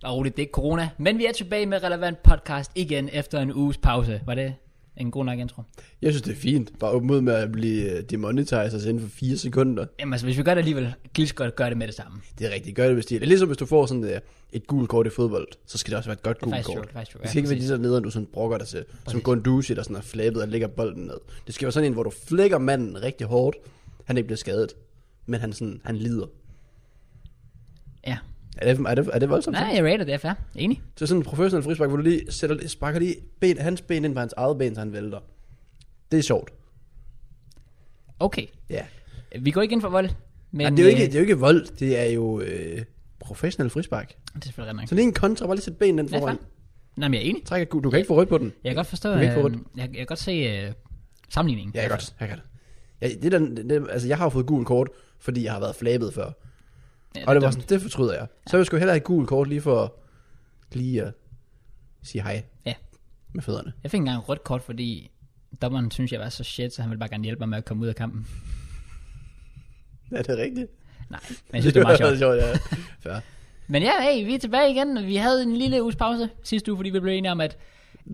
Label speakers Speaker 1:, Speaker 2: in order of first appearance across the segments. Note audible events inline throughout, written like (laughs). Speaker 1: Bare roligt, det er ikke corona. Men vi er tilbage med Relevant Podcast igen efter en uges pause. Var det en god nok intro?
Speaker 2: Jeg synes, det er fint. Bare åben ud med at blive øh, demonetized altså inden for 4 sekunder.
Speaker 1: Jamen altså, hvis vi gør det alligevel, glisk godt gør det med det samme. Det
Speaker 2: Det er rigtigt. Gør det med stil. Det er ligesom, hvis du får sådan øh, et gult kort i fodbold, så skal det også være et godt
Speaker 1: er
Speaker 2: gult
Speaker 1: faktisk true,
Speaker 2: kort.
Speaker 1: det er faktisk true.
Speaker 2: Det skal ikke være
Speaker 1: præcis.
Speaker 2: lige så nederen, du sådan brokker dig til, som Gunduzi, der sådan er flabet og lægger bolden ned. Det skal være sådan en, hvor du flækker manden rigtig hårdt. Han er ikke bliver skadet, men han, sådan, han lider.
Speaker 1: Ja.
Speaker 2: Er det, er det, er det voldsomt?
Speaker 1: Nej, jeg rater det, er fair. Enig.
Speaker 2: Så sådan en professionel frispark, hvor du lige sætter, sparker lige ben, hans ben ind på hans eget ben, så han vælter. Det er sjovt.
Speaker 1: Okay.
Speaker 2: Ja.
Speaker 1: Vi går ikke ind for vold. Men,
Speaker 2: Men, det, er jo ikke,
Speaker 1: øh,
Speaker 2: det er jo ikke vold, det er jo øh, professionel frispark.
Speaker 1: det er selvfølgelig rigtig
Speaker 2: Så lige en kontra, bare lige sæt ben den
Speaker 1: nok. Ja,
Speaker 2: foran.
Speaker 1: fair. Nej, men jeg er enig.
Speaker 2: Træk et gul. Du kan ikke få rødt på den.
Speaker 1: Jeg kan godt forstå,
Speaker 2: Du kan ikke få
Speaker 1: øh, jeg, jeg kan godt se øh, sammenligningen.
Speaker 2: Ja, jeg kan godt. Jeg kan godt. Ja, det der, det, det, altså, jeg har jo fået gul kort, fordi jeg har været flabet før.
Speaker 1: Ja,
Speaker 2: og det var
Speaker 1: dumt.
Speaker 2: sådan, det fortryder jeg. Så jeg skulle hellere have et gul kort lige for lige at sige hej
Speaker 1: Ja.
Speaker 2: med fødderne.
Speaker 1: Jeg fik engang et rødt kort, fordi dommeren synes jeg var så shit, så han ville bare gerne hjælpe mig med at komme ud af kampen.
Speaker 2: Er det rigtigt?
Speaker 1: Nej, men jeg synes, det
Speaker 2: (laughs)
Speaker 1: er meget sjovt.
Speaker 2: sjovt ja. Fair.
Speaker 1: Men ja, hey, vi er tilbage igen. Vi havde en lille uges pause sidste uge, fordi vi blev enige om, at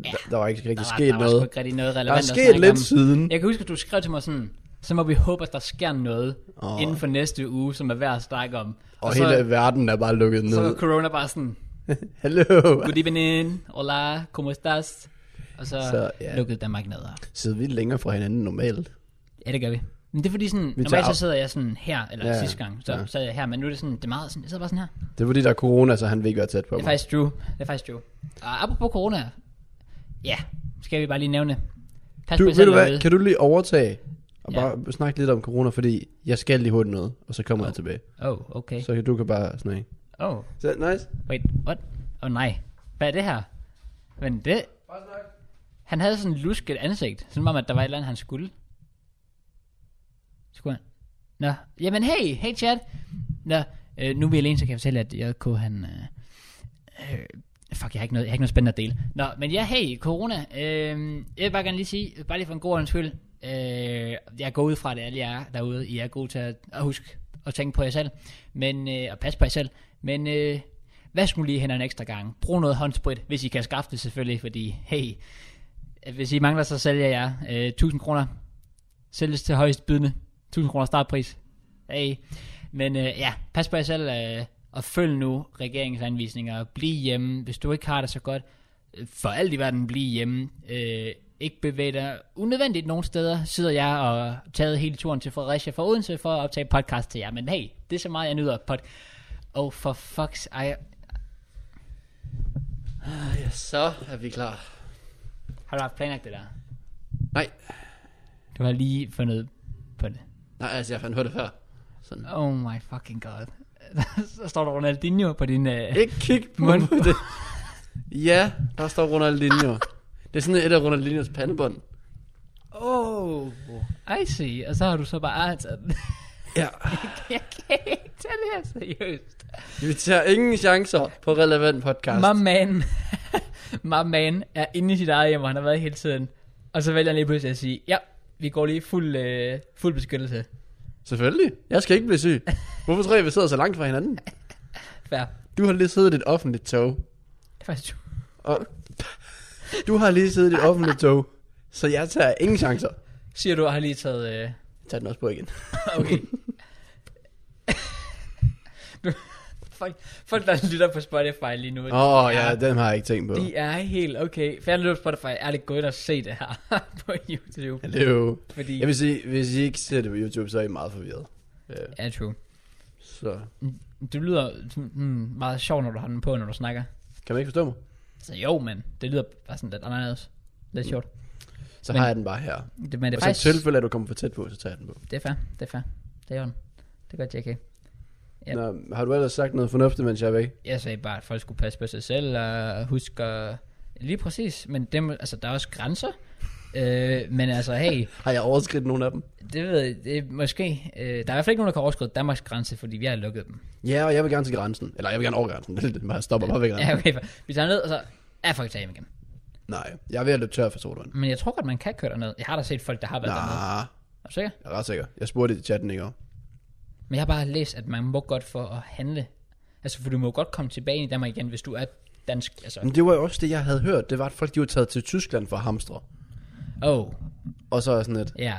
Speaker 2: Der, der var ikke rigtig
Speaker 1: der, var,
Speaker 2: sket
Speaker 1: der var
Speaker 2: noget.
Speaker 1: sgu ikke rigtig noget
Speaker 2: Der er
Speaker 1: relevant at
Speaker 2: sket
Speaker 1: snakke
Speaker 2: lidt
Speaker 1: om.
Speaker 2: siden.
Speaker 1: Jeg kan huske, at du skrev til mig sådan, så må vi håbe, at der sker noget oh.
Speaker 2: Åh.
Speaker 1: inden for næste uge, som er værd at snakke om.
Speaker 2: Og
Speaker 1: så,
Speaker 2: hele verden er bare lukket
Speaker 1: så (laughs) var
Speaker 2: ned.
Speaker 1: corona bare sådan,
Speaker 2: Hallo.
Speaker 1: good evening, hola, como estás? Og så, så
Speaker 2: Så,
Speaker 1: ja.
Speaker 2: ja.
Speaker 1: lukkede Danmark ned. og-
Speaker 2: Sidder vi længere fra hinanden end normalt?
Speaker 1: Ja, det gør vi. Men det er fordi sådan,
Speaker 2: Vi
Speaker 1: normalt
Speaker 2: tager-
Speaker 1: så sidder jeg sådan her, eller ja,
Speaker 2: Ja,
Speaker 1: sidste gang, så ja.
Speaker 2: ja.
Speaker 1: sad jeg her, men nu er det sådan, det er meget sådan, jeg sidder bare sådan her.
Speaker 2: Det er fordi, der er corona, så han vil ikke være tæt på
Speaker 1: Det er
Speaker 2: mig.
Speaker 1: faktisk true. Det er faktisk true. Og apropos corona, ja, skal vi bare lige nævne. Pas på jer
Speaker 2: Du, ved du
Speaker 1: selv
Speaker 2: hvad,
Speaker 1: derude.
Speaker 2: kan du lige overtage og
Speaker 1: Ja.
Speaker 2: ja. bare snakke lidt om corona, fordi jeg skal lige hurtigt noget, og så kommer
Speaker 1: Oh.
Speaker 2: jeg tilbage.
Speaker 1: Oh, okay.
Speaker 2: Så kan du kan bare snakke.
Speaker 1: Oh,
Speaker 2: Så nice.
Speaker 1: wait, what? Oh nej. Hvad er det her? Men det...
Speaker 2: Bare snak.
Speaker 1: Han havde sådan et lusket ansigt, som om, at der var et eller andet, han skulle. Skulle han? Nå, jamen hey, hey chat. Nå, øh, nu er vi alene, så kan jeg fortælle, at JK han... Øh, øh, fuck, jeg har, ikke noget, jeg har ikke noget spændende at dele. Nå, men ja, hey, corona. Øh, jeg vil bare gerne lige sige, bare lige for en god ordens skyld, øh, jeg går ud fra det, alle jer derude, I er gode til at, at huske og tænke på jer selv, men, øh, og passe på jer selv. Men øh, vask nu lige hænderne en ekstra gang. Brug noget håndsprit, hvis I kan skaffe det selvfølgelig, fordi hey, hvis I mangler, så sælger jeg øh, 1000 kroner. Sælges til højst bydende. 1000 kroner startpris. Hey. Men øh, ja, pas på jer selv, øh, og følg nu regeringens anvisninger. Bliv hjemme, hvis du ikke har det så godt. øh, For alt i verden, bliv hjemme. Øh, ikke bevæg dig unødvendigt nogen steder. Sidder jeg og taget hele turen til Fredericia fra Odense for at optage podcast til jer. Men hey, det er så meget, jeg nyder pod. Oh, for fucks, ej.
Speaker 2: Ja, så er vi klar.
Speaker 1: Har du haft planlagt det der?
Speaker 2: Nej,
Speaker 1: Du har lige fundet på det.
Speaker 2: nej, altså jeg fandt på det før. Sådan.
Speaker 1: Oh my fucking god. (laughs) så står der Ronaldinho på din... Øh...
Speaker 2: Ikke kig på
Speaker 1: Mund.
Speaker 2: Mund. det. (laughs) Ja, der står Ronaldinho. Det er sådan et af Ronaldinhos pandebånd.
Speaker 1: Oh, I see. Og så har du så bare taget den.
Speaker 2: Ja.
Speaker 1: (laughs) Jeg kan ikke tage det her seriøst.
Speaker 2: Vi tager ingen chancer på relevant podcast.
Speaker 1: My man. (laughs) My man er inde i sit eget hjem, og han har været hele tiden. Og så vælger han lige pludselig at sige, ja, vi går lige fuld, øh, fuld beskyttelse.
Speaker 2: Selvfølgelig. Jeg skal ikke blive syg. Hvorfor tror jeg, vi sidder så langt fra hinanden?
Speaker 1: Fair.
Speaker 2: Du har lige siddet i et offentligt tog.
Speaker 1: Det er faktisk true.
Speaker 2: Og du har lige siddet i et offentligt tog. Så jeg tager ingen chancer.
Speaker 1: Siger du, at har lige taget... Øh...
Speaker 2: Tag den også på igen. (laughs)
Speaker 1: Okay. Du- folk, folk, der lytter på Spotify lige nu.
Speaker 2: Åh, oh,
Speaker 1: de er-
Speaker 2: ja, den har jeg ikke tænkt på.
Speaker 1: De er helt okay. Færdig løb Spotify, ærligt gå ind og se det her (laughs) på YouTube.
Speaker 2: Det er jo...
Speaker 1: Fordi...
Speaker 2: Jeg vil sige, hvis I ikke ser det på YouTube, så er I meget forvirret. Ja,
Speaker 1: Ja, true.
Speaker 2: så
Speaker 1: Du lyder sådan, mm, meget sjov, når du har den på, når du snakker.
Speaker 2: kan man ikke forstå mig?
Speaker 1: Så Altså, jo, men det lyder bare sådan lidt anderledes. Lidt sjovt.
Speaker 2: Så
Speaker 1: Men-
Speaker 2: men, har jeg den bare her.
Speaker 1: Det, men det er
Speaker 2: Og så i
Speaker 1: faktisk...
Speaker 2: tilfælde, at du kommer for tæt på, så tager jeg den på.
Speaker 1: Det er fair, det er fair. Det er jorden. Det gør JK. Ja.
Speaker 2: Ja. Nå, har du ellers sagt noget fornuftigt, mens jeg er væk?
Speaker 1: Jeg sagde bare, at folk skulle passe på sig selv og huske at... Lige præcis, men dem, altså, der er også grænser. øh, men altså, hey,
Speaker 2: Har jeg overskridt nogen af dem?
Speaker 1: det ved jeg, det, er måske. Øh, der er i hvert fald ikke nogen, der kan overskride Danmarks grænse, fordi vi har lukket dem.
Speaker 2: Ja, og jeg vil gerne til grænsen. Eller jeg vil gerne over grænsen. (laughs) jeg stopper bare ved grænsen.
Speaker 1: Ja,
Speaker 2: Ja.
Speaker 1: okay. fair. Vi tager ned, og så er folk taget hjem igen.
Speaker 2: Nej, jeg er ved at løbe tør for sodavand.
Speaker 1: Men jeg tror godt, man kan køre derned. Jeg har da set folk, der har været dernede.
Speaker 2: Nej,
Speaker 1: Er du sikker?
Speaker 2: jeg er ret sikker. Jeg spurgte i chatten i går.
Speaker 1: Men jeg har bare læst, at man må godt for at handle Altså, for du må jo godt komme tilbage i Danmark igen, hvis du er dansk. Altså,
Speaker 2: Men det var jo også det, jeg havde hørt. Det var, at folk de var taget til Tyskland for at hamstre.
Speaker 1: oh,
Speaker 2: Og så er jeg sådan lidt,
Speaker 1: ja.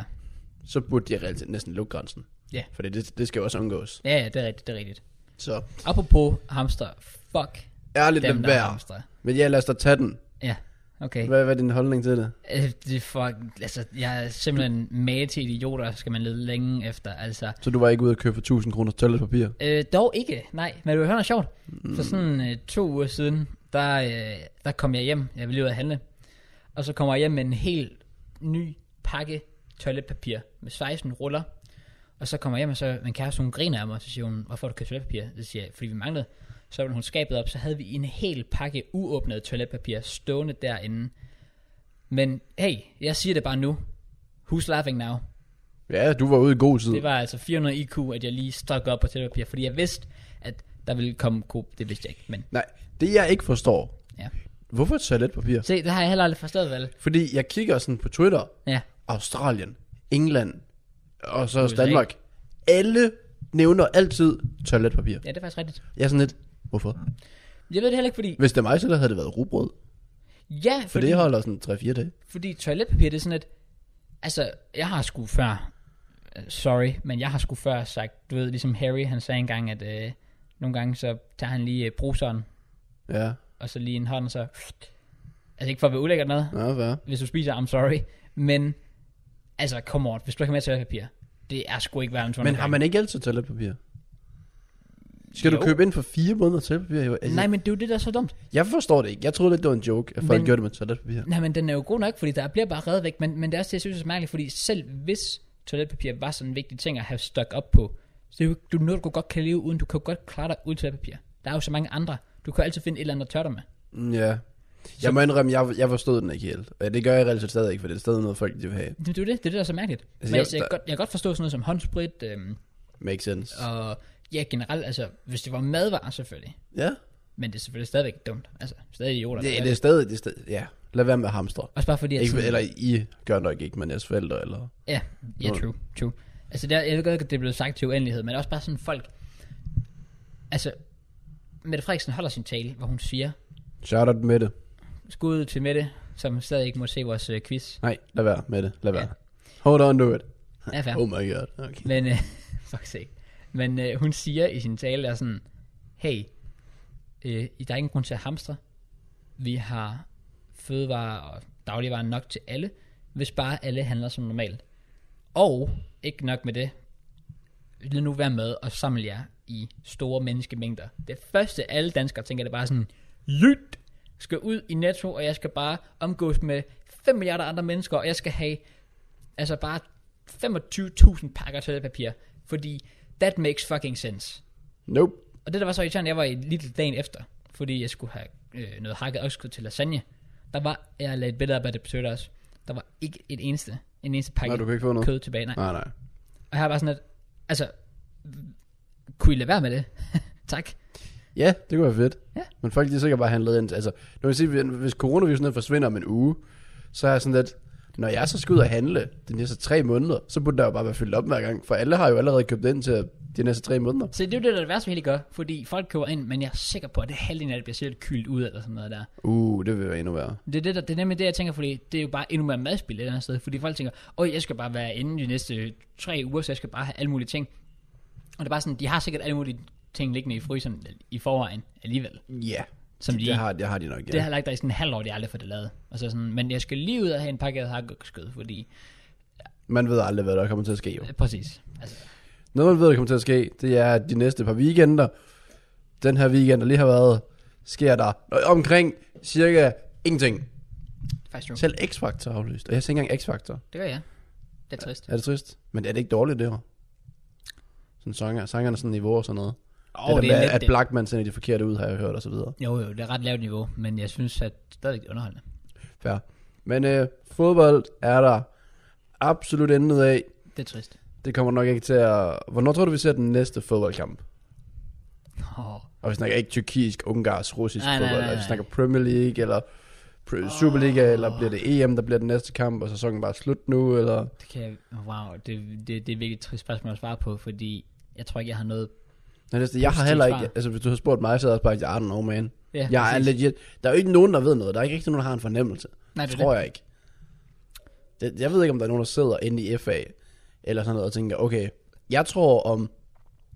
Speaker 2: så burde de reelt set næsten lukke grænsen.
Speaker 1: Ja.
Speaker 2: For det, det skal jo også undgås.
Speaker 1: Ja, ja, det er rigtigt, det er rigtigt.
Speaker 2: Så
Speaker 1: Apropos hamster, fuck
Speaker 2: ærligt
Speaker 1: dem,
Speaker 2: lidt
Speaker 1: der
Speaker 2: værd.
Speaker 1: hamster.
Speaker 2: Men ja, lad os da tage den.
Speaker 1: Ja, okay.
Speaker 2: Hvad, hvad er din holdning til det?
Speaker 1: Øh, Det er fuck, altså, jeg er simpelthen mage til idioter, skal man lede længe efter, altså.
Speaker 2: Så du var ikke ude at købe for 1000 kroner toiletpapir?
Speaker 1: Øh, dog ikke, nej, men du hører noget sjovt. Mm. For sådan øh, to uger siden, der, øh, der kom jeg hjem, jeg ville lige ud at handle, og så kommer jeg hjem med en helt ny pakke toiletpapir med 16 ruller, og så kommer jeg hjem, og så min kæreste, hun griner af mig, og så siger hun, hvorfor har du købt toiletpapir? Så siger jeg, fordi vi manglede. Så ville hun skabet op, så havde vi en hel pakke uåbnet toiletpapir stående derinde. Men hey, jeg siger det bare nu. Who's laughing now?
Speaker 2: Ja, du var ude i god tid.
Speaker 1: Det var altså 400 IQ, at jeg lige stak op på toiletpapir, fordi jeg vidste, at der ville komme god. Det vidste jeg ikke, men
Speaker 2: Nej, det jeg ikke forstår.
Speaker 1: ja.
Speaker 2: Hvorfor toiletpapir?
Speaker 1: Se, det har jeg heller aldrig forstået, vel?
Speaker 2: Fordi jeg kigger sådan på Twitter.
Speaker 1: Ja.
Speaker 2: Australien, England og så også
Speaker 1: USA.
Speaker 2: Danmark. Alle nævner altid toiletpapir.
Speaker 1: ja, det er faktisk rigtigt.
Speaker 2: Jeg er sådan lidt, hvorfor?
Speaker 1: Jeg ved det heller ikke, fordi...
Speaker 2: Hvis det er mig, så havde det været rugbrød.
Speaker 1: Ja,
Speaker 2: For
Speaker 1: fordi,
Speaker 2: det holder sådan 3-4 dage.
Speaker 1: fordi toiletpapir, det er sådan et... Altså, jeg har sgu før... øh, Sorry, men jeg har sgu før sagt, du ved, ligesom Harry, han sagde engang, at øh, nogle gange så tager han lige øh, bruseren,
Speaker 2: Ja,
Speaker 1: og så lige en hånd, og så... Altså ikke for at være ulækkert noget,
Speaker 2: ja, hvad?
Speaker 1: hvis du spiser, I'm sorry, men... Altså, come on, hvis du ikke har med toiletpapir, det er sgu ikke verdens
Speaker 2: Men
Speaker 1: undergang.
Speaker 2: har man ikke altid toiletpapir? Skal
Speaker 1: Jo.
Speaker 2: du købe ind for fire måneder toiletpapir? Jo, Altså,
Speaker 1: Nej, men det er jo det, der er så dumt.
Speaker 2: Jeg forstår det ikke. Jeg troede lidt, det var en joke, at folk
Speaker 1: Men-
Speaker 2: gjorde det med toiletpapir.
Speaker 1: Nej, men den er jo god nok, fordi der bliver bare reddet væk. Men, men det er også det, jeg synes er så mærkeligt, fordi selv hvis toiletpapir var sådan en vigtig ting at have stok op på, så det er jo ikke- du er noget, du godt kan leve uden. Du kan jo godt klare dig uden toiletpapir. Der er jo så mange andre. Du kan jo altid finde et eller andet at tørre dig med.
Speaker 2: Mm, Ja. Jeg må indrømme, jeg, jeg forstod den ikke helt. Og det gør jeg reelt set stadig ikke, for det er stadig noget, folk de vil have.
Speaker 1: Det, det er jo det, det, er det der er så mærkeligt. Men
Speaker 2: jeg-
Speaker 1: altså, jeg, kan
Speaker 2: der-
Speaker 1: godt, jeg kan godt forstå sådan noget som håndsprit, øhm,
Speaker 2: Makes sense.
Speaker 1: og ja, generelt, altså, hvis det var madvarer selvfølgelig.
Speaker 2: Ja.
Speaker 1: Men det er selvfølgelig stadigvæk dumt. Altså, stadig idioter.
Speaker 2: Det,
Speaker 1: der gør
Speaker 2: det er stadig, det er stadig, ja. Lad være med at hamstre.
Speaker 1: Også bare fordi, at
Speaker 2: Ikke,
Speaker 1: sådan-
Speaker 2: eller I gør nok ikke, men jeres forældre, eller...
Speaker 1: Ja, ja,
Speaker 2: Nå.
Speaker 1: true, true. Altså, der, jeg ved godt, at det er blevet sagt til uendelighed, men også bare sådan folk... Altså, Mette Frederiksen holder sin tale, hvor hun siger,
Speaker 2: Shout out med det.
Speaker 1: skud til Mette, som stadig ikke må se vores øh, quiz.
Speaker 2: Nej, lad være med det. Lad
Speaker 1: Ja.
Speaker 2: være. Hold on to it.
Speaker 1: Ja, fair.
Speaker 2: Oh my god. Okay.
Speaker 1: Men, øh, (laughs) fuck sake. Men øh, hun siger i sin tale, der er sådan, hey, øh, der er ingen grund til at hamstre. Vi har fødevarer og dagligvarer nok til alle, hvis bare alle handler som normalt. Og ikke nok med det, lad nu være med og samle jer i store menneskemængder. Det første, alle danskere tænker, det er bare sådan, jyt, skal ud i netto, og jeg skal bare omgås med 5 milliarder andre mennesker, og jeg skal have altså bare 25.000 pakker toiletpapir, fordi that makes fucking sense.
Speaker 2: Nope.
Speaker 1: Og det der var så irriterende, jeg var i Lidl dagen efter, fordi jeg skulle have øh, noget hakket oksekød til lasagne. Der var, jeg lagde et billede op af det på Twitter også, der var ikke et eneste, en eneste pakke
Speaker 2: Nej, du kan ikke få noget.
Speaker 1: kød tilbage. Nej.
Speaker 2: Nej, nej.
Speaker 1: Og her var sådan, at, altså, kunne I lade være med det? (laughs) tak.
Speaker 2: Ja, det kunne være fedt.
Speaker 1: Ja.
Speaker 2: Men folk, de er sikkert bare handlet ind. Altså, nu vil jeg sige, hvis coronavirusen den forsvinder om en uge, så er jeg sådan lidt, når jeg så skal ud og handle de næste tre måneder, så burde der jo bare være fyldt op hver gang, for alle har jo allerede købt ind til de næste tre måneder.
Speaker 1: Så det er jo det, der er det værste, vi helt gør, fordi folk køber ind, men jeg er sikker på, at det halvdelen af det bliver selv kylt ud eller sådan noget der.
Speaker 2: Uh, det vil være endnu værre.
Speaker 1: Det er, det, der, det er nemlig det, jeg tænker, fordi det er jo bare endnu mere madspil et eller andet sted. Fordi folk tænker, åh, jeg skal bare være inde de næste tre uger, så jeg skal bare have alle mulige ting. Og det er bare sådan, de har sikkert alle mulige ting liggende i fryseren i forvejen alligevel.
Speaker 2: Ja,
Speaker 1: Som de,
Speaker 2: det har, det har de nok, ja.
Speaker 1: det har lagt der i sådan en halv år, de aldrig får det lavet. Og så sådan, men jeg skal lige ud og have en pakke af hakkeskød, fordi...
Speaker 2: Man ved aldrig, hvad der kommer til at ske. Jo.
Speaker 1: Øh, Præcis. Altså,
Speaker 2: Noget, man ved, der kommer til at ske, det er, at de næste par weekender, den her weekend, der lige har været, sker der omkring cirka ingenting.
Speaker 1: faktisk true.
Speaker 2: Selv X-Factor har aflyst, og jeg ser ikke engang X-Factor.
Speaker 1: Det gør jeg. Det er trist.
Speaker 2: Er det trist? Men er det ikke dårligt, det her? Sådan sanger, sangerne sådan niveau og sådan noget.
Speaker 1: Åh,
Speaker 2: det, der
Speaker 1: det er
Speaker 2: med,
Speaker 1: lidt
Speaker 2: at
Speaker 1: det.
Speaker 2: Blackman sender de forkerte ud, har jeg hørt og så videre.
Speaker 1: Jo, jo, det er ret lavt niveau, men jeg synes, at det er stadigvæk underholdende.
Speaker 2: Fair. Men øh, fodbold er der absolut intet af.
Speaker 1: Det er trist.
Speaker 2: Det kommer nok ikke til at... Hvornår tror du, vi ser den næste fodboldkamp?
Speaker 1: Oh.
Speaker 2: Og vi snakker ikke tyrkisk, ungarsk, russisk
Speaker 1: Nej, nej,
Speaker 2: fodbold.
Speaker 1: nej,
Speaker 2: Og vi
Speaker 1: nej.
Speaker 2: snakker Premier League, eller Pre- Superliga, eller bliver det EM, der bliver den næste kamp, og sæsonen bare slut nu, eller...
Speaker 1: Det kan jeg, wow, det, det, det er virkelig et trist spørgsmål at svare på, fordi jeg tror ikke, jeg har noget
Speaker 2: Nej, det, er- jeg har
Speaker 1: Positivt
Speaker 2: heller
Speaker 1: svar.
Speaker 2: ikke, altså hvis du havde spurgt mig, så havde jeg også bare, I don't know, man.
Speaker 1: Ja,
Speaker 2: jeg er
Speaker 1: præcis.
Speaker 2: legit, der er jo ikke nogen, der ved noget. Der er ikke rigtig nogen, der har en fornemmelse.
Speaker 1: Nej, det er
Speaker 2: tror jeg ikke. Det, jeg ved ikke, om der er nogen, der sidder inde i FA, eller sådan noget, og tænker, okay, jeg tror om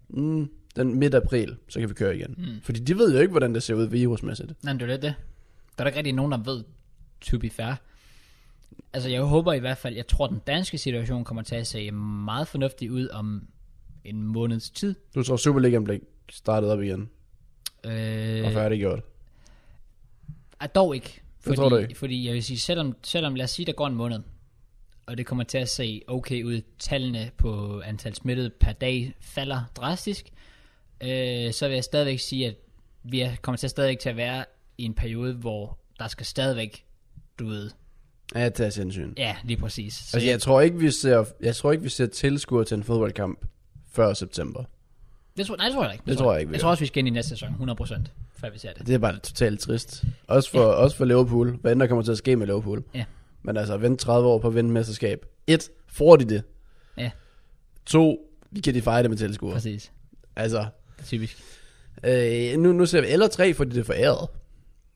Speaker 2: mm, den midt april, så kan vi køre igen. Mm. Fordi de ved jo ikke, hvordan det ser ud virusmæssigt.
Speaker 1: Nej, men det er jo lidt det. Der er da ikke rigtig nogen, der ved, to be fair. Altså, jeg håber i hvert fald, jeg tror, den danske situation kommer til at se meget fornuftig ud om en måneds tid.
Speaker 2: Du tror, Superligaen blev startet op igen, og
Speaker 1: Øh,
Speaker 2: færdiggjort.
Speaker 1: er dog ikke. Fordi,
Speaker 2: tror du ikke?
Speaker 1: Fordi jeg vil sige, selvom, selvom lad os sige, der går en måned, og det kommer til at se okay ud, tallene på antal smittede per dag falder drastisk, øh, så vil jeg stadigvæk sige, at vi er- kommer til at stadigvæk til at være i en periode, hvor der skal stadigvæk, du ved,
Speaker 2: Ja, det er sindssygt.
Speaker 1: ja, lige præcis. Så
Speaker 2: Altså, jeg tror ikke, vi ser, jeg tror ikke, vi ser tilskuer til en fodboldkamp før september.
Speaker 1: Det tror, nej, det tror jeg ikke.
Speaker 2: Det tror jeg ikke, vi
Speaker 1: Jeg
Speaker 2: gør.
Speaker 1: tror også, vi skal ind i næste sæson, 100%, før vi ser det.
Speaker 2: Det er bare totalt trist. Også for, ja. også for Liverpool. Hvad end der kommer til at ske med Liverpool.
Speaker 1: Ja.
Speaker 2: Men altså, vent 30 år på at vinde mesterskab. Et, får de det?
Speaker 1: Ja,
Speaker 2: To, vi kan de fejre det med tilskuere.
Speaker 1: præcis.
Speaker 2: Altså,
Speaker 1: Typisk.
Speaker 2: øh, nu, nu ser vi, eller tre, fordi det er foræret.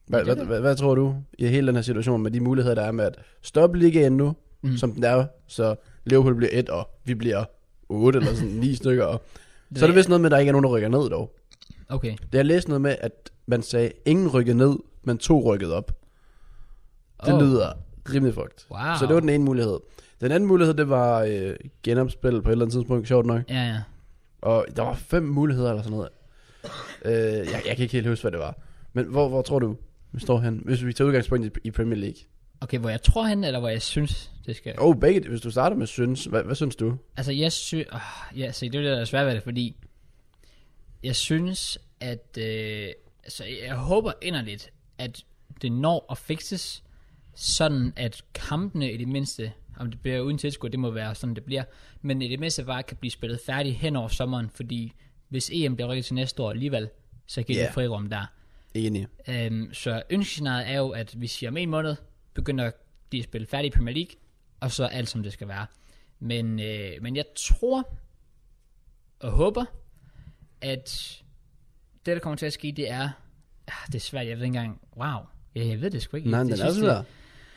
Speaker 2: Hvad,
Speaker 1: det er
Speaker 2: hvad, hvad, hvad tror du i hele den her situation med de muligheder, der er med at stoppe ligaen nu, mm. som den er, så Liverpool bliver et, og vi bliver otte eller sådan ni (laughs) stykker. Og, så er det vist noget med, at der ikke er nogen, der rykker ned dog.
Speaker 1: Okay.
Speaker 2: Det jeg læste noget med, at man sagde, ingen rykkede ned, men to rykkede op. Det
Speaker 1: Åh.
Speaker 2: oh. lyder rimelig fugt.
Speaker 1: Wow.
Speaker 2: Så det var den ene mulighed. Den anden mulighed, det var øh, genopspil på et eller andet tidspunkt, sjovt nok.
Speaker 1: Ja, ja.
Speaker 2: Og der var fem muligheder eller sådan noget. Øh, jeg, jeg kan ikke helt huske, hvad det var. Men hvor, hvor tror du, vi står hen? Hvis vi tager udgangspunkt i, i Premier League.
Speaker 1: Okay, hvor jeg tror han, eller hvor jeg synes, det skal...
Speaker 2: Åh, oh, begge. Hvis du starter med synes, hvad, hvad synes du?
Speaker 1: Altså, jeg synes... Oh, ja, se, det er jo det, der er svært ved det, fordi... Jeg synes, at... Øh, altså, jeg håber inderligt, at det når at fikses, sådan at kampene i det mindste, om det bliver uden tilskuer, det må være sådan, det bliver, men i det mindste bare kan blive spillet færdig hen over sommeren, fordi hvis EM bliver rykket til næste år alligevel, så giver yeah.
Speaker 2: Ja.
Speaker 1: det frirum der.
Speaker 2: Enig.
Speaker 1: Øhm, så ønskescenariet er jo, at vi siger om en måned, begynder de at spille færdig i Premier League, og så alt som det skal være. Men, øh, men jeg tror og håber, at det, der kommer til at ske, det er... Ah, det er svært, jeg ved ikke engang... Wow, ja, jeg ved det sgu ikke.
Speaker 2: Nej,
Speaker 1: det
Speaker 2: den er
Speaker 1: sidste-
Speaker 2: svær.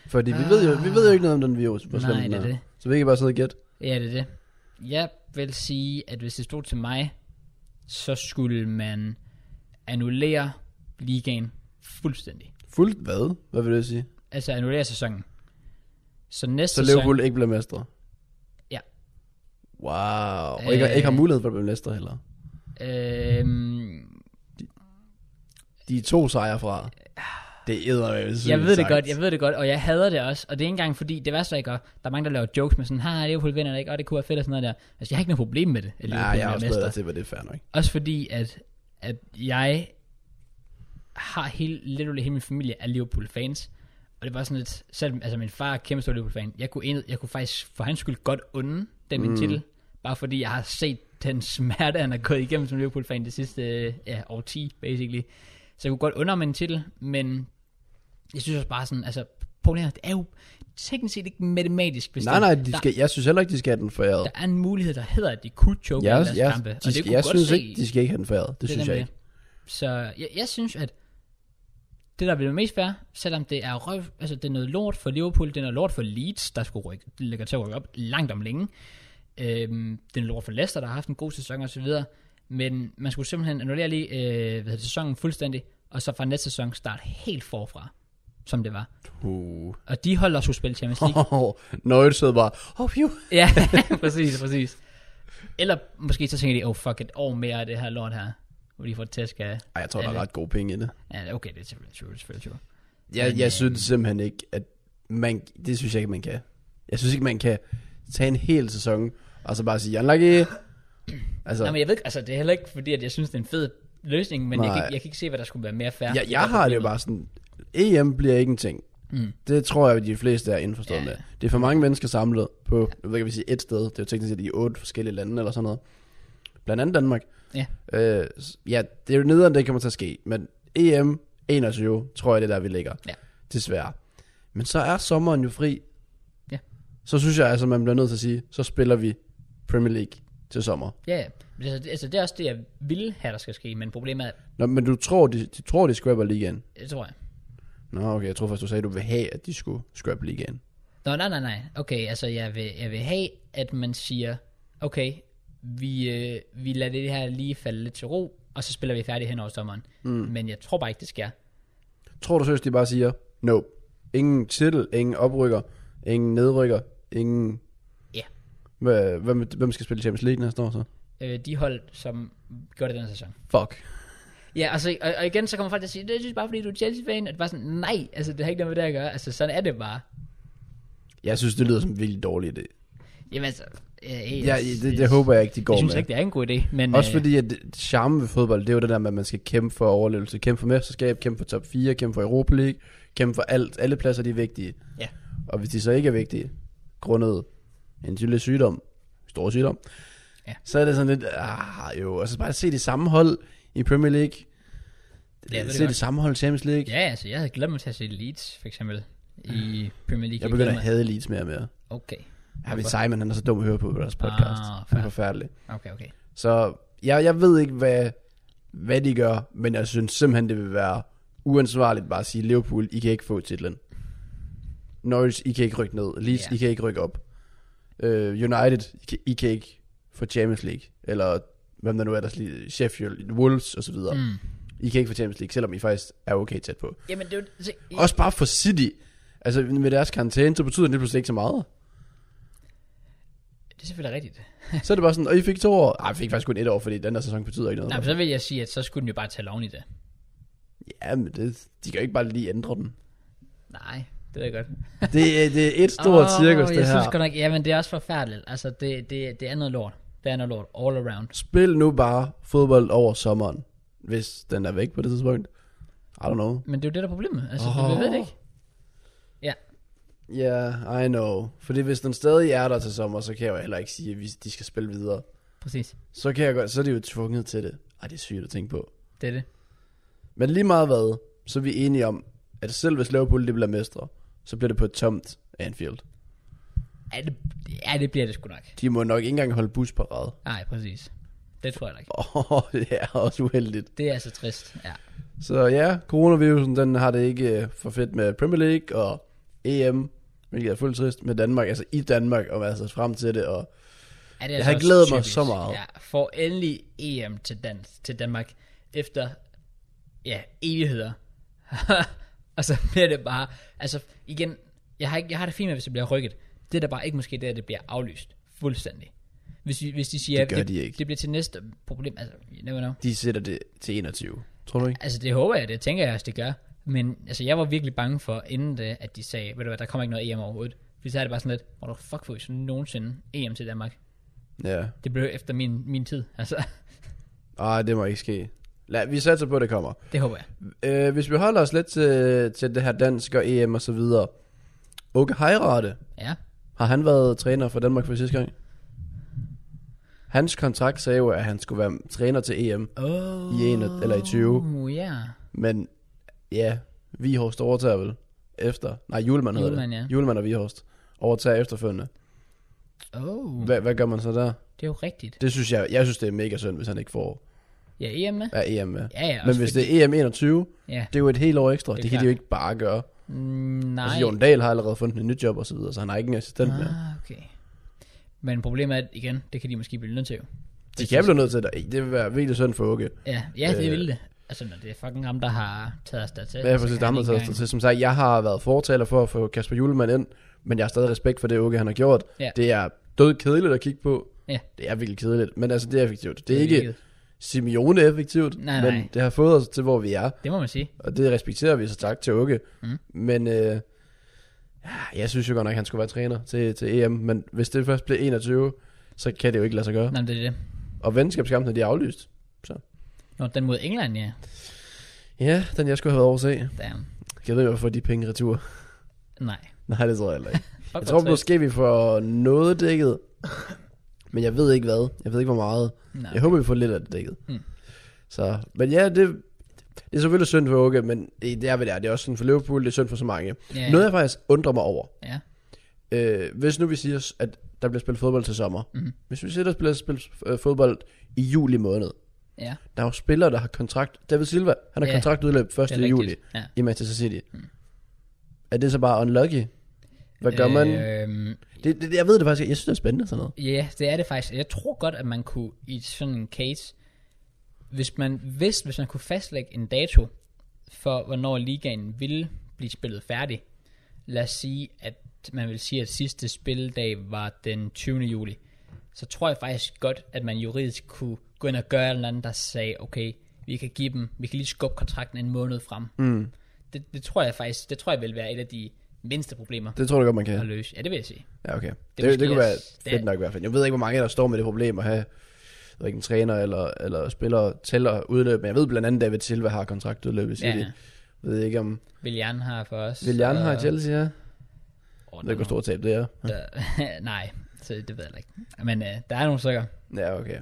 Speaker 2: Fordi vi ved, jo, vi ved jo ikke noget om den virus, hvor
Speaker 1: Nej,
Speaker 2: slem den
Speaker 1: det er
Speaker 2: er.
Speaker 1: det.
Speaker 2: Så vi kan bare sidde og gætte.
Speaker 1: Ja, det er det. Jeg vil sige, at hvis det stod til mig, så skulle man annullere ligaen fuldstændig.
Speaker 2: Fuldt hvad? Hvad vil det sige?
Speaker 1: Altså annullere sæsonen. Så næste
Speaker 2: Så
Speaker 1: sæson...
Speaker 2: Liverpool ikke bliver mestre.
Speaker 1: Ja.
Speaker 2: Wow. Og ikke,
Speaker 1: Øh.
Speaker 2: ikke har mulighed for at blive mestre heller.
Speaker 1: Øhm,
Speaker 2: De er to sejre fra. Det er eddermame
Speaker 1: jeg ved det godt, jeg ved det godt, og jeg hader det også. Og det er ikke engang fordi, det værste jeg gør, der er mange, der laver jokes med sådan, har Liverpool vinder det ikke, og det kunne være fedt og sådan noget der. Altså, jeg har ikke noget problem med det, at
Speaker 2: Nej,
Speaker 1: Liverpool
Speaker 2: jeg har
Speaker 1: bliver
Speaker 2: også
Speaker 1: mester.
Speaker 2: bedre til, hvad det er fair nok.
Speaker 1: Også fordi, at, at jeg har hele, literally hele min familie er Liverpool-fans. Og det var sådan lidt, selv, altså min far er kæmpe stor Liverpool-fan. Jeg kunne, en, jeg kunne faktisk for hans skyld godt unde den min mm. titel. Bare fordi jeg har set den (laughs) smerte, han har gået igennem som Liverpool-fan det sidste øh, ja, årti, basically. Så jeg kunne godt undre mig en titel, men jeg synes også bare sådan, altså, problemet er, det er jo teknisk set ikke matematisk bestemt.
Speaker 2: Nej, nej, de
Speaker 1: Der-
Speaker 2: skal, jeg synes heller ikke, de skal have den foræret.
Speaker 1: Der er en mulighed, der hedder, at de kunne choke
Speaker 2: Jeg,
Speaker 1: i deres
Speaker 2: jeg,
Speaker 1: kampe. og
Speaker 2: de
Speaker 1: det
Speaker 2: skal,
Speaker 1: kunne
Speaker 2: jeg
Speaker 1: godt
Speaker 2: synes
Speaker 1: se-
Speaker 2: ikke, de skal ikke have den foræret. Det, det synes jeg
Speaker 1: nemlig
Speaker 2: ikke.
Speaker 1: det. Så jeg, jeg synes, at det, der bliver mest fair, selvom det er, røv, altså, det er noget lort for Liverpool, det er noget lort for Leeds, der skulle rykke, det ligger til at rykke op langt om længe. Øhm, det er noget lort for Leicester, der har haft en god sæson osv. Men man skulle simpelthen annullere lige øh, hvad hedder, det, sæsonen fuldstændig, og så fra næste sæson starte helt forfra, som det var.
Speaker 2: Uh.
Speaker 1: Og de holder skulle spille Champions
Speaker 2: (laughs)
Speaker 1: League.
Speaker 2: Nøjet sidder bare, oh, phew. (laughs)
Speaker 1: ja, præcis, præcis. Eller måske så tænker de, oh fuck, et år mere af det her lort her, hvor de får tæsk af
Speaker 2: Ej, jeg tror, der er
Speaker 1: Alle.
Speaker 2: ret gode penge i det.
Speaker 1: Ja, okay, det er selvfølgelig true, det er selvfølgelig true.
Speaker 2: Jeg, jeg
Speaker 1: øh,
Speaker 2: synes simpelthen ikke, at man, det synes jeg ikke, man kan. Jeg synes ikke, man kan tage en hel sæson, og så bare sige, unlucky. Altså,
Speaker 1: Nej, men jeg ved ikke, altså det er heller ikke fordi, at jeg synes, det er en fed løsning, men jeg kan,
Speaker 2: Nej.
Speaker 1: ikke- jeg kan ikke se, hvad der skulle være mere fair.
Speaker 2: jeg, jeg har det jo bare sådan, EM bliver ikke en ting.
Speaker 1: Mm.
Speaker 2: Det tror jeg, de fleste er indforstået
Speaker 1: Ja. Mm.
Speaker 2: ja. med. Det er for mange mennesker samlet på, jeg ved ikke, om vi siger et sted. Det er jo teknisk set i otte forskellige lande eller sådan noget. Blandt andet Danmark.
Speaker 1: Ja.
Speaker 2: Øh, s- ja, det er jo nederen, det kommer til at ske. Men E EM 21, tror jeg, det er der, vi ligger.
Speaker 1: Ja.
Speaker 2: Desværre. Men så er sommeren jo fri.
Speaker 1: Ja.
Speaker 2: Så synes jeg altså, man bliver nødt til at sige, så spiller vi Premier League til sommer.
Speaker 1: Ja, ja. Men Altså, det- altså, det er også det, jeg vil have, der skal ske, men problemet er,
Speaker 2: Nå, men du tror, de, de tror, de scrapper ligaen?
Speaker 1: det tror jeg.
Speaker 2: Nå, okay, jeg tror først, du sagde, du vil have, at de skulle scrappe ligaen.
Speaker 1: Nå, nej, nej, nej. Okay, altså jeg vil, jeg vil have, at man siger, okay, vi, øh, vi lader det her lige falde lidt til ro, og så spiller vi færdig hen over sommeren. Mm. Men jeg tror bare ikke, det sker.
Speaker 2: Tror du seriøst, de bare siger, no. Ingen titel, ingen oprykker, ingen nedrykker, ingen...
Speaker 1: Ja.
Speaker 2: Hva- Hvem, hvem skal spille Champions League næste år så?
Speaker 1: Øh, de hold, som gjorde det den sæson.
Speaker 2: Fuck.
Speaker 1: Ja, altså, og, og igen, så kommer folk til at sige, det er bare fordi, du er Chelsea-fan, og det var sådan, nej, altså, det har ikke noget med det at gøre, altså, sådan er det bare.
Speaker 2: Jeg synes, det lyder som en virkelig dårlig idé.
Speaker 1: Jamen altså, øh, jeg,
Speaker 2: Ja, det, det, det håber jeg ikke, de går
Speaker 1: jeg synes
Speaker 2: med.
Speaker 1: ikke, det er en god idé, men
Speaker 2: Også
Speaker 1: øh,
Speaker 2: fordi, at det- charme ved fodbold, det er jo det der med, at man skal kæmpe for overlevelse, kæmpe for mesterskab, kæmpe for top 4, kæmpe for Europa League, kæmpe for alt. Alle pladser, de er vigtige.
Speaker 1: Ja.
Speaker 2: Og hvis de så ikke er vigtige, grundet en lille sygdom, stor sygdom,
Speaker 1: Ja.
Speaker 2: så er det sådan lidt, ah jo, og så bare se det samme hold i Premier League,
Speaker 1: Ja, det er
Speaker 2: se
Speaker 1: godt.
Speaker 2: det samme hold i Champions League.
Speaker 1: ja, altså, jeg havde glemt mig til at se Leeds, for eksempel, i Premier League.
Speaker 2: Jeg begynder
Speaker 1: glæder
Speaker 2: at hade Leeds mere og mere.
Speaker 1: mig- Okay,
Speaker 2: Ja, men Simon, han er så dum at høre på på deres podcast.
Speaker 1: Ah,
Speaker 2: han
Speaker 1: fair.
Speaker 2: er forfærdelig.
Speaker 1: okay, okay.
Speaker 2: Så jeg, jeg ved ikke, hvad, hvad de gør, men jeg synes simpelthen, det vil være uansvarligt bare at sige, Liverpool, I kan ikke få titlen. Norwich, I kan ikke rykke ned. Leeds,
Speaker 1: Ja.
Speaker 2: I kan ikke rykke op. Øh, United, I kan, I kan ikke få Champions League. Eller hvem der nu er, der lige, Sheffield, Wolves osv. Mm.
Speaker 1: Mm.
Speaker 2: I kan ikke få Champions League, selvom I faktisk er okay tæt på.
Speaker 1: Jamen, det er jo- se, i-
Speaker 2: Også bare for City. Altså med deres karantæne, så betyder det lige pludselig ikke så
Speaker 1: (laughs)
Speaker 2: meget.
Speaker 1: det er selvfølgelig rigtigt.
Speaker 2: Så er det bare sådan, og I fik to år. Nej, I fik faktisk kun et år, fordi den der sæson betyder ikke noget.
Speaker 1: Nej, men så vil jeg sige, at så skulle den jo bare tage loven i det.
Speaker 2: Ja, men det, de kan jo ikke bare lige ændre den.
Speaker 1: Nej, det ved jeg godt.
Speaker 2: Det, er- det er et stort oh, cirkus, det
Speaker 1: jeg
Speaker 2: her.
Speaker 1: synes godt nok, jamen det er også forfærdeligt. Altså, det, det, det er noget lort. Det er noget lort all around.
Speaker 2: Spil nu bare fodbold over sommeren, hvis den er væk på det tidspunkt. I don't know.
Speaker 1: Men det er jo det, der er problemet. Altså,
Speaker 2: Åh.
Speaker 1: oh. ved det ikke. Ja,
Speaker 2: Ja, yeah, I know. Fordi hvis den stadig er der til sommer, så kan jeg jo heller ikke sige, at vi- de skal spille videre.
Speaker 1: præcis.
Speaker 2: Så, kan jeg godt, så er de jo tvunget til det. Ej, det er sygt at tænke på.
Speaker 1: Det er det.
Speaker 2: Men lige meget hvad, så er vi enige om, at selv hvis Liverpool de bliver mestre, så bliver det på et tomt Anfield.
Speaker 1: Ja, det, ja, det bliver det sgu nok.
Speaker 2: De må nok ikke engang holde busparade.
Speaker 1: Nej, præcis. Det tror jeg da ikke.
Speaker 2: (laughs) Åh, oh, det er også uheldigt.
Speaker 1: Det er altså trist, ja.
Speaker 2: Så ja, coronavirusen, den har det ikke øh, for fedt med Premier League og EM, hvilket er fuldt trist med Danmark, altså i Danmark, og altså frem til det, og
Speaker 1: ja det er
Speaker 2: Jeg har
Speaker 1: også
Speaker 2: glædet mig så meget.
Speaker 1: Ja, for endelig EM til, Dan- til Danmark efter ja, evigheder. (laughs) og så bliver det bare, altså igen, jeg har, ikke, jeg har det fint med, hvis det bliver rykket. Det er da bare ikke måske det, at det bliver aflyst fuldstændig. Hvis, vi- hvis de siger,
Speaker 2: Det gør
Speaker 1: at
Speaker 2: de ikke.
Speaker 1: det bliver til næste problem, altså, you never know.
Speaker 2: de sætter det til 21. Tror du ikke?
Speaker 1: Altså det håber jeg, det tænker jeg også, det gør. Men altså, jeg var virkelig bange for, inden det, at de sagde, ved du hvad, der kommer ikke noget EM overhovedet. Fordi så er det bare sådan lidt, hvor fuck får I så nogensinde EM til Danmark?
Speaker 2: Ja.
Speaker 1: Det blev efter min, min tid, altså. (laughs)
Speaker 2: Ej, det må ikke ske. Lad, vi satser på, at det kommer.
Speaker 1: Det håber jeg.
Speaker 2: Øh, hvis vi holder os lidt til, til det her dansk og EM og så videre. Åke Hejrate,
Speaker 1: Ja.
Speaker 2: har han været træner for Danmark for sidste gang? Hans kontrakt sagde jo, at han skulle være træner til E EM,
Speaker 1: Oh,
Speaker 2: I en- eller i 20.
Speaker 1: Uh, ja.
Speaker 2: Men ja, Vihorst overtager vel efter. Nej, Julemand hedder
Speaker 1: Julemand,
Speaker 2: det.
Speaker 1: ja.
Speaker 2: Julemand og Vihorst overtager efterfølgende.
Speaker 1: Oh,
Speaker 2: Hva, hvad gør man så der?
Speaker 1: det er jo rigtigt.
Speaker 2: Det synes jeg, jeg synes det er mega synd, hvis han ikke får
Speaker 1: Ja, EM med.
Speaker 2: er EM med.
Speaker 1: Ja, ja.
Speaker 2: Men hvis det er EM 21,
Speaker 1: Ja.
Speaker 2: det er jo et helt år ekstra.
Speaker 1: Det er
Speaker 2: Det, det kan de
Speaker 1: klart.
Speaker 2: jo ikke bare gøre.
Speaker 1: Mm, nej.
Speaker 2: Altså, Jon Dahl har allerede fundet en ny job og så videre, så han har ikke en assistent mere.
Speaker 1: ah, okay. Men problemet er, at igen, det kan de måske blive nødt til jo.
Speaker 2: De kan blive nødt til det. Det vil være virkelig synd for Åke.
Speaker 1: Ja, ja det
Speaker 2: Øh.
Speaker 1: øh. ville det. Altså, når det er fucking ham, der har taget os dertil.
Speaker 2: Men jeg har
Speaker 1: så
Speaker 2: præcis
Speaker 1: kan Altså, han
Speaker 2: ham, der
Speaker 1: ikke
Speaker 2: tager
Speaker 1: engang-
Speaker 2: til. Som sagt, jeg har været fortaler for at få Kasper Julemand ind, men jeg har stadig respekt for det, Åke han har gjort.
Speaker 1: Ja.
Speaker 2: Det er død kedeligt at kigge på.
Speaker 1: Ja.
Speaker 2: Det er virkelig kedeligt, men altså det er effektivt. Det er
Speaker 1: virkelig
Speaker 2: ikke Simeone effektivt,
Speaker 1: Nej,
Speaker 2: men
Speaker 1: nej.
Speaker 2: det har fået os til, hvor vi er,
Speaker 1: Det må man sige.
Speaker 2: og det respekterer vi, så tak til Åke.
Speaker 1: Mm.
Speaker 2: Men øh, ja, jeg synes jo godt nok, at han skulle være træner til, til EM, men hvis det først bliver 21, så kan det jo ikke lade sig gøre. Nej.
Speaker 1: Nå, men det er det.
Speaker 2: Og venskabskampene, de er aflyst.
Speaker 1: Nå, den mod England, ja.
Speaker 2: Ja, den jeg skulle have været over at se.
Speaker 1: Damn.
Speaker 2: Jeg ved jo, hvorfor de penge retur. (laughs)
Speaker 1: Nej.
Speaker 2: Nej, det tror jeg heller ikke.
Speaker 1: Fuck,
Speaker 2: Jeg
Speaker 1: hvor
Speaker 2: tror
Speaker 1: trist.
Speaker 2: måske, vi får noget dækket. Men jeg ved ikke hvad. Jeg ved ikke, hvor meget.
Speaker 1: Nej.
Speaker 2: Jeg håber, vi får lidt af det dækket.
Speaker 1: Mm.
Speaker 2: Så, men ja, det, det er selvfølgelig synd for Åke, men det, det er, hvad det er. Det er også synd for Liverpool, det er synd for så mange.
Speaker 1: Ja,
Speaker 2: Noget, jeg faktisk undrer mig over.
Speaker 1: ja.
Speaker 2: Øh, hvis nu vi siger, at der bliver spillet fodbold til sommer.
Speaker 1: Mhm.
Speaker 2: Hvis vi sidder og spiller, spiller øh, fodbold i juli måned,
Speaker 1: Ja,
Speaker 2: der er jo spillere, der har kontrakt. David Silva, han har
Speaker 1: Ja,
Speaker 2: kontraktudløb 1.
Speaker 1: det er
Speaker 2: juli
Speaker 1: rigtigt. Hmm. Ja.
Speaker 2: i Manchester City. Er det så bare unlucky? Hvad gør man?
Speaker 1: Øhm,
Speaker 2: Det, det, jeg ved det faktisk, ikke. jeg synes det er spændende sådan noget.
Speaker 1: Ja, det er det faktisk. Jeg tror godt, at man kunne i sådan en case, hvis man vidste, hvis man kunne fastlægge en dato for, hvornår ligaen ville blive spillet færdig. Lad os sige, at man vil sige, at sidste spilledag var den 20. juli. Så tror jeg faktisk godt, at man juridisk kunne gå ind og gøre et eller andet, der sagde, okay, vi kan give dem, vi kan lige skubbe kontrakten en måned frem. Mm. Det, det, tror jeg faktisk, det tror jeg vil være et af de mindste problemer
Speaker 2: Det tror du godt, man
Speaker 1: at
Speaker 2: kan.
Speaker 1: løse. Ja, det vil jeg sige.
Speaker 2: Ja, okay.
Speaker 1: Det
Speaker 2: Det,
Speaker 1: er
Speaker 2: det,
Speaker 1: måske
Speaker 2: det kunne være
Speaker 1: også- det er-
Speaker 2: fedt nok i hvert fald. Jeg ved ikke, hvor mange der står med det problem at have jeg ved ikke, en træner eller, eller spiller tæller udløb. Men jeg ved blandt andet, David Silva har kontraktudløb i City.
Speaker 1: Ja,
Speaker 2: Ja,
Speaker 1: ja.
Speaker 2: ja. Jeg ved ikke, om
Speaker 1: Willian har for os.
Speaker 2: Willian
Speaker 1: og-
Speaker 2: har i Chelsea, ja. Jeg
Speaker 1: Oh,
Speaker 2: ved ikke, hvor stort tab det er.
Speaker 1: der, (laughs) nej, så det ved jeg ikke. Men øh, der er nogle stykker.
Speaker 2: Ja, okay.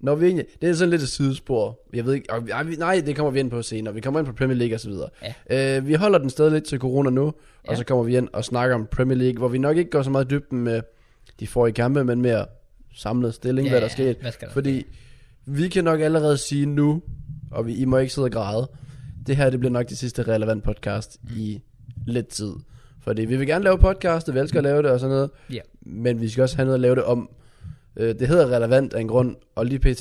Speaker 2: Når vi egentlig, det er sådan lidt et sidespor. Jeg ved ikke, og vi- ej, vi- nej, det kommer vi ind på senere. Vi kommer ind på Premier League og så videre. Ja. Øh, vi holder den stadig lidt til corona nu, og
Speaker 1: Ja.
Speaker 2: ja. så kommer vi ind og snakker om Premier League, hvor vi nok ikke går så meget i dybden med de forrige kampe, men mere samlet stilling,
Speaker 1: Ja,
Speaker 2: ja, hvad der
Speaker 1: ja,
Speaker 2: skete.
Speaker 1: hvad skal der
Speaker 2: Fordi vi kan nok allerede sige nu, og vi, I må ikke sidde og græde, det her det bliver nok det sidste relevant podcast mm. i lidt tid. Fordi vi vil gerne lave podcast, og vi elsker at lave det og sådan noget,
Speaker 1: Ja.
Speaker 2: men vi skal også have noget at lave det om. Øh, det hedder relevant af en grund, og lige pt,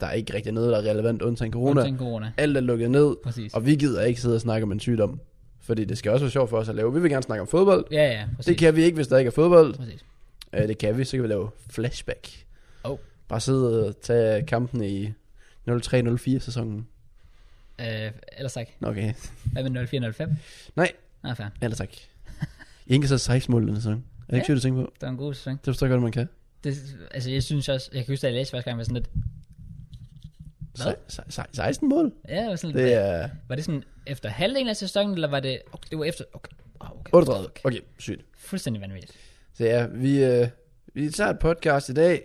Speaker 2: der er ikke rigtig noget, der er relevant, undtagen corona.
Speaker 1: Undtagen corona.
Speaker 2: Alt er lukket ned,
Speaker 1: Præcis.
Speaker 2: og vi gider ikke sidde og snakke om en sygdom. Fordi det skal også være sjovt for os at lave. Vi vil gerne snakke om fodbold.
Speaker 1: Ja, ja, præcis.
Speaker 2: Det kan vi ikke, hvis der ikke er fodbold.
Speaker 1: Præcis.
Speaker 2: Øh, det kan vi, så kan vi lave flashback.
Speaker 1: Oh.
Speaker 2: Bare sidde og tage kampen i 03-04 sæsonen.
Speaker 1: Øh, ellers tak.
Speaker 2: Nå, Okay.
Speaker 1: Hvad med 0405?
Speaker 2: Nej,
Speaker 1: Nej, fair.
Speaker 2: ellers tak. I indkasser 6 mål den sæson. Er det ikke
Speaker 1: Ja.
Speaker 2: sygt at tænke på?
Speaker 1: Det var en god sæson.
Speaker 2: Det forstår jeg godt, man kan.
Speaker 1: Det, altså, jeg synes også, jeg kan huske, da jeg læste første gang, var sådan lidt, Hvad?
Speaker 2: Se- se- se- 16 mål?
Speaker 1: ja, var, sådan,
Speaker 2: Det
Speaker 1: det,
Speaker 2: er
Speaker 1: var det sådan efter halvdelen af sæsonen, eller var det, okay, det var efter, okay, wow, okay,
Speaker 2: 38.
Speaker 1: okay.
Speaker 2: Okay, sygt.
Speaker 1: Fuldstændig vanvittigt.
Speaker 2: Så ja, vi, øh, vi tager et podcast i dag,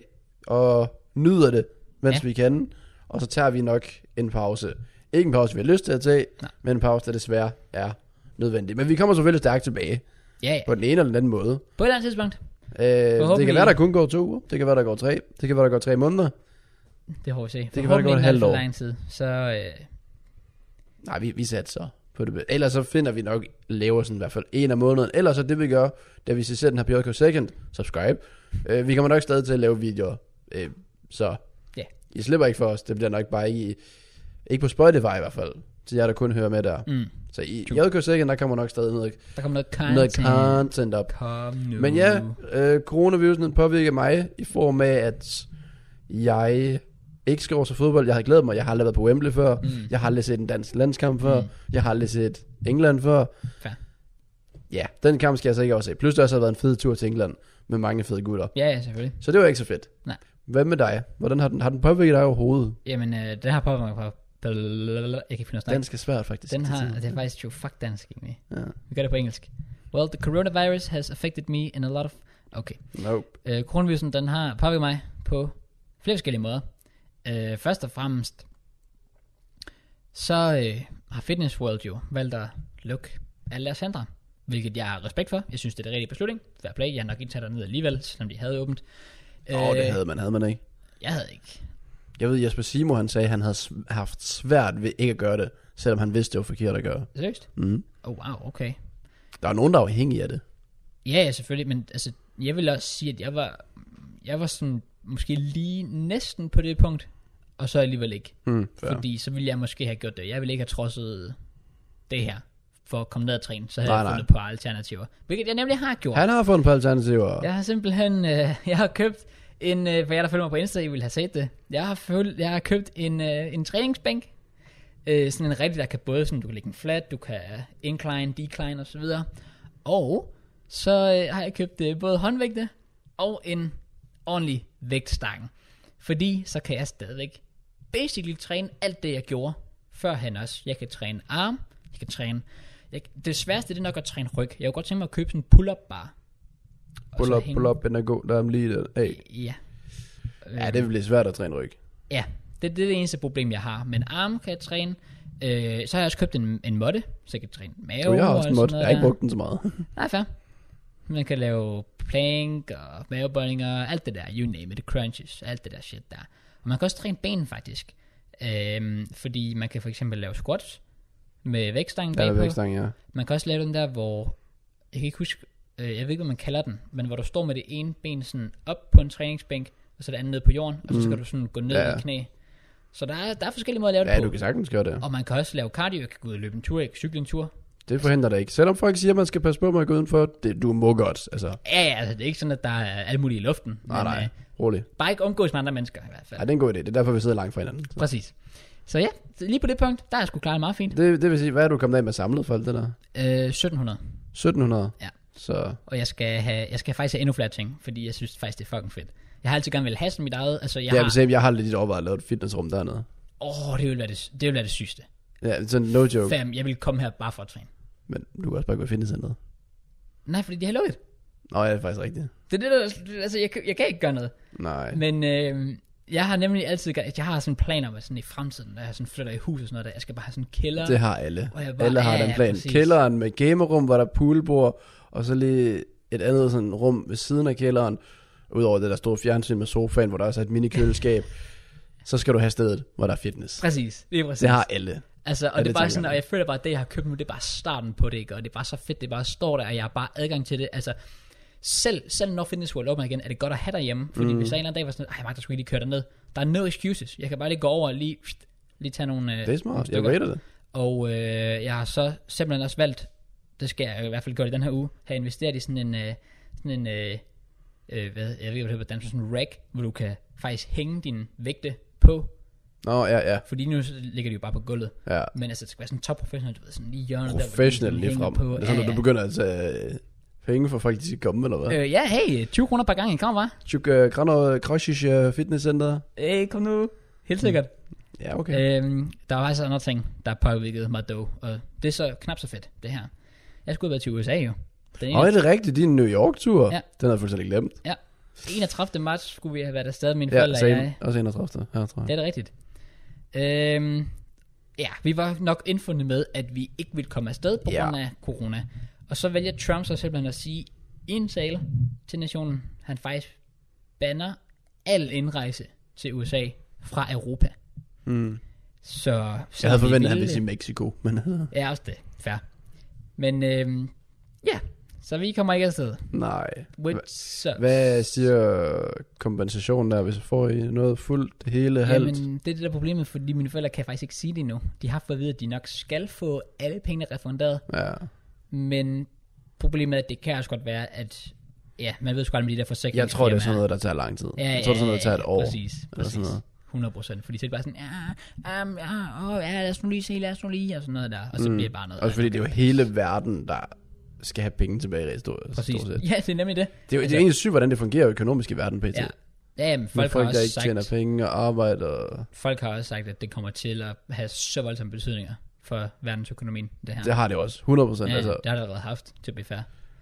Speaker 2: og nyder det, mens
Speaker 1: Ja.
Speaker 2: ja. vi kan. Og så tager vi nok en pause. Ikke en pause, vi har lyst til at tage,
Speaker 1: Nej.
Speaker 2: men en pause, der desværre er nødvendig. Men vi kommer selvfølgelig stærkt tilbage,
Speaker 1: Ja, ja.
Speaker 2: på den ene eller den anden måde.
Speaker 1: På et eller andet tidspunkt,
Speaker 2: Øh, det
Speaker 1: Forhåbentlig.
Speaker 2: kan være, der kun går to uger. Det kan være, der går tre. Det kan være, der går tre måneder.
Speaker 1: det får vi se.
Speaker 2: kan være, det går et
Speaker 1: Forhåbentlig ikke
Speaker 2: halvt
Speaker 1: alt for
Speaker 2: år.
Speaker 1: lang tid, så øh,
Speaker 2: Nej, vi, vi satte så på det. bedste. Ellers så finder vi nok, laver sådan i hvert fald en af måneden. Ellers så det vi gør, da vi ser den her PJK Second, subscribe. Øh, vi kommer nok stadig til at lave videoer. Øh, så
Speaker 1: Ja.
Speaker 2: I slipper ikke for os. Det bliver nok bare ikke, i, ikke på Spotify i hvert fald. Til jer, der kun hører med der.
Speaker 1: mm,
Speaker 2: Så i JK Second, der kommer nok stadig noget,
Speaker 1: der kommer noget content.
Speaker 2: noget content op.
Speaker 1: Kom nu.
Speaker 2: Men ja, øh, coronavirusen den påvirker mig i form af, at jeg ikke skal over til fodbold. Jeg havde glædet mig. Jeg har aldrig været på Wembley før. Mm. Jeg har aldrig set en dansk landskamp før.
Speaker 1: Mm.
Speaker 2: Mm. Jeg har aldrig set England før.
Speaker 1: Fair.
Speaker 2: Ja, den kamp skal jeg så ikke overse. Plus det har også har været en fed tur til England med mange fede gutter.
Speaker 1: Ja, ja, selvfølgelig.
Speaker 2: Så det var ikke så fedt.
Speaker 1: Nej.
Speaker 2: Hvad med dig? Hvordan har den, har den påvirket dig overhovedet?
Speaker 1: Jamen, øh, det har påvirket mig på... Jeg kan ikke finde noget snak.
Speaker 2: Dansk er svært faktisk.
Speaker 1: Den
Speaker 2: Det er
Speaker 1: har...
Speaker 2: sådan-
Speaker 1: Det er faktisk jo fuck dansk egentlig.
Speaker 2: Ja.
Speaker 1: Vi gør det på engelsk. Well, the coronavirus has affected me in a lot of... Okay.
Speaker 2: Nope.
Speaker 1: Øh, coronavirusen, den har påvirket mig på flere forskellige måder. Øh, først og fremmest, så øh, har Fitness World jo valgt at lukke alle deres centre, hvilket jeg har respekt for. Jeg synes, det er den rigtige beslutning. Fair play. Jeg har nok ikke taget derned alligevel, selvom de havde åbent.
Speaker 2: Åh,
Speaker 1: Øh.
Speaker 2: oh, det havde man, havde man ikke.
Speaker 1: Jeg havde ikke.
Speaker 2: Jeg ved, Jesper Simo, han sagde, at han havde sv- haft svært ved ikke at gøre det, selvom han vidste, det var forkert at gøre.
Speaker 1: Seriøst?
Speaker 2: Mm.
Speaker 1: Oh, wow, okay.
Speaker 2: Der er nogen, der er afhængige af det.
Speaker 1: Ja, ja, selvfølgelig, men altså, jeg vil også sige, at jeg var, jeg var sådan, måske lige næsten på det punkt, og så alligevel ikke.
Speaker 2: Mm, fair.
Speaker 1: Fordi så ville jeg måske have gjort det. Jeg ville ikke have trodset det her, for at komme ned og træne. Så havde
Speaker 2: Nej,
Speaker 1: jeg
Speaker 2: nej.
Speaker 1: fundet på alternativer. Hvilket jeg nemlig har gjort.
Speaker 2: Han har fundet på alternativer. Ja.
Speaker 1: Jeg har simpelthen, øh, (laughs) jeg har købt en, øh, for jer der følger mig på Insta, I vil have set det. Jeg har, føl, jeg har købt en, øh, en træningsbænk, øh, sådan en rigtig, der kan både, sådan, du kan lægge en flat, du kan incline, decline osv. Og så øh, har jeg købt øh, både håndvægte og en ordentlig vægtstang. Fordi så kan jeg stadigvæk basically træne alt det, jeg gjorde førhen også. Jeg kan træne arm, jeg kan træne... Jeg, det sværeste det er nok at træne ryg. Jeg kunne godt tænke mig at købe sådan en pull-up bar. Og
Speaker 2: Pull
Speaker 1: så
Speaker 2: up,
Speaker 1: hænge-
Speaker 2: pull up, and go. Der er lige det. Hey.
Speaker 1: Ja. Øh,
Speaker 2: Ja, det vil blive svært at træne ryg.
Speaker 1: Ja, det, det er det eneste problem, jeg har. Men arm kan jeg træne. Øh, så har jeg også købt en, en måtte, så jeg kan træne mave.
Speaker 2: Jo, jeg har også
Speaker 1: og sådan
Speaker 2: en mod.
Speaker 1: noget
Speaker 2: Jeg har ikke
Speaker 1: der.
Speaker 2: brugt den så meget.
Speaker 1: Nej, fair. Man kan lave plank og mavebøjninger, alt det der, you name it, crunches, alt det der shit der. Og man kan også træne benene faktisk. Øhm, fordi man kan for eksempel lave squats med vægtstangen
Speaker 2: Ja, der er
Speaker 1: bagpå.
Speaker 2: vækstang, ja.
Speaker 1: Man kan også lave den der, hvor, jeg kan ikke huske, øh, jeg ved ikke, hvad man kalder den, men hvor du står med det ene ben sådan op på en træningsbænk, og så det andet ned på jorden, og så skal du sådan gå ned
Speaker 2: Ja,
Speaker 1: ja.
Speaker 2: Mm. ja.
Speaker 1: med knæ. Så der er, der er forskellige måder at lave
Speaker 2: Ja,
Speaker 1: det
Speaker 2: du
Speaker 1: på.
Speaker 2: kan sagtens gøre det.
Speaker 1: Og man kan også lave cardio, jeg kan gå ud og løbe en tur, jeg kan cykle en tur.
Speaker 2: Det forhindrer dig ikke. Selvom folk siger, at man skal passe på med at gå udenfor, det, du må godt. Altså,
Speaker 1: Ja, ja, altså det er ikke sådan, at der er alt muligt i luften.
Speaker 2: nej,
Speaker 1: men,
Speaker 2: nej.
Speaker 1: øh,
Speaker 2: Rolig.
Speaker 1: bare ikke omgås med andre mennesker i hvert fald.
Speaker 2: Ja, det er en god idé. Det er derfor, vi sidder langt fra hinanden.
Speaker 1: Præcis. Så ja, lige på det punkt, der er jeg sgu klaret meget fint.
Speaker 2: Det, det vil sige, hvad er du kommet af med samlet for alt det der?
Speaker 1: Øh, 1700.
Speaker 2: 1700?
Speaker 1: Ja.
Speaker 2: Så
Speaker 1: Og jeg skal, have, jeg skal faktisk have endnu flere ting, fordi jeg synes faktisk, det er fucking fedt. Jeg har altid gerne vil have sådan mit eget, altså jeg
Speaker 2: jeg, ja,
Speaker 1: har...
Speaker 2: har... jeg har lidt overvejet at lave et fitnessrum dernede.
Speaker 1: Åh, oh, det ville være det, det, ville være det sygeste.
Speaker 2: Ja, sådan no joke.
Speaker 1: Fam, jeg ville komme her bare for at træne.
Speaker 2: Men du kan også bare gå i fitnesscenteret.
Speaker 1: Nej, fordi de har lukket.
Speaker 2: Nå, ja, det er faktisk rigtigt.
Speaker 1: Det er det, der, altså jeg, kan- jeg kan ikke gøre noget.
Speaker 2: Nej.
Speaker 1: Men øh, jeg har nemlig altid, jeg har sådan planer med sådan i fremtiden, når jeg sådan flytter i hus og sådan noget der. Jeg skal bare have sådan en kælder.
Speaker 2: Det har alle.
Speaker 1: Og jeg bare-
Speaker 2: Alle har
Speaker 1: ja,
Speaker 2: den
Speaker 1: ja,
Speaker 2: plan.
Speaker 1: præcis.
Speaker 2: Kælderen med gamerum, hvor der er poolbord, og så lige et andet sådan rum ved siden af kælderen. Udover det der store fjernsyn med sofaen, hvor der også er et minikøleskab. så skal du have stedet, hvor der er fitness.
Speaker 1: Præcis, det er præcis.
Speaker 2: Det har alle.
Speaker 1: Altså, og
Speaker 2: Ja,
Speaker 1: det, det er
Speaker 2: det
Speaker 1: bare
Speaker 2: tænker
Speaker 1: sådan,
Speaker 2: jeg.
Speaker 1: og jeg føler bare, at det, jeg har købt nu, det er bare starten på det, ikke? Og det er bare så fedt, det bare står der, og jeg har bare adgang til det. Altså, selv, selv når Fitness World åbner igen, er det godt at have derhjemme. Fordi mm. hvis jeg en eller anden dag var sådan, ej, Mark, der skulle lige køre derned. Der er no excuses. Jeg kan bare lige gå over og lige, pst, lige tage nogle, øh,
Speaker 2: Det er
Speaker 1: nogle
Speaker 2: smart. Jeg
Speaker 1: stykker.
Speaker 2: rater det.
Speaker 1: Og øh, jeg har så simpelthen også valgt, det skal jeg i hvert fald gøre i den her uge, har investeret i sådan en, øh, sådan en øh, øh, hvad, jeg ved ikke, hvad det hedder på dansk, sådan en rack, hvor du kan faktisk hænge dine vægte på.
Speaker 2: Nå, ja, ja.
Speaker 1: Fordi nu ligger de jo bare på gulvet.
Speaker 2: ja.
Speaker 1: Men altså, det skal være sådan topprofessionelt, du ved, sådan lige hjørnet der, hvor
Speaker 2: Professionel
Speaker 1: den hænger
Speaker 2: lige frem.
Speaker 1: På.
Speaker 2: Det er sådan, at du begynder at tage øh, penge for folk, de skal komme, eller hvad?
Speaker 1: Øh, ja, hey, 20 kroner per gang i kamera.
Speaker 2: Tjuk øh, Granov Krosjic øh, Fitnesscenter.
Speaker 1: Hey, kom nu. Helt sikkert.
Speaker 2: Ja, Mm, okay.
Speaker 1: Okay. Øhm, der er faktisk andre ting, der påvirket mig dog, og det er så knap så fedt, det her. Jeg skulle have været til USA jo. Den
Speaker 2: Og er det rigtigt, din New York-tur?
Speaker 1: Ja.
Speaker 2: Den har jeg fuldstændig glemt.
Speaker 1: 31. marts skulle vi have været afsted, mine ja,
Speaker 2: Ja,
Speaker 1: forældre og
Speaker 2: same.
Speaker 1: jeg.
Speaker 2: Også 31. Her, tror jeg.
Speaker 1: Det er det rigtigt. Øhm, ja, vi var nok indfundet med, at vi ikke ville komme afsted på
Speaker 2: Ja.
Speaker 1: grund af corona. Og så vælger Trump så simpelthen at sige i en tale til nationen, han faktisk banner al indrejse til USA fra Europa.
Speaker 2: Mm.
Speaker 1: Så, så
Speaker 2: Jeg havde
Speaker 1: vi
Speaker 2: forventet, at han
Speaker 1: ville-
Speaker 2: ville sige Mexico, men øh,
Speaker 1: Ja, også det. Fair. Men øhm, ja, så vi kommer ikke afsted.
Speaker 2: nej.
Speaker 1: Which
Speaker 2: Hva-
Speaker 1: sucks.
Speaker 2: Hvad siger kompensationen der, hvis får I noget fuldt, det hele, halvt?
Speaker 1: Jamen, det er det der problemet, fordi mine forældre kan faktisk ikke sige det endnu. De har fået at vide, at de nok skal få alle pengene refunderet,
Speaker 2: Ja.
Speaker 1: men problemet er, at det kan også godt være, at ja, man ved sgu aldrig med de der forsikringer.
Speaker 2: Jeg tror, det er sådan noget, der tager lang tid.
Speaker 1: Ja,
Speaker 2: jeg tror, det er sådan noget, der tager et år.
Speaker 1: Præcis,
Speaker 2: eller
Speaker 1: præcis.
Speaker 2: sådan noget.
Speaker 1: 100 procent, fordi så er det bare sådan, ja, um, ja, åh, ja, lad os nu lige se, lad os nu lige, og sådan noget der, og så mm. bliver det bare noget.
Speaker 2: Også fordi det er jo hele verden, der skal have penge tilbage i stort,
Speaker 1: præcis.
Speaker 2: stort set.
Speaker 1: Ja, det er nemlig det.
Speaker 2: Det er, jo, det er egentlig sygt, hvordan det fungerer økonomisk i verden, pt.
Speaker 1: Ja.
Speaker 2: Ja.
Speaker 1: Ja, men
Speaker 2: Folk,
Speaker 1: folk,
Speaker 2: folk
Speaker 1: har
Speaker 2: der
Speaker 1: også
Speaker 2: ikke tjener
Speaker 1: sagt,
Speaker 2: penge og arbejder. og-
Speaker 1: folk har også sagt, at det kommer til at have så voldsomme betydninger for verdensøkonomien, det her.
Speaker 2: Det har det også. 100 procent.
Speaker 1: ja,
Speaker 2: Ja. Altså,
Speaker 1: det har det allerede haft, til at blive fair.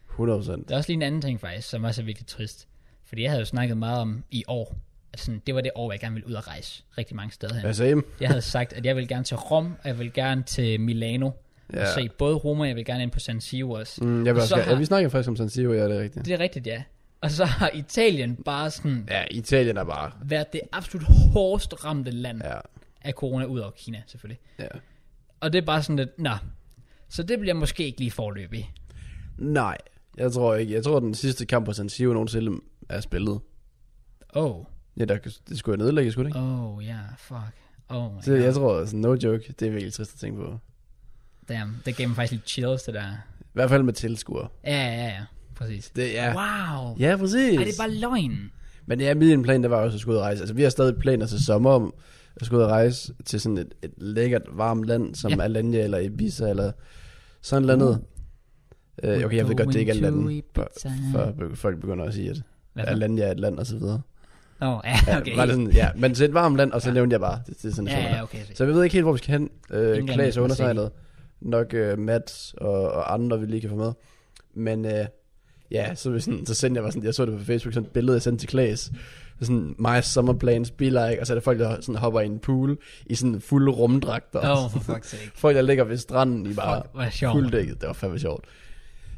Speaker 2: 100 procent.
Speaker 1: Der er også lige en anden ting faktisk, som også er virkelig trist. Fordi jeg havde jo snakket meget om i år, at sådan, det var det år, hvor jeg gerne ville ud og rejse rigtig mange steder hen.
Speaker 2: Hvad sagde I?
Speaker 1: Jeg havde sagt, at jeg ville gerne til Rom, og jeg ville gerne til Milano. Ja. Og
Speaker 2: Ja.
Speaker 1: se både Rom, og jeg vil gerne ind på San Siro også.
Speaker 2: Mm, jeg vil
Speaker 1: Og
Speaker 2: også,
Speaker 1: så
Speaker 2: gerne- ja,
Speaker 1: har-
Speaker 2: vi snakker faktisk om San Siro, ja, det er rigtigt.
Speaker 1: Det er rigtigt, ja. Og så har Italien bare sådan
Speaker 2: Ja, Italien er bare...
Speaker 1: været det absolut hårdest ramte land ja.
Speaker 2: Ja,
Speaker 1: af corona, ud over Kina selvfølgelig.
Speaker 2: ja.
Speaker 1: Og det er bare sådan lidt, nå. Så det bliver måske ikke lige forløbig.
Speaker 2: Nej, jeg tror ikke. Jeg tror, den sidste kamp på San Siro nogensinde er spillet.
Speaker 1: Oh,
Speaker 2: Ja, der, det skulle jeg nedlægge, skulle det ikke?
Speaker 1: oh ja, yeah, fuck. Oh my
Speaker 2: Så jeg tror, altså, no joke, det er virkelig trist at tænke på.
Speaker 1: Damn, det gav mig faktisk lidt chills, det der.
Speaker 2: I hvert fald med tilskuer.
Speaker 1: Ja, ja, ja, præcis.
Speaker 2: Det er...
Speaker 1: Wow.
Speaker 2: Ja, præcis.
Speaker 1: Er det bare løgn?
Speaker 2: Men ja, min plan, det var også at skulle ud og rejse. Altså, vi har stadig planer til sommer om at skulle ud og rejse til sådan et, et lækkert, varmt land, som
Speaker 1: Ja.
Speaker 2: ja. Alanya eller Ibiza eller sådan noget andet. Øh, okay, jeg ved godt, det er ikke er lande,
Speaker 1: Ibiza.
Speaker 2: for folk begynder at sige, at
Speaker 1: Hvad for?
Speaker 2: Alanya er et land og så videre.
Speaker 1: Nå, ja, okay.
Speaker 2: Ja, var det sådan, ja, men til et varmt land, og så ja. nævnte jeg bare, det, det er sådan,
Speaker 1: Ja,
Speaker 2: sådan
Speaker 1: ja, okay. Så.
Speaker 2: Så vi ved ikke helt, hvor vi skal hen. Øh,
Speaker 1: England,
Speaker 2: Klaas og
Speaker 1: Marseille.
Speaker 2: undertegnet. Nok øh, Mads og, og andre, vi lige kan få med. Men øh, ja, så, vi sådan, så sendte jeg bare sådan, jeg så det på Facebook, sådan et billede, jeg sendte til Klaas. Sådan, my summer plans be like, og så er det folk, der sådan hopper i en pool i sådan fulde rumdragter.
Speaker 1: Åh, oh, for fuck's sake.
Speaker 2: Folk, der ligger ved stranden i bare
Speaker 1: Fuck, hvor sjovt.
Speaker 2: fulddækket. Det var fandme sjovt.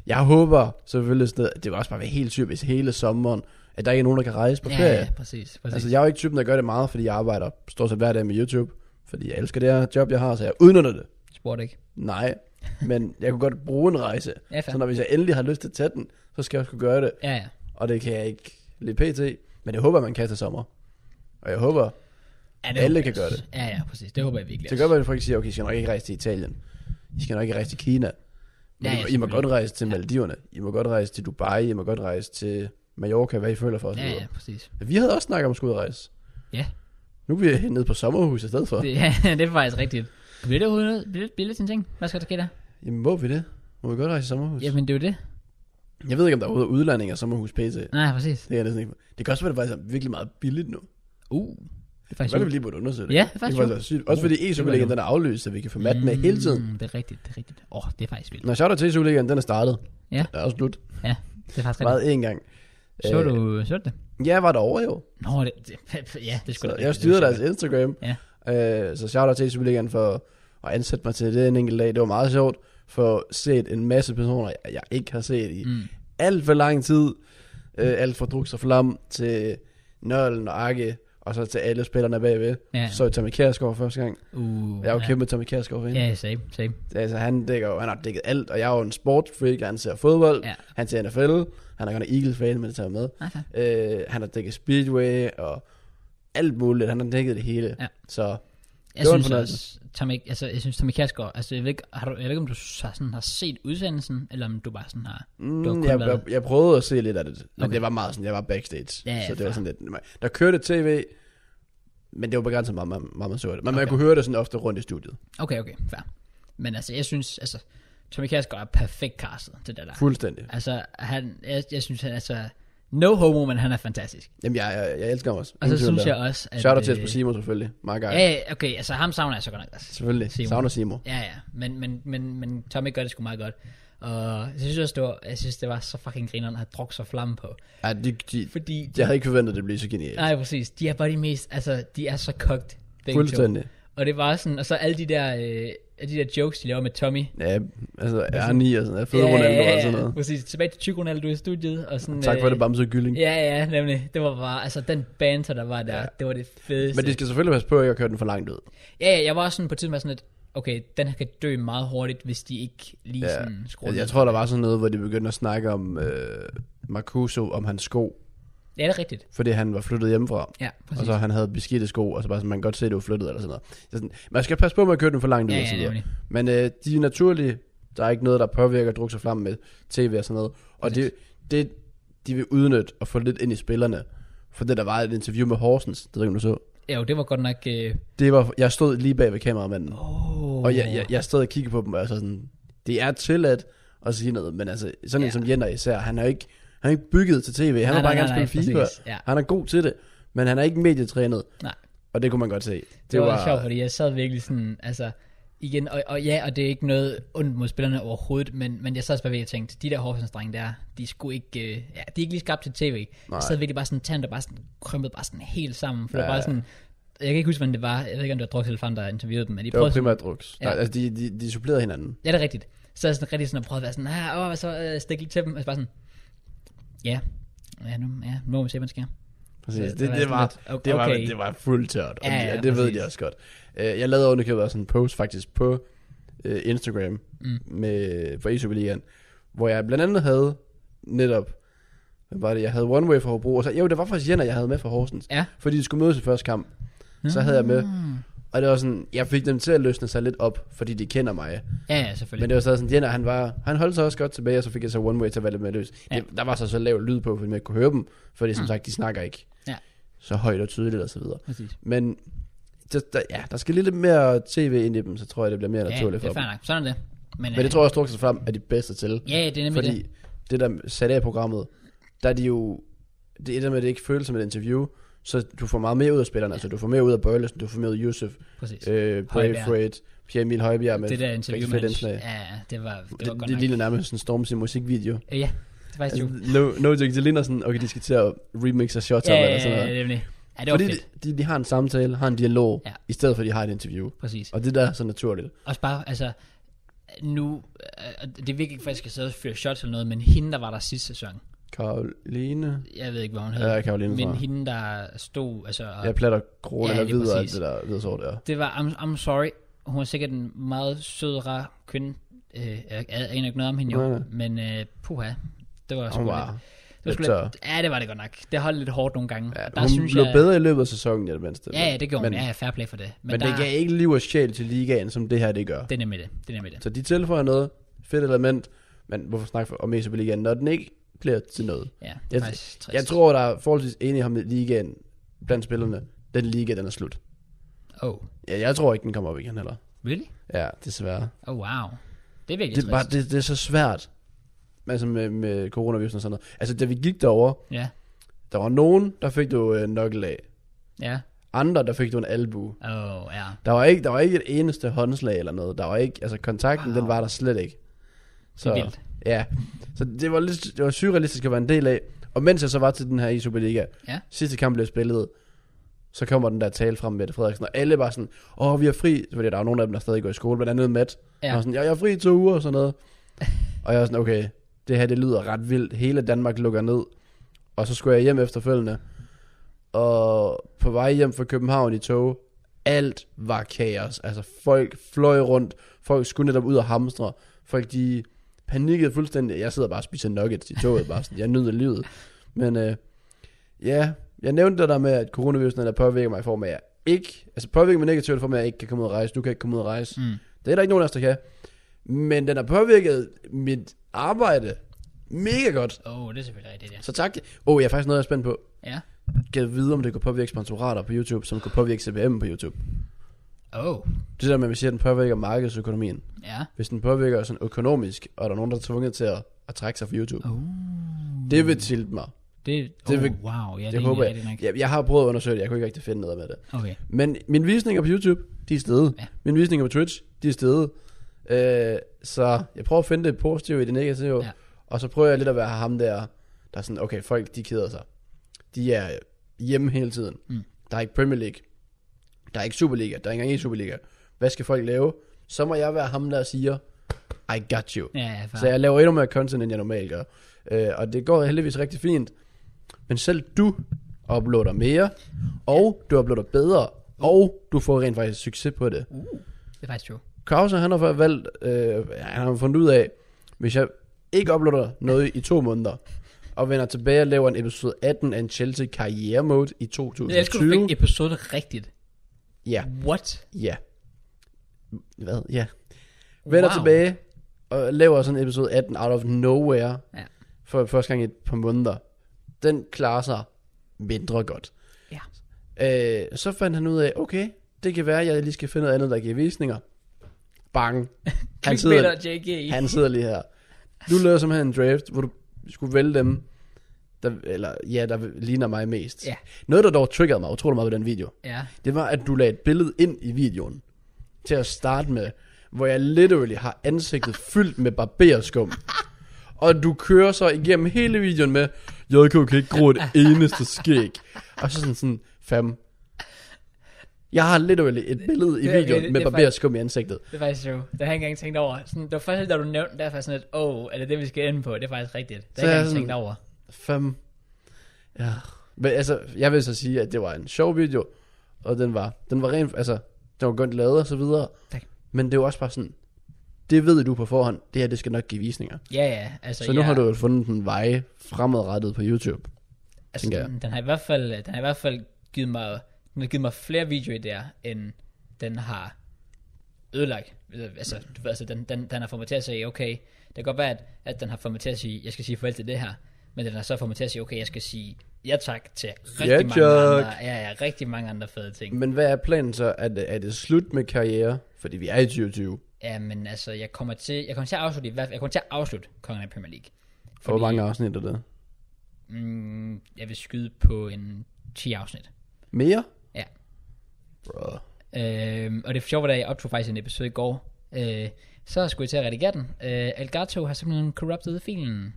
Speaker 2: Jeg håber selvfølgelig, sådan noget- det var også bare være helt sygt, hvis hele sommeren, at der ikke er nogen, der kan rejse på
Speaker 1: Ja,
Speaker 2: ferie.
Speaker 1: ja, præcis. præcis.
Speaker 2: Altså, jeg er jo ikke typen, der gør det meget, fordi jeg arbejder stort set hver dag med YouTube. Fordi jeg elsker det her job, jeg har, så jeg udnytter det.
Speaker 1: Spurgte ikke.
Speaker 2: Nej, men jeg kunne godt bruge en rejse.
Speaker 1: (laughs) Ja, fair.
Speaker 2: så når hvis jeg endelig har lyst til at tage den, så skal jeg også kunne gøre det.
Speaker 1: Ja, ja.
Speaker 2: Og det kan jeg ikke lige pt. Men jeg håber, man kan til sommer. Og jeg håber,
Speaker 1: ja
Speaker 2: Alle
Speaker 1: håber jeg
Speaker 2: kan gøre
Speaker 1: også. Ja, ja, præcis. Det håber jeg virkelig.
Speaker 2: det gør man at folk siger, okay, I skal nok ikke rejse til Italien. I skal nok ikke rejse til Kina. Men
Speaker 1: Ja,
Speaker 2: ja,
Speaker 1: ja,
Speaker 2: I, må godt
Speaker 1: selvfølgelig.
Speaker 2: rejse til Maldiverne. I må godt rejse til Dubai. I må godt rejse til Mallorca, hvad I føler for os.
Speaker 1: Ja, ja, præcis.
Speaker 2: Vi havde også snakket om at skulle ud at rejse.
Speaker 1: Ja.
Speaker 2: Nu er vi nede på sommerhus i stedet for.
Speaker 1: Det, (laughs) ja, det er faktisk rigtigt. Bliver det overhovedet noget? Bliver det, bliver det sådan en ting? Hvad skal der ske der?
Speaker 2: Jamen, må vi det? Må vi godt rejse i sommerhus?
Speaker 1: Jamen, det er jo det.
Speaker 2: Jeg ved ikke, om der er overhovedet udlanding af sommerhus pt.
Speaker 1: Nej, præcis.
Speaker 2: Det, er jeg næsten ikke. det kan også være, at det faktisk er virkelig meget billigt nu.
Speaker 1: Uh. Det er
Speaker 2: Det
Speaker 1: faktisk
Speaker 2: kan vi lige burde undersøge det.
Speaker 1: Ja, faktisk
Speaker 2: det kan faktisk
Speaker 1: jo.
Speaker 2: være sygt. Også
Speaker 1: Uh,
Speaker 2: fordi E-Superligaen
Speaker 1: det
Speaker 2: den er aflyst, så vi kan få mat med hele tiden.
Speaker 1: Mm, det er rigtigt, det er rigtigt. Åh, oh, det er faktisk vildt.
Speaker 2: Når shout til E-Superligaen, den er startet.
Speaker 1: Ja.
Speaker 2: Den er også slut.
Speaker 1: Ja, det er faktisk rigtigt.
Speaker 2: Meget én gang.
Speaker 1: Så
Speaker 2: Øh,
Speaker 1: du, så du det?
Speaker 2: Ja, jeg var derovre jo.
Speaker 1: Nå, det, det, (laughs) ja, det skulle
Speaker 2: Så jeg styrede deres Instagram.
Speaker 1: Ja.
Speaker 2: Øh, så shout til E-Superligaen for at ansætte mig til det en enkelt dag. Det var meget sjovt. For set en masse personer, jeg, jeg ikke har set i
Speaker 1: Mm.
Speaker 2: alt for lang tid. Øh, alt fra Drux og Flam til Nørlen og Akke, og så til alle spillerne bagved.
Speaker 1: Ja.
Speaker 2: Så Tommy Kjærsgaard første gang.
Speaker 1: Uh,
Speaker 2: Jeg er jo kæmpe Tommy Kjærsgaard fan.
Speaker 1: Ja, same, same.
Speaker 2: Altså, han, dækker, jo- han har dækket alt, og jeg er jo en sportsfreak, han ser fodbold,
Speaker 1: Ja.
Speaker 2: han ser NFL, han er godt nok Eagles-fan, men det tager jeg med.
Speaker 1: Okay.
Speaker 2: Øh, han har dækket Speedway og alt muligt, han har dækket det hele.
Speaker 1: Ja.
Speaker 2: Så
Speaker 1: Jeg
Speaker 2: Det var en
Speaker 1: synes
Speaker 2: fornøjelse.
Speaker 1: også, Tommy, altså, jeg synes, Tommy Kjærsgaard, altså, jeg ved ikke, har du, jeg ved ikke om du så sådan har set udsendelsen, eller om du bare sådan har... Du har
Speaker 2: mm,
Speaker 1: kun
Speaker 2: jeg, jeg,
Speaker 1: været-
Speaker 2: jeg, prøvede at se lidt af det, men
Speaker 1: Okay.
Speaker 2: okay. det var meget sådan, jeg var backstage,
Speaker 1: Ja, ja,
Speaker 2: så det
Speaker 1: fair.
Speaker 2: var sådan lidt, der kørte tv, men det var begrænset meget, meget, meget man så det. Men okay.
Speaker 1: Okay.
Speaker 2: man kunne høre det sådan ofte rundt i studiet.
Speaker 1: Okay, okay, fair. Men altså, jeg synes, altså, Tommy Kjærsgaard er perfekt castet til det der.
Speaker 2: Fuldstændig.
Speaker 1: Altså, han, jeg, jeg synes, han, altså, no homo, men han er fantastisk.
Speaker 2: Jamen, jeg, jeg, jeg elsker ham også.
Speaker 1: Og så synes jeg også, at...
Speaker 2: at... Shout out til
Speaker 1: øh,
Speaker 2: Jesper Simon selvfølgelig. Meget
Speaker 1: Ja,
Speaker 2: gej.
Speaker 1: ja, okay, altså ham savner jeg så godt nok. Altså.
Speaker 2: Selvfølgelig.
Speaker 1: Simon.
Speaker 2: Savner Simon.
Speaker 1: Ja, ja, men, men, men, men Tommy gør det sgu meget godt. Og jeg synes også, det var, jeg synes, det var så fucking grineren at have drukket så flamme på.
Speaker 2: Ja, de, de,
Speaker 1: Fordi
Speaker 2: jeg havde ikke forventet, at det blev så genialt.
Speaker 1: Nej, præcis. De er bare de mest, altså, de er så kogt. begge
Speaker 2: Fuldstændig.
Speaker 1: to. Og det var sådan, og så alle de der, øh, alle de der jokes, de laver med Tommy.
Speaker 2: Ja, altså R9 og sådan noget. Fede yeah, Ronaldo og sådan noget.
Speaker 1: præcis. Tilbage til Tyk Ronaldo i studiet, og sådan...
Speaker 2: Tak for det, Bamse og Gylling.
Speaker 1: Øh, Ja, ja, nemlig. Det var bare, altså den banter, der var der, ja. det var det fedeste.
Speaker 2: Men de skal selvfølgelig passe på, at jeg ikke køre den for langt ud.
Speaker 1: Ja, ja, jeg var også sådan på tiden med sådan lidt, okay, den her kan dø meget hurtigt, hvis de ikke lige
Speaker 2: Ja.
Speaker 1: sådan skruer
Speaker 2: Jeg, jeg
Speaker 1: ned.
Speaker 2: tror, der var sådan noget, hvor de begyndte at snakke om øh, Marcuso, om hans sko.
Speaker 1: Ja, det er rigtigt.
Speaker 2: Fordi han var flyttet hjemmefra.
Speaker 1: Ja, præcis.
Speaker 2: Og så han havde beskidte sko, og så bare sådan, man kan godt se, at det var flyttet eller sådan noget. Så sådan, man skal passe på med at køre den for langt ud
Speaker 1: Ja,
Speaker 2: og
Speaker 1: ja,
Speaker 2: sådan noget.
Speaker 1: nemlig.
Speaker 2: Men øh, de er naturlige. Der er ikke noget, der påvirker druk sig flamme med tv og sådan noget. Og det, det, de vil udnytte og få lidt ind i spillerne. For det, der var et interview med Horsens, det ved jeg ikke, om du så.
Speaker 1: Ja, jo, det var godt nok... Øh,
Speaker 2: Det var, jeg stod lige bag ved kameramanden.
Speaker 1: oh,
Speaker 2: Og jeg, jeg, jeg stod og kiggede på dem, og jeg så sådan, det er tilladt at sige noget, men altså, sådan ja.
Speaker 1: Ja.
Speaker 2: en som Jenner især, han er jo ikke, han er ikke bygget til tv, han
Speaker 1: Nej,
Speaker 2: har bare
Speaker 1: nej,
Speaker 2: gerne
Speaker 1: nej,
Speaker 2: spillet FIFA,
Speaker 1: nej, præcis, ja.
Speaker 2: han er god til det, men han er ikke medietrænet,
Speaker 1: Nej.
Speaker 2: og det kunne man godt se.
Speaker 1: Det var, var sjovt, fordi jeg sad virkelig sådan, altså, igen, og, og ja, og det er ikke noget ondt mod spillerne overhovedet, men, men jeg sad også bare ved og tænkte, de der Horsens drenge der, de skulle ikke, øh, ja, de er ikke lige skabt til tv. Nej. Jeg sad virkelig bare sådan, tand der bare sådan, krympede bare sådan helt sammen, for ja. det
Speaker 2: Ja.
Speaker 1: var bare sådan, jeg kan ikke huske, hvordan det var, jeg ved ikke, om det var Druk eller Fan, der interviewede dem, men de
Speaker 2: det var
Speaker 1: prøvede sådan,
Speaker 2: primært druks.
Speaker 1: Ja.
Speaker 2: Ja. Nej, altså, de, de, de supplerede hinanden.
Speaker 1: ja, det er rigtigt. Så er jeg sådan rigtig sådan, og prøvede at være sådan, ah, åh, hvad så øh, stik lige til dem, og så bare sådan, ja, ja, nu, ja, nu må vi se, hvad der sker.
Speaker 2: Præcis.
Speaker 1: det
Speaker 2: Det, det,
Speaker 1: var
Speaker 2: det,
Speaker 1: sådan
Speaker 2: var,
Speaker 1: lidt,
Speaker 2: det, var,
Speaker 1: okay.
Speaker 2: det var fuldt tørt, og
Speaker 1: Ja,
Speaker 2: ja,
Speaker 1: ja,
Speaker 2: ja, det ved
Speaker 1: præcis.
Speaker 2: de også godt. Øh, Jeg lavede underkøbet også en post faktisk på øh, Instagram
Speaker 1: Mm.
Speaker 2: med, for e Superligaen, hvor jeg blandt andet havde netop, hvad var det, jeg havde One Way fra Hobro, og så, jo, det var faktisk Jenner, jeg havde med fra Horsens,
Speaker 1: Ja.
Speaker 2: fordi de skulle mødes i første kamp, så havde jeg med,
Speaker 1: Mm.
Speaker 2: og det var sådan, jeg fik dem til at løsne sig lidt op, fordi de kender mig,
Speaker 1: Ja, ja, selvfølgelig.
Speaker 2: men det var stadig sådan, Jenner, han, var, han holdt sig også godt tilbage, og så fik jeg så One Way til at være lidt mere løs.
Speaker 1: Ja. Mm.
Speaker 2: Ja. Der var så så lav lyd på, fordi man ikke kunne høre dem, fordi som sagt, de snakker ikke
Speaker 1: Ja.
Speaker 2: så højt og tydeligt og så videre.
Speaker 1: Præcis.
Speaker 2: Men der, der, ja, der skal lige lidt mere tv ind i dem, så tror jeg, det bliver mere
Speaker 1: Ja,
Speaker 2: naturligt
Speaker 1: det
Speaker 2: for
Speaker 1: er
Speaker 2: dem.
Speaker 1: fair nok. Sådan er det. Men, øh,
Speaker 2: Men det tror jeg også, Drukset Frem er de bedste til.
Speaker 1: Ja, det er nemlig
Speaker 2: fordi det. det der sat af programmet, der er de jo, det er det med, at det ikke føles som et interview, så du får meget mere ud af spillerne. Altså, du får mere ud af Bøjlesen, du får mere ud af Yusuf,
Speaker 1: Præcis.
Speaker 2: øh,
Speaker 1: Højbjerg.
Speaker 2: Brave Freight, Pierre Emil Højbjerg med
Speaker 1: det der interview
Speaker 2: rigtig
Speaker 1: med
Speaker 2: fedt
Speaker 1: hans,
Speaker 2: indslag.
Speaker 1: ja, ja, det var, det, var
Speaker 2: Det,
Speaker 1: godt
Speaker 2: det
Speaker 1: nok.
Speaker 2: ligner nærmest en Stormzy musikvideo.
Speaker 1: Øh, Ja, det var faktisk
Speaker 2: Altså,
Speaker 1: jo.
Speaker 2: no, no joke, det ligner sådan, okay, de skal til at remixe og shots
Speaker 1: Ja,
Speaker 2: ja,
Speaker 1: ja,
Speaker 2: eller sådan
Speaker 1: ja,
Speaker 2: noget.
Speaker 1: ja, nemlig. ja, det var
Speaker 2: Fordi
Speaker 1: fedt.
Speaker 2: de, de, har en samtale, har en dialog,
Speaker 1: Ja.
Speaker 2: i stedet for at de har et interview.
Speaker 1: Præcis.
Speaker 2: Og det der er så naturligt.
Speaker 1: Også bare, altså, nu, øh, og det er virkelig ikke, for at jeg skal sidde og fyre shots eller noget, men hende, der var der sidste sæson,
Speaker 2: Karoline.
Speaker 1: jeg ved ikke, hvad hun hed,
Speaker 2: Ja, Karoline
Speaker 1: men
Speaker 2: tror jeg.
Speaker 1: hende, der stod, altså, og
Speaker 2: Jeg platter grå
Speaker 1: Ja,
Speaker 2: ja, eller
Speaker 1: lige
Speaker 2: hvid og alt
Speaker 1: præcis.
Speaker 2: det der hvide sår der.
Speaker 1: det var, I'm, I'm sorry, hun er sikkert en meget sød, rar kvinde, øh, jeg aner ikke noget om hende jo,
Speaker 2: Nej, nej.
Speaker 1: men øh, puha, det var sgu
Speaker 2: Hun
Speaker 1: lidt,
Speaker 2: var
Speaker 1: det var sgu
Speaker 2: lidt
Speaker 1: lidt, ja, det var det godt nok, det holdt lidt hårdt nogle gange,
Speaker 2: Ja, hun blev jeg... bedre i løbet af sæsonen, i det mindste.
Speaker 1: ja, ja, det gjorde
Speaker 2: men,
Speaker 1: hun, ja, ja, fair play for det, men,
Speaker 2: Men, men
Speaker 1: der,
Speaker 2: det gav ikke liv og sjæl til ligaen, som det her det gør.
Speaker 1: det er nemlig det, det er nemlig det.
Speaker 2: Så de tilføjer noget, fedt element, men hvorfor snakke om ECB Ligaen, når den ikke bliver til noget?
Speaker 1: Ja,
Speaker 2: Jeg-
Speaker 1: faktisk trist.
Speaker 2: Jeg tror, der er forholdsvis enige om i ligaen blandt spillerne. Den liga, den er slut.
Speaker 1: Oh,
Speaker 2: Ja, jeg tror ikke, den kommer op igen heller.
Speaker 1: really?
Speaker 2: Ja, desværre.
Speaker 1: Oh, wow. Det er virkelig det
Speaker 2: Det, er
Speaker 1: trist.
Speaker 2: bare, det, det er så svært. Altså med, med coronavirusen og sådan noget. Altså, da vi gik derover,
Speaker 1: Ja,
Speaker 2: der var nogen, der fik du øh, knuckle af.
Speaker 1: ja.
Speaker 2: Andre, der fik du en albu.
Speaker 1: Oh, ja.
Speaker 2: Der var, ikke, der var ikke et eneste håndslag eller noget. Der var ikke, altså kontakten,
Speaker 1: Wow.
Speaker 2: den var der slet ikke.
Speaker 1: Det er vildt.
Speaker 2: Ja, så det var, lidt, det var surrealistisk at være en del af. Og mens jeg så var til den her i Superliga,
Speaker 1: Ja.
Speaker 2: sidste kamp blev spillet, så kommer den der tale frem med Mette Frederiksen, og alle var sådan, åh, vi er fri, så fordi der er nogle af dem, der stadig går i skole, blandt andet Matt,
Speaker 1: Ja.
Speaker 2: ja. og sådan, ja, jeg er fri i to uger og sådan noget. og jeg var sådan, okay, det her, det lyder ret vildt, hele Danmark lukker ned, og så skulle jeg hjem efterfølgende, og på vej hjem fra København i tog, alt var kaos, altså folk fløj rundt, folk skulle netop ud og hamstre, folk de panikkede fuldstændig, jeg sidder bare og spiser nuggets i toget, bare sådan, jeg nyder livet, men øh, ja, jeg nævnte det der med, at coronavirusen der påvirker mig i form af, at jeg ikke, altså påvirker mig negativt i form af, at jeg ikke kan komme ud og rejse, du kan ikke komme ud og rejse,
Speaker 1: Mm.
Speaker 2: det er der ikke nogen af os, der kan, men den har påvirket mit arbejde mega godt,
Speaker 1: Oh, det er selvfølgelig rigtigt, ja.
Speaker 2: så tak, åh, oh, jeg er faktisk noget, jeg er spændt på,
Speaker 1: Ja.
Speaker 2: kan vide, om det kunne påvirke sponsorater på YouTube, som kunne påvirke CPM på YouTube.
Speaker 1: Oh,
Speaker 2: Det der med, at vi siger, at den påvirker markedsøkonomien.
Speaker 1: ja.
Speaker 2: Hvis den påvirker sådan økonomisk, og der er nogen, der er tvunget til at, at trække sig fra YouTube.
Speaker 1: Oh.
Speaker 2: Det vil tilte mig.
Speaker 1: Det, oh,
Speaker 2: Det
Speaker 1: det
Speaker 2: vil-
Speaker 1: wow. Ja, det,
Speaker 2: det
Speaker 1: er
Speaker 2: håber
Speaker 1: håber
Speaker 2: jeg.
Speaker 1: rigtigt nok.
Speaker 2: Jeg, jeg har prøvet at undersøge det, jeg kunne ikke rigtig finde noget med det.
Speaker 1: Okay.
Speaker 2: Men mine visninger på YouTube, de er steget.
Speaker 1: Ja.
Speaker 2: Mine visninger på Twitch, de er steget. Øh, så jeg prøver at finde det positive i det negative.
Speaker 1: Ja.
Speaker 2: Ja. Og så prøver jeg lidt at være ham der, der er sådan, okay, folk de keder sig. De er hjemme hele tiden.
Speaker 1: Mm.
Speaker 2: Der er ikke Premier League. Der er ikke Superliga. Der er ikke engang en Superliga. Hvad skal folk lave? Så må jeg være ham der siger, I got you.
Speaker 1: Ja, ja, far.
Speaker 2: Så jeg laver endnu mere content, end jeg normalt gør. Øh, og det går heldigvis rigtig fint. Men selv du uploader mere, og du uploader bedre, og du får rent faktisk succes på det.
Speaker 1: Det er faktisk true.
Speaker 2: Krause, han har fået valgt, øh, han har fundet ud af, hvis jeg ikke uploader noget i to måneder, og vender tilbage og laver en episode 18 af en Chelsea karriere mode i
Speaker 1: Jeg elsker, du
Speaker 2: 2020.
Speaker 1: fik episode rigtigt.
Speaker 2: Ja,
Speaker 1: What?
Speaker 2: ja. Hvad? Ja. Vender
Speaker 1: Wow.
Speaker 2: tilbage og laver sådan en episode 18 out of nowhere.
Speaker 1: Ja.
Speaker 2: for første gang i et par måneder, den klarer sig mindre godt.
Speaker 1: Ja.
Speaker 2: Øh, så fandt han ud af, okay, det kan være, at jeg lige skal finde noget andet, der giver visninger.
Speaker 1: (laughs)
Speaker 2: Bang. Han
Speaker 1: Clickbait
Speaker 2: sidder,
Speaker 1: og JK.
Speaker 2: han sidder lige her. Du lavede simpelthen en draft, hvor du skulle vælge dem, der, eller, ja, der ligner mig mest.
Speaker 1: Ja.
Speaker 2: Noget, der dog triggerede mig utrolig meget ved den video,
Speaker 1: Ja.
Speaker 2: det var, at du lagde et billede ind i videoen. Til at starte med, hvor jeg literally har ansigtet fyldt med barberskum. Og du kører så igennem hele videoen med, JK kan ikke gro et eneste skæg. Og så sådan sådan, fam. Jeg har literally et billede i
Speaker 1: Det er-
Speaker 2: videoen
Speaker 1: det-
Speaker 2: med
Speaker 1: det er
Speaker 2: barberskum i ansigtet.
Speaker 1: Det er faktisk true. Det har jeg ikke engang tænkt over. Sådan, det var først, da du nævnte, derfor sådan lidt, åh, oh, er det det, vi skal ende på? Det er faktisk rigtigt. Det har
Speaker 2: Så
Speaker 1: jeg
Speaker 2: er
Speaker 1: ikke engang
Speaker 2: sådan-
Speaker 1: tænkt over.
Speaker 2: Fem. Ja. Men altså, jeg vil så sige, at det var en sjov video, og den var, den var rent, altså, den var godt lavet og så videre.
Speaker 1: Tak.
Speaker 2: Men det var også bare sådan, det ved du på forhånd, det her, det skal nok give visninger.
Speaker 1: Ja, ja. Altså,
Speaker 2: Så, så nu
Speaker 1: ja,
Speaker 2: har du jo fundet en vej fremadrettet på YouTube.
Speaker 1: altså,
Speaker 2: tænker jeg.
Speaker 1: den, den, har i hvert fald, den har i hvert fald givet mig, den har givet mig flere videoidéer, end den har ødelagt. Altså, du ved, altså den, den, den har fået mig til at sige, okay, det kan godt være, at, at den har fået mig til at sige, jeg skal sige farvel til det her, men den har så fået mig til at sige, okay, jeg skal sige ja tak til rigtig
Speaker 2: Ja,
Speaker 1: mange
Speaker 2: tak.
Speaker 1: andre, ja, ja, rigtig mange andre fede ting.
Speaker 2: Men hvad er planen så? Er det, er det slut med karriere? Fordi vi er i 2020.
Speaker 1: Ja, men altså, jeg kommer til, jeg kommer til at afslutte, i hvert fald- jeg kommer til at afslutte Kongen af Premier League.
Speaker 2: For hvor mange afsnit er det?
Speaker 1: Mm, jeg vil skyde på en 10 afsnit.
Speaker 2: Mere?
Speaker 1: Ja.
Speaker 2: Bro.
Speaker 1: Øh, og det sjove var, da jeg optog faktisk en episode i går, øh, så skulle jeg til at redigere den. Øh, Elgato har simpelthen corrupted filen.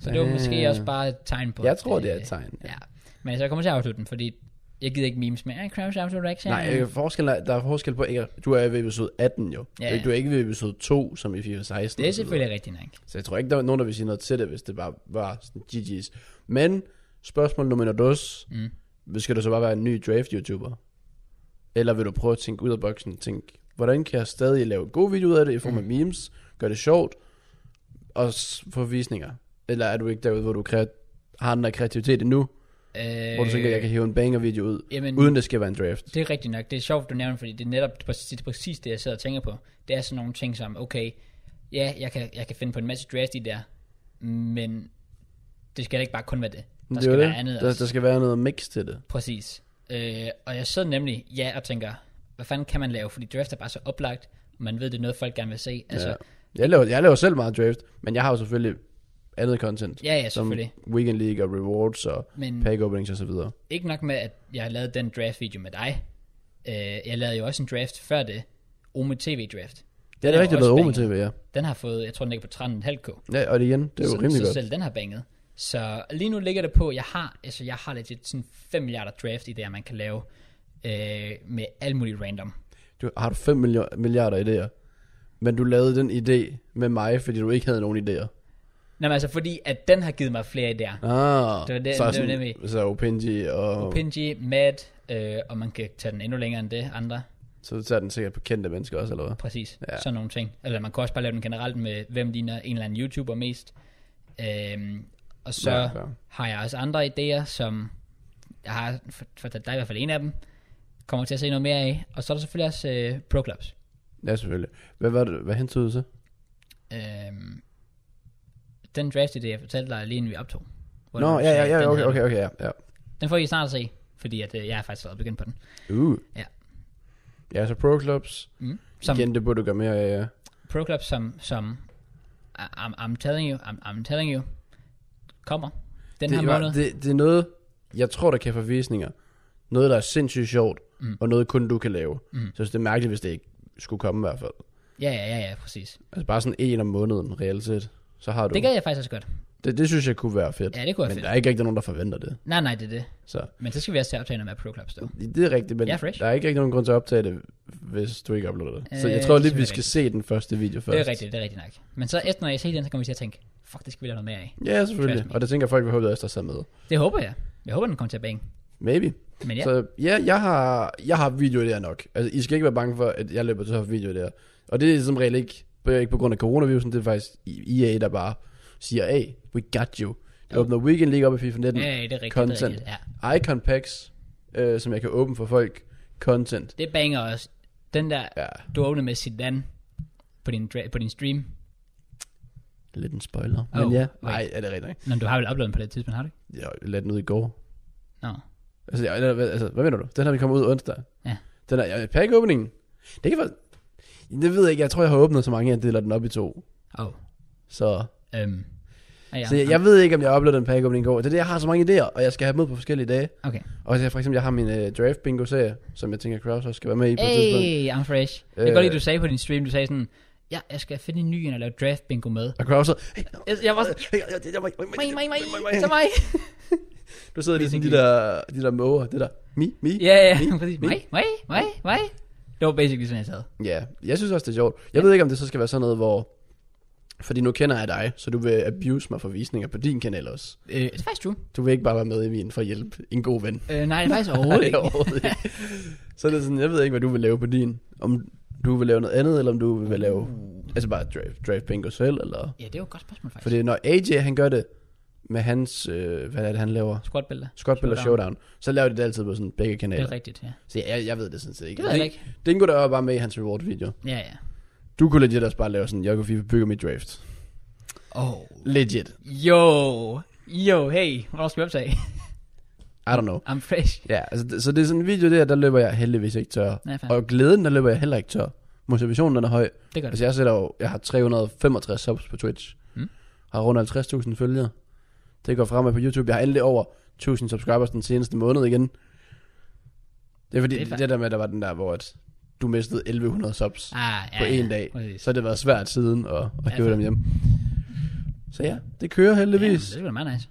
Speaker 1: Så det var
Speaker 2: Ah.
Speaker 1: måske også bare et tegn på...
Speaker 2: Jeg
Speaker 1: at,
Speaker 2: tror, det er
Speaker 1: øh,
Speaker 2: et tegn.
Speaker 1: Ja. Men altså, jeg kommer til at afslutte den, fordi Jeg gider ikke memes mere. Crash Auto Rex.
Speaker 2: Nej, øh, forskellen er, der er forskel på, ikke, du er ved episode 18 jo.
Speaker 1: Ja, ja.
Speaker 2: Du er ikke ved episode 2, som i FIFA 16.
Speaker 1: Det er
Speaker 2: og så videre.
Speaker 1: selvfølgelig rigtigt nok.
Speaker 2: Så jeg tror ikke, der var nogen, der ville sige noget til det, hvis det bare var sådan GG's. Men spørgsmål nummer dos. Mm. Skal du så bare være en ny draft-youtuber? Eller vil du prøve at tænke ud af boksen? Tænke, hvordan kan jeg stadig lave gode videoer ud af det i form
Speaker 1: Mm.
Speaker 2: af memes? Gør det sjovt? Og s- få visninger? Eller er du ikke derude, hvor du kreat- har den der kreativitet endnu? Øh.
Speaker 1: Øh,
Speaker 2: Hvor du tænker, jeg kan hive en banger-video ud,
Speaker 1: jamen-
Speaker 2: uden det skal være en draft?
Speaker 1: Det er rigtigt nok. Det er sjovt, du nævner, det, fordi det er netop det er præcis, det, er præcis det, jeg sidder og tænker på. Det er sådan nogle ting som, okay, ja, jeg kan, jeg kan finde på en masse drafty der, men det skal da ikke bare kun være det. Der
Speaker 2: Det er
Speaker 1: skal
Speaker 2: jo
Speaker 1: være
Speaker 2: det.
Speaker 1: andet
Speaker 2: der,
Speaker 1: også.
Speaker 2: der skal være noget mix til det.
Speaker 1: Præcis. Øh, og jeg sidder nemlig, ja, og tænker, hvad fanden kan man lave? Fordi draft er bare så oplagt, og man ved, det er noget, folk gerne vil se. Altså,
Speaker 2: Ja.
Speaker 1: ja.
Speaker 2: Jeg, laver, jeg laver selv meget draft, men jeg har jo selvfølgelig andet content.
Speaker 1: Ja, ja,
Speaker 2: som
Speaker 1: selvfølgelig. Mm.
Speaker 2: Weekend League og rewards og
Speaker 1: Men-
Speaker 2: men, pack openings og så videre.
Speaker 1: Ikke nok med, at jeg lavede den draft-video med dig. Øh, jeg lavede jo også en draft før det. Ome TV-draft.
Speaker 2: Ja, det er rigtigt
Speaker 1: også
Speaker 2: noget Ome
Speaker 1: banger.
Speaker 2: TV, ja.
Speaker 1: Den har fået, jeg tror, den ligger på 13,5k.
Speaker 2: ja. og det igen, det er jo
Speaker 1: så,
Speaker 2: rimelig
Speaker 1: så
Speaker 2: godt.
Speaker 1: selv den har banget. Så lige nu ligger det på, jeg har, altså jeg har legit sådan 5 milliarder draft idéer, man kan lave øh, med alt muligt random.
Speaker 2: Du har du 5 milliarder idéer, men du lavede den idé med mig, fordi du ikke havde nogen idéer.
Speaker 1: Nå, men altså fordi, at den har givet mig flere idéer.
Speaker 2: Ah,
Speaker 1: Det var det- det
Speaker 2: så,
Speaker 1: var
Speaker 2: sådan,
Speaker 1: nemlig-
Speaker 2: så Opinji og...
Speaker 1: Opinji, Mad, øh, og man kan tage den endnu længere end det andre.
Speaker 2: Så tager den sikkert på kendte mennesker også, eller hvad?
Speaker 1: Præcis, ja.
Speaker 2: Ja.
Speaker 1: sådan nogle ting. Eller man kan også bare lave den generelt med, hvem ligner en eller anden YouTuber mest. Øhm, og så
Speaker 2: Ja,
Speaker 1: ja,
Speaker 2: ja.
Speaker 1: har jeg også andre idéer, som jeg har for- fortalt dig i hvert fald en af dem, kommer til at se noget mere af. Og så er der selvfølgelig også øh, Pro Clubs.
Speaker 2: Ja, selvfølgelig. Hvad, var det, hvad hentede du så?
Speaker 1: Øhm, den draft idé, jeg fortalte dig lige inden vi optog. hvor
Speaker 2: Nå,
Speaker 1: du
Speaker 2: ja,
Speaker 1: sagde,
Speaker 2: ja, ja,
Speaker 1: den
Speaker 2: okay,
Speaker 1: havde du.
Speaker 2: okay, okay, ja. ja.
Speaker 1: Den får I snart at se, fordi at, øh, jeg har faktisk været begyndt på den.
Speaker 2: Uh.
Speaker 1: Ja.
Speaker 2: Ja, så Pro Clubs.
Speaker 1: Mm. Som
Speaker 2: Som... Igen, det burde du gøre mere af, ja.
Speaker 1: Pro Club, som, som I- I'm, I'm telling you, I'm, I'm telling you, kommer den
Speaker 2: det,
Speaker 1: her
Speaker 2: var-
Speaker 1: måned.
Speaker 2: Det, det er noget, jeg tror, der kan få visninger. Noget, der er sindssygt sjovt, mm. og noget kun du kan lave. Mm. Så jeg synes, det er mærkeligt, hvis det ikke skulle komme i hvert fald.
Speaker 1: Ja, ja, ja, ja, præcis.
Speaker 2: Altså bare sådan en om måneden, reelt set. Så har du.
Speaker 1: Det gad jeg faktisk også godt.
Speaker 2: det, det synes jeg kunne være fedt.
Speaker 1: Ja, det kunne være
Speaker 2: men
Speaker 1: fedt.
Speaker 2: der er ikke rigtig nogen, der forventer det.
Speaker 1: Nej, nej, det er det.
Speaker 2: Så
Speaker 1: Men så skal vi også til at optage noget med Pro Clubs, dog.
Speaker 2: det er rigtigt, men
Speaker 1: Ja, fresh.
Speaker 2: der er ikke rigtig nogen grund til at optage det, hvis du ikke uploader det. Så
Speaker 1: Øh,
Speaker 2: jeg tror
Speaker 1: det
Speaker 2: lige,
Speaker 1: er
Speaker 2: vi skal se den første video først.
Speaker 1: Det er rigtigt, det er rigtigt nok. Men så efter, når jeg ser den, så kommer vi til at tænke, fuck, det skal vi lave noget mere af.
Speaker 2: Ja, selvfølgelig.
Speaker 1: Trust me.
Speaker 2: Og det tænker folk, vi håber også, der sidder med.
Speaker 1: Det håber jeg. Jeg håber, den kommer til at bange.
Speaker 2: Maybe.
Speaker 1: Men ja, så,
Speaker 2: Så ja, jeg har, jeg har videoer der nok. Altså, I skal ikke være bange for, at jeg løber til at have videoer der. Og det er som regel ikke, det er ikke på grund af coronavirusen, det er faktisk EA, der bare siger, hey, we got you. Jeg åbner Weekend League op i FIFA 19.
Speaker 1: Ja, ja, det er rigtigt, det er
Speaker 2: Content.
Speaker 1: rigtigt,
Speaker 2: Icon packs, øh, som jeg kan åbne for folk. Content.
Speaker 1: det banger også. Den der,
Speaker 2: Ja,
Speaker 1: du åbner med Zidane på din, dra- på din stream.
Speaker 2: lidt en spoiler.
Speaker 1: Oh,
Speaker 2: Men ja,
Speaker 1: wait.
Speaker 2: nej, er det rigtigt, ikke?
Speaker 1: Nå, men du har vel uploadet den på det tidspunkt, har du ikke?
Speaker 2: Jeg lagde den ud i går.
Speaker 1: Nå.
Speaker 2: Altså, jeg, altså, hvad mener du? Den har vi kommet ud onsdag.
Speaker 1: Ja.
Speaker 2: Den er, jeg, pack åbningen. Det kan være, det ved jeg ikke, jeg tror, jeg har åbnet så mange, at jeg deler den op i to.
Speaker 1: Åh. Oh.
Speaker 2: Så
Speaker 1: Øhm. Ah, ja.
Speaker 2: Så jeg, jeg ved ikke, om jeg uploader en pack opening i går. Det er det, jeg har så mange idéer, og jeg skal have dem ud på forskellige dage.
Speaker 1: Okay.
Speaker 2: Og så for eksempel, jeg har min uh, draft bingo serie, som jeg tænker, Kraus også skal være med i på et tidspunkt.
Speaker 1: Hey, I'm fresh. Jeg kan
Speaker 2: Øh.
Speaker 1: godt lide, du sagde på din stream, du sagde sådan, ja, jeg skal finde en ny en og lave draft bingo med.
Speaker 2: Og Kraus så, hey,
Speaker 1: Jeg, jeg var sådan,
Speaker 2: hey, hey, hey, hey,
Speaker 1: mig,
Speaker 2: hey,
Speaker 1: mig, mig,
Speaker 2: mig, mig.
Speaker 1: så
Speaker 2: (laughs)
Speaker 1: mig.
Speaker 2: Du sidder lige sådan de der, de der måger, det der, mi, mi.
Speaker 1: Ja, ja,
Speaker 2: Mi,
Speaker 1: præcis.
Speaker 2: mi.
Speaker 1: Mig, mig, mig, mig. Det var basically sådan, jeg sad.
Speaker 2: Ja, jeg synes også, det er sjovt. Jeg ved ikke, om det så skal være sådan noget, hvor... Fordi nu kender jeg dig, så du vil abuse mig for visninger på din kanal også.
Speaker 1: Øh, det er faktisk true.
Speaker 2: Du vil ikke bare være med i min for at hjælpe en god ven.
Speaker 1: Øh, nej, det er faktisk
Speaker 2: (laughs)
Speaker 1: overhovedet ikke.
Speaker 2: Overhovedet ikke. så er det sådan, jeg ved ikke, hvad du vil lave på din. Om du vil lave noget andet, eller om du vil lave... Altså bare draft, draft bingo selv, eller...
Speaker 1: Ja, det er jo et godt spørgsmål, faktisk.
Speaker 2: Fordi når AJ, han gør det med hans... Øh, hvad er det, han laver?
Speaker 1: Squat billeder.
Speaker 2: Squat eller Showdown. Så laver de det altid på sådan begge
Speaker 1: Det er
Speaker 2: kanaler.
Speaker 1: rigtigt, ja.
Speaker 2: Så jeg, jeg ved det sådan set ikke.
Speaker 1: Det ved jeg ikke.
Speaker 2: Den går der var bare med i hans reward-video.
Speaker 1: Ja, ja.
Speaker 2: Du kunne legit også bare lave sådan, jeg kunne FIFA bygger mit draft.
Speaker 1: Oh.
Speaker 2: Legit.
Speaker 1: Yo. Yo, hey. Hvornår skal vi optage?
Speaker 2: I don't know.
Speaker 1: I'm fresh.
Speaker 2: Ja, altså, det- så det er sådan en video der, der løber jeg heldigvis ikke tør.
Speaker 1: Ja, fair.
Speaker 2: og glæden, der løber jeg heller ikke tør. Motivationen, den er høj.
Speaker 1: Det gør det.
Speaker 2: Altså jeg sætter jo, jeg har 365 subs på Twitch.
Speaker 1: Mm.
Speaker 2: Har rundt 50.000 følgere. Det går fremad på YouTube. Jeg har endelig over 1000 subscribers den seneste måned igen. Det er fordi,
Speaker 1: Det er fa-
Speaker 2: det, er det der med, at der var den der, hvor at du mistede 1100 subs
Speaker 1: Ah, ja,
Speaker 2: på en
Speaker 1: ja,
Speaker 2: dag.
Speaker 1: Præcis.
Speaker 2: Så har det været svært siden at, at
Speaker 1: Ja,
Speaker 2: købe
Speaker 1: fair.
Speaker 2: dem hjem. Så ja, det kører
Speaker 1: Ja, men
Speaker 2: heldigvis.
Speaker 1: det er sgu da meget nice.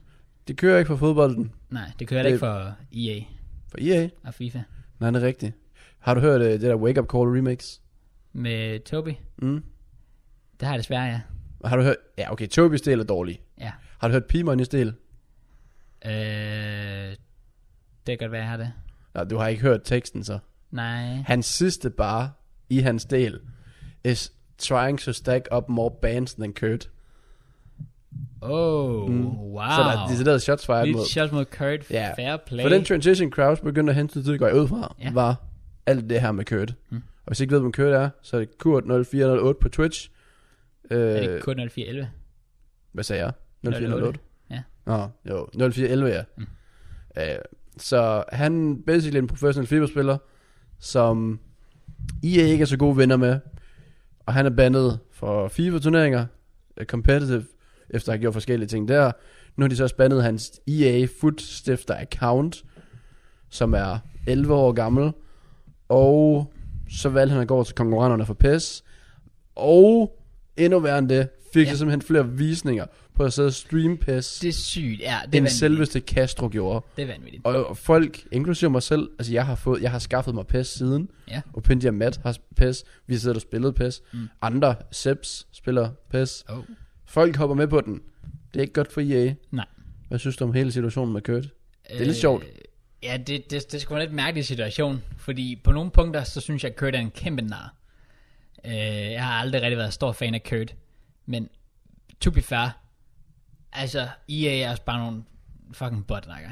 Speaker 2: Det kører ikke for fodbolden.
Speaker 1: Nej, det kører heller
Speaker 2: Det-
Speaker 1: ikke for EA.
Speaker 2: Fra EA?
Speaker 1: og FIFA.
Speaker 2: Nej, det er rigtigt. Har du hørt øh, det der Wake Up Call remix?
Speaker 1: Med Toby,
Speaker 2: Mm.
Speaker 1: det har jeg desværre, ja.
Speaker 2: Har du hørt... Ja, okay, Tobis del er dårlig.
Speaker 1: ja.
Speaker 2: Har du hørt P Money's del?
Speaker 1: Øh, det kan godt være, jeg har det.
Speaker 2: Nej, du har ikke hørt teksten så.
Speaker 1: Nej.
Speaker 2: Hans sidste bar i hans del is trying to stack up more bands than Kurt.
Speaker 1: Oh, mm. wow.
Speaker 2: Så der er decideret shots fired
Speaker 1: Lidt
Speaker 2: mod.
Speaker 1: shot mod Kurt.
Speaker 2: Ja.
Speaker 1: Fair play.
Speaker 2: For den transition Kraus begyndte at hente tid, går jeg ud fra,
Speaker 1: Ja.
Speaker 2: ja. var alt det her med Kurt.
Speaker 1: Mm.
Speaker 2: Mm. Og hvis I ikke ved, hvem Kurt er, så er det Kurt0408 på Twitch.
Speaker 1: er det
Speaker 2: Øh,
Speaker 1: ikke kun 0411?
Speaker 2: hvad sagde jeg?
Speaker 1: 0408.
Speaker 2: 0408?
Speaker 1: Ja.
Speaker 2: Nå, jo, 0411, ja.
Speaker 1: Mm.
Speaker 2: Mm. Øh, så han er basically en professionel FIFA-spiller, som I er ikke er så gode venner med. Og han er bandet for FIFA-turneringer, øh, competitive, efter at have gjort forskellige ting der. Nu har de så også bandet hans EA Foot Stifter account, som er 11 år gammel. Og så valgte han at gå over til konkurrenterne for PES. Og endnu værre end det, fik
Speaker 1: Ja.
Speaker 2: ja. så simpelthen flere visninger på at sidde og streame PES,
Speaker 1: Det er sygt, ja. Det er
Speaker 2: end
Speaker 1: vanvittigt.
Speaker 2: selveste Castro gjorde.
Speaker 1: Det er vanvittigt.
Speaker 2: Og, og folk, inklusive mig selv, altså jeg har, fået, jeg har skaffet mig PES siden.
Speaker 1: Ja.
Speaker 2: Og Pindy og Matt har PES. Vi sidder og spiller PES.
Speaker 1: Mm.
Speaker 2: Mm. Andre, Seps, spiller PES.
Speaker 1: Oh.
Speaker 2: Folk hopper med på den. Det er ikke godt for EA.
Speaker 1: Nej.
Speaker 2: Hvad synes du om hele situationen med Kurt? Det er lidt sjovt.
Speaker 1: Øh, Ja, det, det, det er sgu en lidt mærkelig situation, fordi på nogle punkter, så synes jeg, at Kurt er en kæmpe nar. Øh, jeg har aldrig rigtig været stor fan af Kurt, men to be fair, altså EA er også bare nogle fucking botnakker.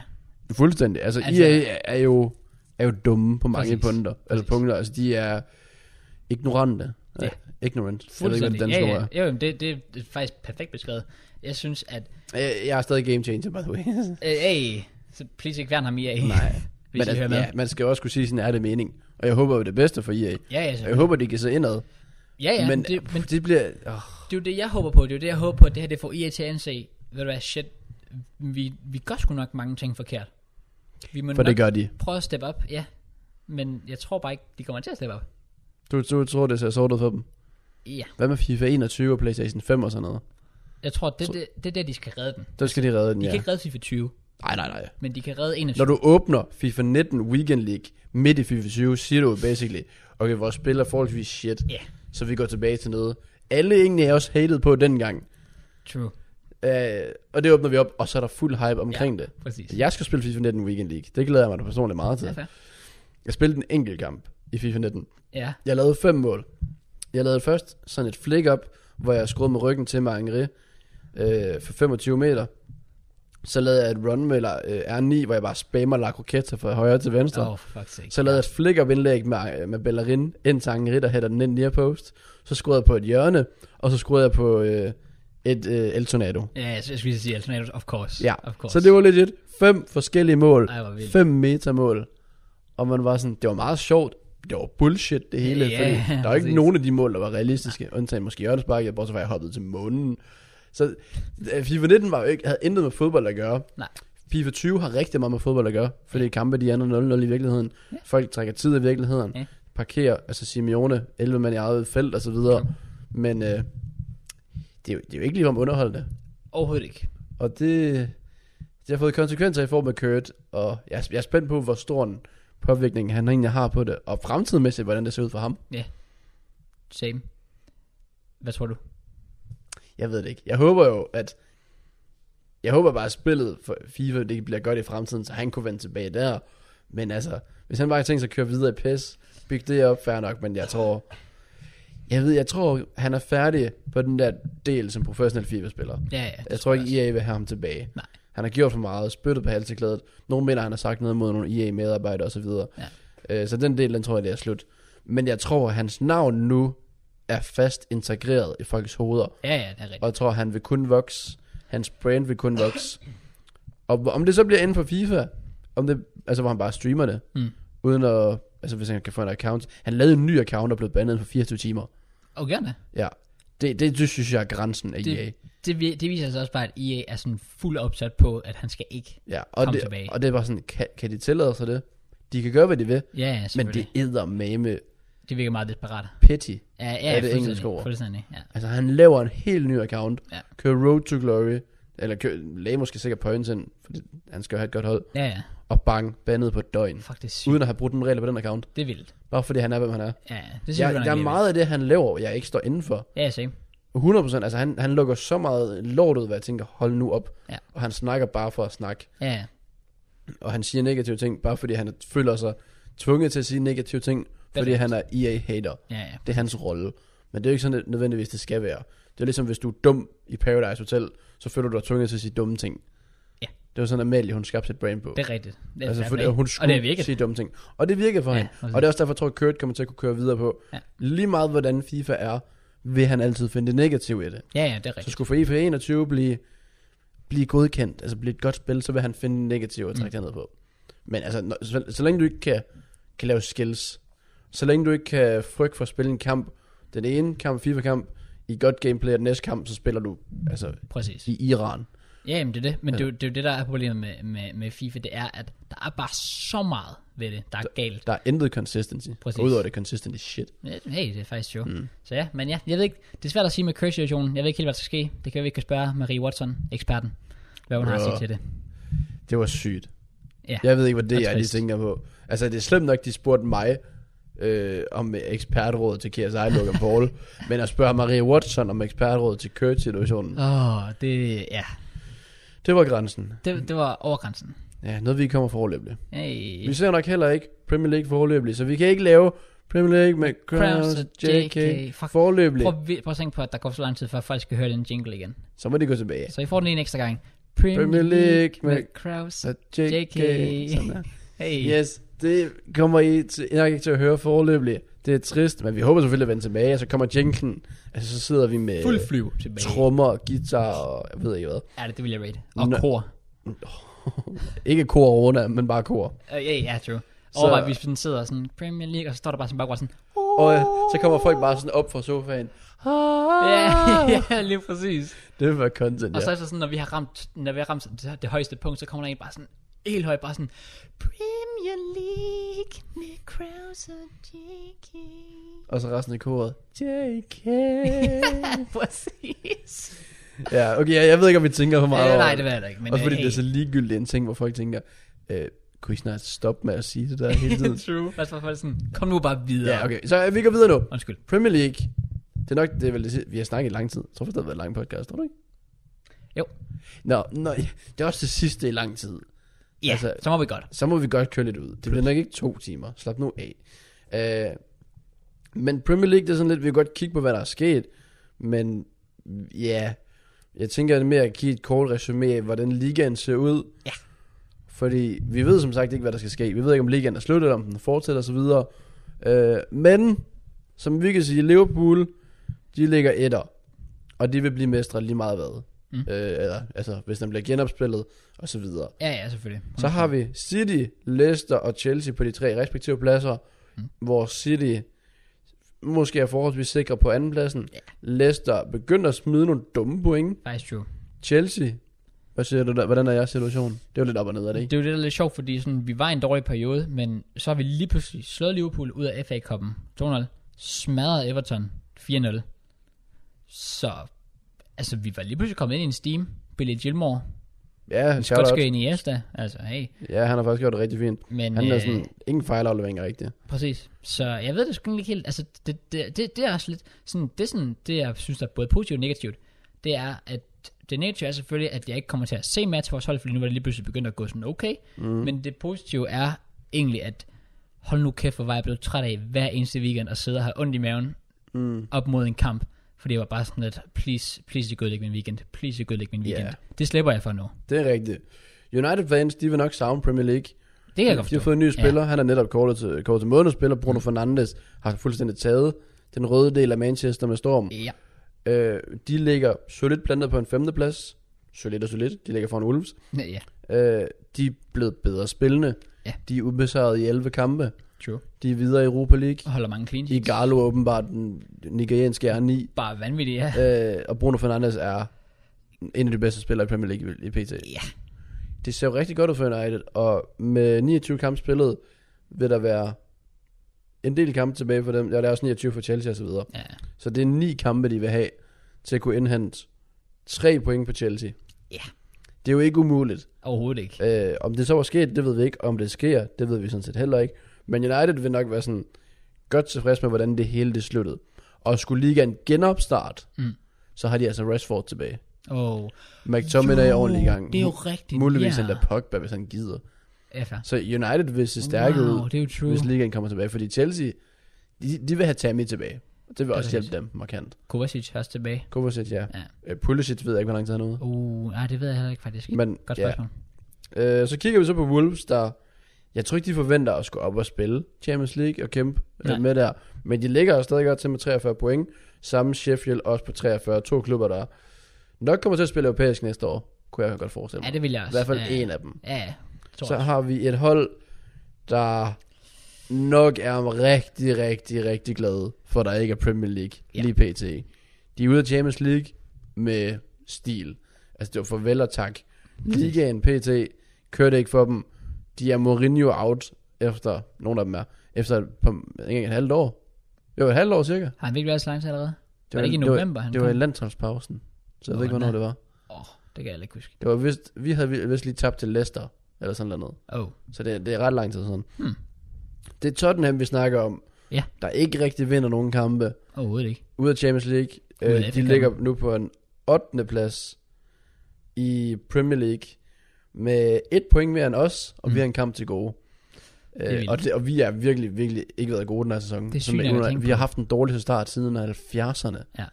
Speaker 2: Fuldstændig. Altså,
Speaker 1: Altså-
Speaker 2: altså EA er- er jo, er jo dumme på mange
Speaker 1: Præcis.
Speaker 2: Præcis. punkter. Altså
Speaker 1: Præcis.
Speaker 2: punkter, altså de er ignorante.
Speaker 1: Ja.
Speaker 2: Ja. Ignorant. Jeg ved ikke, hvad det danske
Speaker 1: ja,
Speaker 2: ja,
Speaker 1: ja.
Speaker 2: ord
Speaker 1: Jo, jamen, det, det er faktisk perfekt beskrevet. Jeg synes, at
Speaker 2: er. Jeg, jeg er stadig game changer, by the way.
Speaker 1: Øh, hey, så please ikke værn ham i af.
Speaker 2: Nej.
Speaker 1: (laughs) Hvis Men, I hører
Speaker 2: altså,
Speaker 1: med.
Speaker 2: ja, man skal jo også kunne sige sin ærlige mening. Og jeg håber jo det bedste for EA.
Speaker 1: Ja, ja,
Speaker 2: Jeg
Speaker 1: selvfølgelig.
Speaker 2: håber, de kan se indad.
Speaker 1: ja, ja men,
Speaker 2: men,
Speaker 1: det, men
Speaker 2: det bliver... Oh,
Speaker 1: det er jo det, jeg håber på. Det er jo det, jeg håber på, at det her det får IA til at anse. Ved du hvad, shit, vi, vi gør sgu nok mange ting forkert. Vi må
Speaker 2: for
Speaker 1: nok
Speaker 2: det gør de.
Speaker 1: prøve at steppe op, ja. Men jeg tror bare ikke, de kommer til at steppe op.
Speaker 2: Du, du tror, det ser sort ud for dem.
Speaker 1: Ja,
Speaker 2: Hvad med FIFA 21 og PlayStation 5 og sådan noget?
Speaker 1: jeg tror, det, det, det er der, de skal redde den.
Speaker 2: Der skal de redde den,
Speaker 1: De ja.
Speaker 2: ja.
Speaker 1: kan ikke redde FIFA 20,
Speaker 2: Nej, nej, nej.
Speaker 1: men de kan redde 21.
Speaker 2: Når du åbner FIFA 19 Weekend League midt i FIFA 20, siger du jo basically, okay, vores spil er forholdsvis shit,
Speaker 1: Ja,
Speaker 2: så vi går tilbage til noget. Alle egentlig er også hated på dengang.
Speaker 1: true.
Speaker 2: Øh, og det åbner vi op, og så er der fuld hype omkring ja. det.
Speaker 1: Præcis.
Speaker 2: Jeg skal spille FIFA 19 Weekend League. Det glæder jeg mig da personligt meget
Speaker 1: Ja,
Speaker 2: til.
Speaker 1: fair.
Speaker 2: Jeg spillede en enkelt kamp i FIFA 19.
Speaker 1: ja.
Speaker 2: Jeg lavede fem mål. Jeg lavede først sådan et flick up, hvor jeg skruede med ryggen til Marangri øh, for 25 meter. Så lavede jeg et run med øh, R9, hvor jeg bare spammer La Croqueta fra højre til venstre.
Speaker 1: Oh, for fuck's sake.
Speaker 2: Så lavede jeg et flick up indlæg med, med Bellerin ind til Angeri, der hætter den ind near post. Så skruede jeg på et hjørne, og så skruede jeg på øh, et øh, El Tornado.
Speaker 1: Ja, jeg skulle lige sige Alternative, of course.
Speaker 2: Ja,
Speaker 1: of course.
Speaker 2: så det var legit fem forskellige mål.
Speaker 1: Ej, hvor vildt.
Speaker 2: Fem metamål. Og man var sådan, det var meget sjovt. Det var bullshit det hele.
Speaker 1: Ja,
Speaker 2: Yeah,
Speaker 1: (laughs)
Speaker 2: fordi der var
Speaker 1: præcis.
Speaker 2: ikke nogen af de mål, der var realistiske. Undtagen måske hjørnesparket, bortset fra at jeg hoppede til månen. Så øh, FIFA 19 var jo ikke, havde intet med fodbold at gøre.
Speaker 1: Nej.
Speaker 2: FIFA 20 har rigtig meget med fodbold at gøre, fordi kampe de ender 0-0 i virkeligheden.
Speaker 1: Ja.
Speaker 2: Folk trækker tid i virkeligheden.
Speaker 1: Ja.
Speaker 2: Parkerer, altså Simeone, 11 mand i eget felt osv.
Speaker 1: Jo.
Speaker 2: Men øh, det, er jo, det er jo ikke ligefrem underholdende.
Speaker 1: Overhovedet ikke.
Speaker 2: Og det, det har fået konsekvenser i form af Kurt, og jeg, er- jeg er spændt på, hvor stor en påvirkning han egentlig har på det, og fremtidsmæssigt, hvordan det ser ud for ham.
Speaker 1: Same. Hvad tror du?
Speaker 2: Jeg ved det ikke. Jeg håber jo, at... Jeg håber bare, at spillet for FIFA, det bliver godt i fremtiden, så han kunne vende tilbage der. Men altså, hvis han bare har tænkt sig at køre videre i PES, bygge det op, fair nok, men jeg tror... Jeg ved, jeg tror, han er færdig på den der del som professionel FIFA-spiller.
Speaker 1: Ja, ja.
Speaker 2: Jeg tror ikke, EA vil have ham tilbage.
Speaker 1: Nej.
Speaker 2: Han har gjort for meget, spyttet på halseklædet. Nogle mener, han har sagt noget mod nogle EA-medarbejdere osv.
Speaker 1: Ja.
Speaker 2: Øh, så den del, den tror jeg, det er slut. Men jeg tror, at hans navn nu er fast integreret i folks hoveder.
Speaker 1: Ja, ja, det er rigtigt.
Speaker 2: Og jeg tror, han vil kun vokse. Hans brand vil kun vokse. og om det så bliver inden for FIFA, om det, altså hvor han bare streamer det,
Speaker 1: Mm.
Speaker 2: uden at, altså hvis han kan få en account. Han lavede en ny account og blev bandet inden for 24 timer.
Speaker 1: Og gerne.
Speaker 2: Ja. Det, det, det synes jeg er grænsen af
Speaker 1: Det-
Speaker 2: EA.
Speaker 1: Det, vi- det viser sig også bare, at EA er sådan fuld opsat på, at han skal ikke.
Speaker 2: Ja, og
Speaker 1: Kom
Speaker 2: det,
Speaker 1: tilbage.
Speaker 2: og det er bare sådan, kan, kan de tillade sig det? De kan gøre, hvad de vil,
Speaker 1: Ja, ja,
Speaker 2: men
Speaker 1: selvfølgelig.
Speaker 2: det æder med
Speaker 1: Det, det virker meget desperat.
Speaker 2: petty.
Speaker 1: Ja, ja,
Speaker 2: Er det
Speaker 1: fuldstændig,
Speaker 2: engelske ord?
Speaker 1: Fuldstændig, ja.
Speaker 2: Altså, han laver en helt ny account,
Speaker 1: Ja.
Speaker 2: kører Road to Glory, eller kører, lagde måske sikkert points ind, for han skal jo have et godt hold,
Speaker 1: Ja, ja.
Speaker 2: og bang, bandet på et døgn.
Speaker 1: Fuck, det er sygt.
Speaker 2: Uden at have brudt den regel på den account.
Speaker 1: Det er vildt.
Speaker 2: Bare fordi han er, hvem han er.
Speaker 1: Ja, det synes
Speaker 2: Jeg,
Speaker 1: jeg,
Speaker 2: jeg er meget af det, han laver, jeg ikke står indenfor.
Speaker 1: Ja, same.
Speaker 2: 100%, altså han, han lukker så meget lort ud, hvad jeg tænker, hold nu op.
Speaker 1: Ja.
Speaker 2: Og han snakker bare for at snakke.
Speaker 1: Ja, ja.
Speaker 2: Og han siger negative ting, bare fordi han føler sig tvunget til at sige negative ting, fordi
Speaker 1: rigtigt.
Speaker 2: han er EA-hater.
Speaker 1: ja, ja.
Speaker 2: Det er hans rolle. Men det er jo ikke sådan, det nødvendigvis det skal være. Det er ligesom, hvis du er dum i Paradise Hotel, så føler du dig tvunget til at sige dumme ting.
Speaker 1: Ja.
Speaker 2: Det var sådan, Amalie, hun skabte sit brain på.
Speaker 1: Det er rigtigt. Det er
Speaker 2: altså,
Speaker 1: fair
Speaker 2: fordi
Speaker 1: play.
Speaker 2: hun
Speaker 1: og
Speaker 2: skulle
Speaker 1: det er virket.
Speaker 2: sige dumme ting. Og det virkede for
Speaker 1: Ja,
Speaker 2: ja, hende.
Speaker 1: præcis.
Speaker 2: Og det er også derfor, jeg tror, at Kurt kommer til at kunne køre videre på.
Speaker 1: Ja.
Speaker 2: Lige meget, hvordan FIFA er, vil han altid finde det negative i det.
Speaker 1: Ja, ja, det er
Speaker 2: Så
Speaker 1: rigtigt.
Speaker 2: skulle FIFA 21 blive, blive godkendt, altså blive et godt spil, så vil han finde det negative og trække mm. ned på. Men altså, når, så, så længe du ikke kan, kan lave skills, så længe du ikke kan frygte for at spille en kamp, den ene kamp, FIFA-kamp, i godt gameplay, og den næste kamp, så spiller du altså,
Speaker 1: Præcis.
Speaker 2: i Iran.
Speaker 1: Ja, jamen, det er det. Men ja. det, er jo, det er jo det, der er problemet med, med, med FIFA. Det er, at der er bare så meget ved det, der er galt.
Speaker 2: Der er intet consistency.
Speaker 1: Præcis.
Speaker 2: Udover det consistency shit.
Speaker 1: Ja, Hey, det er faktisk sjovt. Mm. Så ja, men ja, jeg ved ikke, det er svært at sige med Curse-situationen. Jeg ved ikke helt, hvad der skal ske. Det kan vi ikke spørge Marie Watson, eksperten, hvad hun har at
Speaker 2: Bro.
Speaker 1: sige til det.
Speaker 2: Det var sygt.
Speaker 1: Ja.
Speaker 2: Jeg ved ikke, hvad det
Speaker 1: Og
Speaker 2: er, de
Speaker 1: trist.
Speaker 2: tænker på. Altså, det er slemt nok, de spurgte mig øh, om ekspertrådet til KSI
Speaker 1: (laughs)
Speaker 2: Logan Paul, men at spørge Marie Watson om ekspertrådet til Kurt-situationen,
Speaker 1: Åh, oh, det, ja.
Speaker 2: det var grænsen.
Speaker 1: Det, det var over grænsen.
Speaker 2: Ja, noget vi ikke kommer forløbende.
Speaker 1: Hey.
Speaker 2: Vi ser nok heller ikke Premier League forløbende, så vi kan ikke lave Premier League med Kraus og JK,
Speaker 1: JK.
Speaker 2: JK.
Speaker 1: Fuck.
Speaker 2: forløbende.
Speaker 1: Prøv, vi- prøv at tænke på, at der går så lang tid, før folk skal høre den jingle igen.
Speaker 2: Så må de gå tilbage.
Speaker 1: Så I får den lige en ekstra gang.
Speaker 2: Premier League med
Speaker 1: Kraus.
Speaker 2: Så JK.
Speaker 1: JK.
Speaker 2: JK. Sådan der.
Speaker 1: Hey.
Speaker 2: Yes, det kommer I til, nok ikke til at høre forløbig. Det er trist, men vi håber selvfølgelig at vende tilbage, og så kommer jinglen. Altså, så sidder vi med
Speaker 1: Fuld flyv tilbage.
Speaker 2: trommer og guitar og jeg ved ikke hvad.
Speaker 1: Ja, det, det vil jeg rate. Og
Speaker 2: Nå.
Speaker 1: kor.
Speaker 2: Ikke kor og runde, men bare kor.
Speaker 1: Ja, uh, yeah, yeah, true.
Speaker 2: Så-
Speaker 1: Overvej, hvis vi sådan sidder sådan Premier League, og så står der bare sådan bare sådan,
Speaker 2: Og øh, så kommer folk bare sådan op fra sofaen. (laughs)
Speaker 1: ja, (laughs) ja, lige præcis.
Speaker 2: Det var content,
Speaker 1: Og så
Speaker 2: ja.
Speaker 1: er det sådan, når vi har ramt, når vi har ramt det, det højeste punkt, så kommer der en bare sådan, helt højt bare sådan, Premier League med Kraus og
Speaker 2: (laughs)
Speaker 1: JK.
Speaker 2: Og så resten af koret. JK.
Speaker 1: præcis.
Speaker 2: (laughs) ja, okay, jeg, jeg ved ikke, om vi tænker for meget
Speaker 1: Øh,
Speaker 2: over
Speaker 1: nej, det ved jeg da ikke, men
Speaker 2: Også fordi
Speaker 1: øh,
Speaker 2: det er så ligegyldigt en ting, hvor folk tænker, øh, kunne I snart stoppe med at sige det der hele tiden?
Speaker 1: (laughs) True. Lad os bare få det sådan, kom nu bare videre.
Speaker 2: ja, okay. Så øh, vi går videre nu.
Speaker 1: Undskyld.
Speaker 2: Premier League, det er nok, det er vel det, sidste- vi har snakket i lang tid. Jeg tror faktisk, det har været en lang podcast, tror du ikke?
Speaker 1: Jo.
Speaker 2: Nå, nej, det er også det sidste i lang tid.
Speaker 1: Ja,
Speaker 2: Altså-
Speaker 1: så må vi godt.
Speaker 2: Så må vi godt køre lidt ud. Det bliver nok ikke to timer. Slap nu af. Uh, men Premier League, det er sådan lidt, vi kan godt kigge på, hvad der er sket. Men ja, jeg tænker at det er mere at give et kort resume af, hvordan ligaen ser ud.
Speaker 1: Ja.
Speaker 2: Fordi vi ved som sagt ikke, hvad der skal ske. Vi ved ikke, om ligaen er sluttet, om den fortsætter osv. Uh, men, som vi kan sige, Liverpool, de ligger etter. Og de vil blive mestre lige meget hvad.
Speaker 1: Mm.
Speaker 2: Mm. Uh, eller, altså, hvis den bliver genopspillet og så videre.
Speaker 1: Ja, ja, selvfølgelig.
Speaker 2: Så har vi City, Leicester og Chelsea på de tre respektive pladser,
Speaker 1: Mm.
Speaker 2: mm. hvor City måske er forholdsvis sikre på andenpladsen.
Speaker 1: Ja.
Speaker 2: Yeah. Leicester begynder at smide nogle dumme point.
Speaker 1: Faktisk true.
Speaker 2: Chelsea, hvad siger du der? hvordan er jeres situation? Det er jo lidt op og ned, er det
Speaker 1: Det
Speaker 2: ikke?
Speaker 1: er jo det, der er lidt sjovt, fordi sådan, vi var i en dårlig periode, men så har vi lige pludselig slået Liverpool ud af FA-koppen. 2-0. Smadret Everton. 4-0. Så, altså, vi var lige pludselig kommet ind i en steam. Billy Gilmore.
Speaker 2: Ja, shout out.
Speaker 1: Skotske Iniesta. Altså, hey.
Speaker 2: Ja, han har faktisk gjort det rigtig fint.
Speaker 1: Men,
Speaker 2: Han er
Speaker 1: øh,
Speaker 2: sådan, ingen fejlafleveringer rigtigt.
Speaker 1: Præcis. Så jeg ved det sgu egentlig ikke helt. Altså, det, det, det, det er også lidt... Sådan, det, er sådan, det, jeg synes, der er både positivt og negativt, det er, at det negative er selvfølgelig, at jeg ikke kommer til at se match for vores hold, fordi nu var det lige pludselig begyndt at gå sådan okay. Mm. Men det positive er egentlig, at hold nu kæft, hvor var jeg blevet træt af hver eneste weekend og sidde og have ondt i maven mm. op mod en kamp. Fordi jeg var bare sådan lidt, please, please, det ikke min weekend. Please, det ikke min weekend.
Speaker 2: Ja.
Speaker 1: Yeah. Det slipper jeg for nu.
Speaker 2: Det er rigtigt. United fans, de vil nok savne Premier League.
Speaker 1: Det kan jeg godt
Speaker 2: de har
Speaker 1: forstå.
Speaker 2: fået en ny
Speaker 1: Ja. Mm.
Speaker 2: spiller. Han er netop kortet til, kortet til månedens spiller. Bruno Fernandes har fuldstændig taget den røde del af Manchester med storm.
Speaker 1: Ja,
Speaker 2: Øh, de ligger solidt plantet på en femteplads. Solidt og solidt. De ligger foran Wolves.
Speaker 1: ja, ja.
Speaker 2: Øh, de er blevet bedre spillende.
Speaker 1: Ja.
Speaker 2: De er ubesejret i 11 kampe.
Speaker 1: true.
Speaker 2: De er videre i Europa League.
Speaker 1: Og holder mange clean sheets.
Speaker 2: Igalo er åbenbart den nigerianske er 9.
Speaker 1: Bare vanvittigt, ja.
Speaker 2: Øh, og Bruno Fernandes er en af de bedste spillere i Premier League i PT.
Speaker 1: Ja.
Speaker 2: Det ser jo rigtig godt ud for United. Og med 29 kampe spillet, vil der være en del kampe tilbage for dem. Ja, der er også 29 for Chelsea og så videre.
Speaker 1: ja.
Speaker 2: Så det er ni kampe, de vil have til at kunne indhente tre point på Chelsea.
Speaker 1: Ja.
Speaker 2: Det er jo ikke umuligt.
Speaker 1: Overhovedet ikke.
Speaker 2: Øh, om det så var sket, det ved vi ikke. Om det sker, det ved vi sådan set heller ikke. Men United vil nok være sådan godt tilfreds med, hvordan det hele det sluttede. Og skulle ligaen genopstart,
Speaker 1: Mm.
Speaker 2: så har de altså Rashford tilbage.
Speaker 1: Oh.
Speaker 2: McTominay er ordentlig i gang.
Speaker 1: Det er jo rigtigt.
Speaker 2: Muligvis
Speaker 1: ja.
Speaker 2: yeah. der Pogba, hvis han gider.
Speaker 1: Ja, fair.
Speaker 2: Så United vil se stærke
Speaker 1: wow,
Speaker 2: ud,
Speaker 1: det er jo true.
Speaker 2: hvis ligaen kommer tilbage. Fordi Chelsea, de, de vil have Tammy tilbage. Det vil også hjælpe dem markant.
Speaker 1: Kovacic er også tilbage.
Speaker 2: Kovacic, ja.
Speaker 1: Ja.
Speaker 2: Øh, Pulisic ved jeg ikke, hvor lang tid han er ude.
Speaker 1: Uh, nej, det ved jeg heller ikke faktisk.
Speaker 2: Men
Speaker 1: Godt
Speaker 2: ja.
Speaker 1: spørgsmål.
Speaker 2: Øh, så kigger vi så på Wolves, der... Jeg tror ikke, de forventer at skulle op og spille Champions League og kæmpe
Speaker 1: Nej.
Speaker 2: Nej. med der. Men de ligger jo stadig godt til med 43 point. Samme Sheffield også på 43. To klubber, der nok kommer til at spille europæisk næste år. Kunne jeg godt forestille
Speaker 1: Ja,
Speaker 2: mig.
Speaker 1: det vil jeg
Speaker 2: I
Speaker 1: også. øh,
Speaker 2: hvert fald
Speaker 1: ja.
Speaker 2: en af dem.
Speaker 1: Ja, ja. Tror
Speaker 2: Så
Speaker 1: jeg.
Speaker 2: har vi et hold, der nok er rigtig, rigtig, rigtig glade for, at der ikke er Premier League
Speaker 1: Ja.
Speaker 2: ja. lige pt. De er ude af Champions League med stil. Altså det var farvel og tak.
Speaker 1: Mm.
Speaker 2: Ligaen pt. kørte ikke for dem. De er Mourinho out efter, nogle af dem er, efter et par, ikke engang et halvt år. Jo, et halvt år cirka.
Speaker 1: Har han virkelig været slimes allerede?
Speaker 2: Det var,
Speaker 1: det ikke i
Speaker 2: det var,
Speaker 1: november, han
Speaker 2: det var i
Speaker 1: kom?
Speaker 2: landsholdspausen. Så jeg ved ikke,
Speaker 1: Nå, nej.
Speaker 2: hvornår det var.
Speaker 1: Åh, oh, det kan jeg heller ikke huske.
Speaker 2: Det var vist, vi havde vist lige tabt til Leicester, eller sådan noget.
Speaker 1: Oh.
Speaker 2: Så det, det er ret lang tid siden.
Speaker 1: Hmm.
Speaker 2: Det er Tottenham, vi snakker om.
Speaker 1: Ja.
Speaker 2: Der ikke rigtig vinder nogen kampe.
Speaker 1: Overhovedet ikke.
Speaker 2: Ude af Champions League.
Speaker 1: Ude af
Speaker 2: Øh, de
Speaker 1: Afrika.
Speaker 2: ligger nu på en 8. plads i Premier League. Med et point mere end os, og mm.
Speaker 1: Mm.
Speaker 2: vi har en kamp til gode.
Speaker 1: er
Speaker 2: Øh,
Speaker 1: vildt.
Speaker 2: og, det, og vi er virkelig, virkelig ikke været gode den her sæson.
Speaker 1: Det er
Speaker 2: Som
Speaker 1: sygt nok at
Speaker 2: under-
Speaker 1: tænke
Speaker 2: Vi har haft en dårlig start siden 70'erne.
Speaker 1: Ja.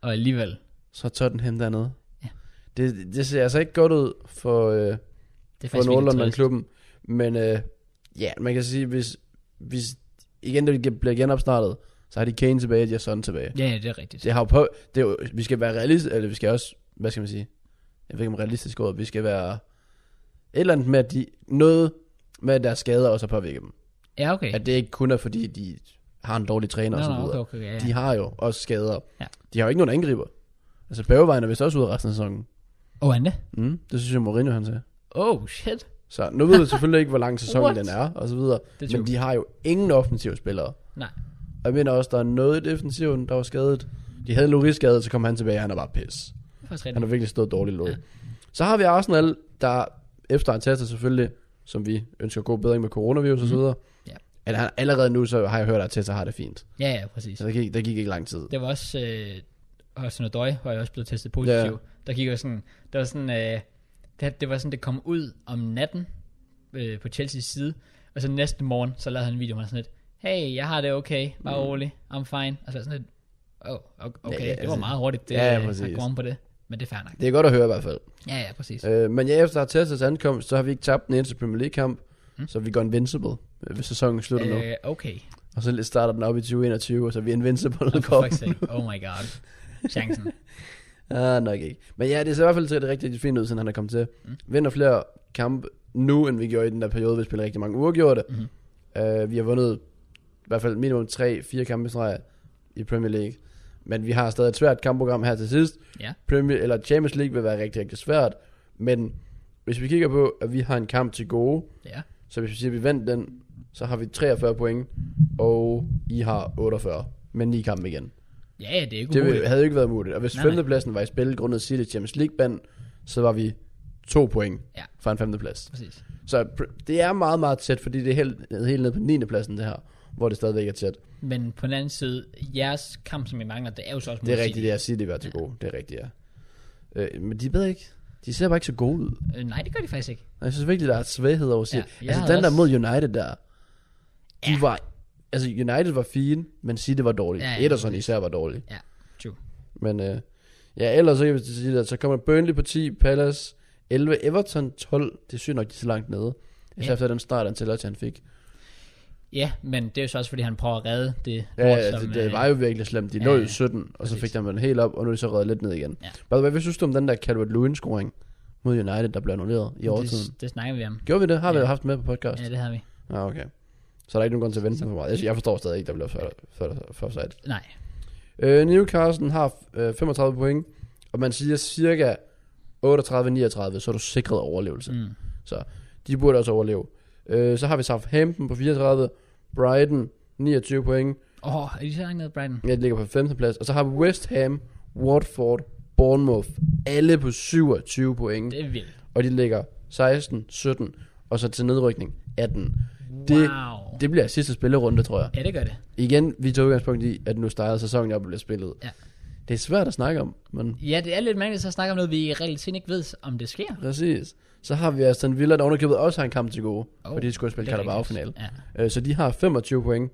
Speaker 1: Og alligevel.
Speaker 2: Så er Tottenham dernede.
Speaker 1: Ja.
Speaker 2: Det, det ser altså ikke godt ud for... Øh,
Speaker 1: Det er
Speaker 2: for
Speaker 1: faktisk virkelig
Speaker 2: Nordland
Speaker 1: trist.
Speaker 2: klubben. Men øh, ja, man kan sige, hvis, hvis igen det bliver genopstartet, så har de Kane tilbage, de har Son tilbage.
Speaker 1: Ja, ja, det er rigtigt.
Speaker 2: Det har jo på, det er jo, vi skal være realistiske, eller vi skal også, hvad skal man sige, jeg ved ikke om realistisk ord, vi skal være et eller andet med, at de, noget med at deres skader også har påvirket dem.
Speaker 1: Ja, okay.
Speaker 2: At det ikke kun er fordi, de har en dårlig træner
Speaker 1: Nå,
Speaker 2: og så
Speaker 1: nå,
Speaker 2: videre.
Speaker 1: okay, okay, ja, ja.
Speaker 2: De har jo også skader.
Speaker 1: Ja.
Speaker 2: De har jo ikke nogen angriber. Altså Bærevejen er vist også ude resten af sæsonen.
Speaker 1: Og Anne?
Speaker 2: Mm, det synes jeg Mourinho han sagde.
Speaker 1: Oh, shit.
Speaker 2: Så
Speaker 1: (laughs)
Speaker 2: nu ved vi selvfølgelig ikke, hvor lang
Speaker 1: What?
Speaker 2: sæsonen den er, og så videre.
Speaker 1: Det er
Speaker 2: Men
Speaker 1: true.
Speaker 2: de har jo ingen offensive spillere.
Speaker 1: Nej.
Speaker 2: Og jeg mener også, der er noget i defensiven, der var skadet. De havde Loris skadet, så kom han tilbage, og han er bare
Speaker 1: Det
Speaker 2: pis.
Speaker 1: er faktisk
Speaker 2: Han
Speaker 1: rigtigt.
Speaker 2: har virkelig stået dårligt lå. Så har vi Arsenal, der efter en tester selvfølgelig, som vi ønsker god bedring med coronavirus og så videre.
Speaker 1: Mhm. Ja.
Speaker 2: Eller han, allerede nu, så har jeg hørt, at Tessa har det fint.
Speaker 1: Ja, ja, præcis.
Speaker 2: Så der gik, der gik ikke lang tid.
Speaker 1: Det var også, øh, og sådan noget var jeg også blevet testet positiv. Yeah. Der gik jo sådan, det var sådan, øh, det, det var sådan, det kom ud om natten øh, på Chelseas side, og så næste morgen, så lavede han en video, hvor han sådan lidt, hey, jeg har det okay, bare mm. rolig, I'm fine. Og så var jeg sådan lidt, oh, okay,
Speaker 2: Ja, ja,
Speaker 1: det var
Speaker 2: altså-
Speaker 1: meget hurtigt, det,
Speaker 2: Ja, ja,
Speaker 1: ja,
Speaker 2: præcis.
Speaker 1: at gå om på det, men det er fair nok.
Speaker 2: Det er godt at høre i hvert fald.
Speaker 1: Ja, ja, præcis.
Speaker 2: Øh, men ja, efter Arteta's ankomst, så har vi ikke tabt en eneste Premier League-kamp. Så vi går invincible, øh, hvis sæsonen slutter nu.
Speaker 1: Mhm. Øh, okay.
Speaker 2: Og så starter den op i 2021, og så er vi
Speaker 1: Og
Speaker 2: Invincible
Speaker 1: for
Speaker 2: i
Speaker 1: fuck's
Speaker 2: koppen.
Speaker 1: sake. Oh my god. Chancen.
Speaker 2: Ah, nok ikke. Men ja, det ser i hvert fald til at det rigtig fint ud, siden han er kommet til.
Speaker 1: Mm.
Speaker 2: Mm. Vinder flere kampe nu, end vi gjorde i den der periode, vi spillede rigtig mange uafgjorte.
Speaker 1: Mhm.
Speaker 2: Mm. Uh, vi har vundet i hvert fald minimum 3-4 kampe i streg i Premier League. Men vi har stadig et svært kampprogram her til sidst.
Speaker 1: Ja.
Speaker 2: Premier, eller Champions League vil være rigtig, rigtig svært. Men hvis vi kigger på, at vi har en kamp til gode,
Speaker 1: Ja.
Speaker 2: så hvis vi siger, at vi vandt den, så har vi 43 point, og I har 48. Men ni kampe igen.
Speaker 1: Ja, ja, det er ikke
Speaker 2: Det
Speaker 1: umuligt.
Speaker 2: ville- havde jo ikke været muligt. Og hvis
Speaker 1: Nej, nej.
Speaker 2: femtepladsen var i spil grundet City Champions League band, så var vi to point
Speaker 1: Ja.
Speaker 2: fra en femteplads.
Speaker 1: Præcis.
Speaker 2: Så pr- det er meget, meget tæt, fordi det er helt, helt ned på 9. pladsen det her, hvor det stadigvæk er tæt.
Speaker 1: Men på den anden side, jeres kamp, som I mangler, det er jo så også
Speaker 2: Det er
Speaker 1: mod
Speaker 2: rigtigt,
Speaker 1: City.
Speaker 2: det er City var til gode. Det er rigtigt, ja. Øh, men de ved ikke. De ser bare ikke så gode ud.
Speaker 1: Øh, nej, det gør de faktisk ikke.
Speaker 2: Og Jeg synes virkelig, der er et svaghed over City.
Speaker 1: Ja, jeg
Speaker 2: altså
Speaker 1: havde
Speaker 2: den der
Speaker 1: også-
Speaker 2: mod United der, de var... Altså United var fine, men City var dårlig.
Speaker 1: Ja,
Speaker 2: Ja,
Speaker 1: ja,
Speaker 2: ja, Ederson især var dårlig.
Speaker 1: Ja, true.
Speaker 2: Men øh, ja, ellers så kan vi sige, at så kommer Burnley på 10, Palace 11, Everton 12. Det synes nok, de er så langt nede. Især
Speaker 1: Ja.
Speaker 2: efter den start, han til han fik.
Speaker 1: Ja, men det er jo så også, fordi han prøver at redde det.
Speaker 2: Ja,
Speaker 1: lort,
Speaker 2: ja det, det,
Speaker 1: øh,
Speaker 2: var jo virkelig slemt. De
Speaker 1: ja,
Speaker 2: nåede
Speaker 1: ja.
Speaker 2: jo 17, og så
Speaker 1: Præcis.
Speaker 2: fik de den helt op, og nu er de så reddet lidt ned igen.
Speaker 1: Ja.
Speaker 2: By the way, hvad synes du om den der Calvert-Lewin-scoring mod United, der blev annulleret i overtiden?
Speaker 1: det, det snakker vi om.
Speaker 2: Gjorde vi det? Har vi
Speaker 1: Ja.
Speaker 2: haft med på podcast?
Speaker 1: Ja, det havde vi.
Speaker 2: Ja, Ah, okay. Så er der ikke nogen grund til at vente for meget. Jeg- Jeg forstår stadig ikke, der blev for, for, for, for
Speaker 1: Nej,
Speaker 2: Øh, Newcastle har øh, 35 point, og man siger cirka 38-39, så er du sikret overlevelse.
Speaker 1: Mm.
Speaker 2: Så de burde også overleve. Øh, så har vi Southampton på 34, Brighton 29 point,
Speaker 1: åh, oh, er de så langt nede, Brighton?
Speaker 2: jeg ligger på 15. plads, og så har vi West Ham, Watford, Bournemouth, alle på 27 point.
Speaker 1: Det er vildt.
Speaker 2: og de ligger 16, 17, og så til nedrykning 18. Det,
Speaker 1: Wow.
Speaker 2: det bliver sidste spillerunde, tror jeg.
Speaker 1: Ja, det gør det.
Speaker 2: Igen, vi tog udgangspunkt i, at nu startede sæsonen op og bliver spillet.
Speaker 1: Ja.
Speaker 2: Det er svært at snakke om, men
Speaker 1: Ja, det er lidt mærkeligt så at snakke om noget, vi i realiteten ikke ved, om det sker.
Speaker 2: præcis. Så har vi Aston Villa, der underkøbet også har en kamp til gode,
Speaker 1: Oh,
Speaker 2: oh, fordi de skulle spille
Speaker 1: det er
Speaker 2: Carabao-finale.
Speaker 1: rigtigt.
Speaker 2: Øh, Så de har 25 point,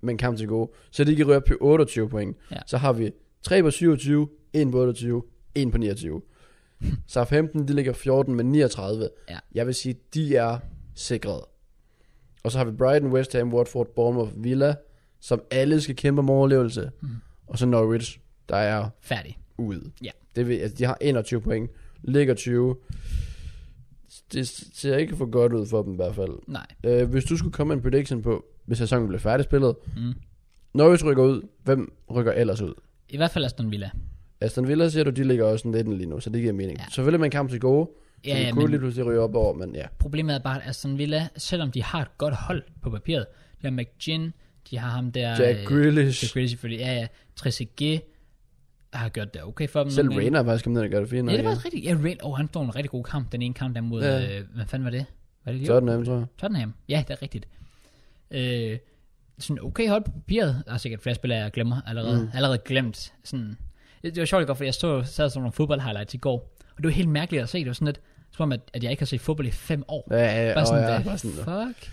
Speaker 2: men kamp til gode. Så de kan ryge op til 28 point.
Speaker 1: Ja.
Speaker 2: Så har vi 3 på 27, 1 på 28, 1
Speaker 1: (laughs)
Speaker 2: på 29. Southampton, de ligger 14 med 39.
Speaker 1: Ja.
Speaker 2: Jeg vil sige, de er sikret. Og så har vi Brighton, West Ham, Watford, Bournemouth, Villa, som alle skal kæmpe om overlevelse. Mm. Og så Norwich, der er
Speaker 1: Færdig.
Speaker 2: ude.
Speaker 1: Ja.
Speaker 2: Det vil, altså, de har 21 point, ligger 20. Det ser ikke for godt ud for dem i hvert fald.
Speaker 1: Nej.
Speaker 2: Øh, hvis du skulle komme med en prediction på, hvis sæsonen blev færdigspillet,
Speaker 1: Mm.
Speaker 2: Norwich rykker ud, hvem rykker ellers ud?
Speaker 1: I hvert fald Aston Villa.
Speaker 2: Aston Villa siger du, de ligger også sådan lidt lige nu, så det giver mening.
Speaker 1: Ja.
Speaker 2: Ja. Selvfølgelig med en kamp til gode, så
Speaker 1: Ja,
Speaker 2: ja,
Speaker 1: ja,
Speaker 2: de kunne
Speaker 1: men-
Speaker 2: men... lige pludselig ryge op over, men ja.
Speaker 1: Problemet er bare, at Aston Villa, selvom de har et godt hold på papiret, de har McGinn, de har ham der...
Speaker 2: Jack
Speaker 1: øh,
Speaker 2: Grealish,
Speaker 1: Jack Grealish selvfølgelig, ja, ja. Trezeguet har gjort det okay for dem.
Speaker 2: selv
Speaker 1: nogle gange.
Speaker 2: Rainer er faktisk kommet ned og gør det fint.
Speaker 1: Ja, det var også rigtigt. Ja, Rain, oh, han stod en rigtig god kamp, den ene kamp der mod...
Speaker 2: Ja.
Speaker 1: Øh, hvad fanden var det? Var det Liverpool?
Speaker 2: Tottenham, tror jeg.
Speaker 1: Tottenham. Ja, det er rigtigt. Øh, sådan okay hold på papiret. Der er sikkert flere spillere, jeg glemmer allerede. Mm. Allerede glemt. Sådan. Det, det var sjovt i går, for jeg stod, sad sådan nogle fodboldhighlights i går. Og det var helt mærkeligt at se. Det var sådan lidt, som om, at, at jeg ikke har set fodbold i fem år.
Speaker 2: Ja, ja, ja.
Speaker 1: Bare sådan,
Speaker 2: og jeg,
Speaker 1: hvad
Speaker 2: var sådan,
Speaker 1: fuck?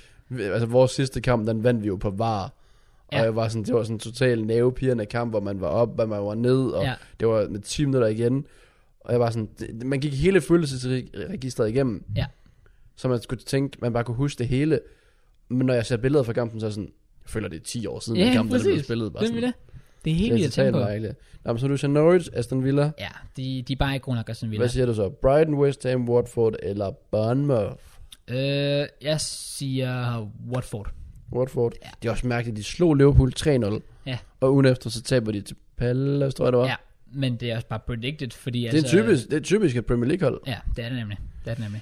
Speaker 2: altså, vores sidste kamp, den vandt vi jo på var. Og
Speaker 1: Ja.
Speaker 2: ja. jeg var sådan, det var sådan en total nervepirrende kamp, hvor man var op, og man var ned, og
Speaker 1: Ja.
Speaker 2: ja. det var med 10 minutter igen. Og jeg var sådan, det, man gik hele følelsesregisteret igennem.
Speaker 1: Ja.
Speaker 2: Så man skulle tænke, man bare kunne huske det hele. Men når jeg ser billeder fra kampen, så er jeg sådan, jeg føler det er 10 år siden,
Speaker 1: Ja,
Speaker 2: den kamp, der blev
Speaker 1: præcis.
Speaker 2: spillet. Bare
Speaker 1: Hvem
Speaker 2: sådan,
Speaker 1: vil det? Det er helt
Speaker 2: det
Speaker 1: vildt
Speaker 2: er
Speaker 1: at tænke
Speaker 2: totalt
Speaker 1: på.
Speaker 2: mærkeligt. Nå, men så du siger Norwich, Aston Villa. Villa.
Speaker 1: Ja, de, de er bare ikke gode nok, Aston Villa.
Speaker 2: Hvad siger du så? Brighton, West Ham, Watford eller Bournemouth?
Speaker 1: Øh, jeg siger Watford.
Speaker 2: Watford. Ja. Det er også mærkeligt, at de slog Liverpool 3-0.
Speaker 1: Ja.
Speaker 2: Og ugen efter, så taber de til Palace, tror jeg det var.
Speaker 1: Ja, men det er også bare predicted, fordi
Speaker 2: Det er,
Speaker 1: altså,
Speaker 2: typisk, det er typisk et Premier League-hold.
Speaker 1: Ja, det er det nemlig. Det er det nemlig.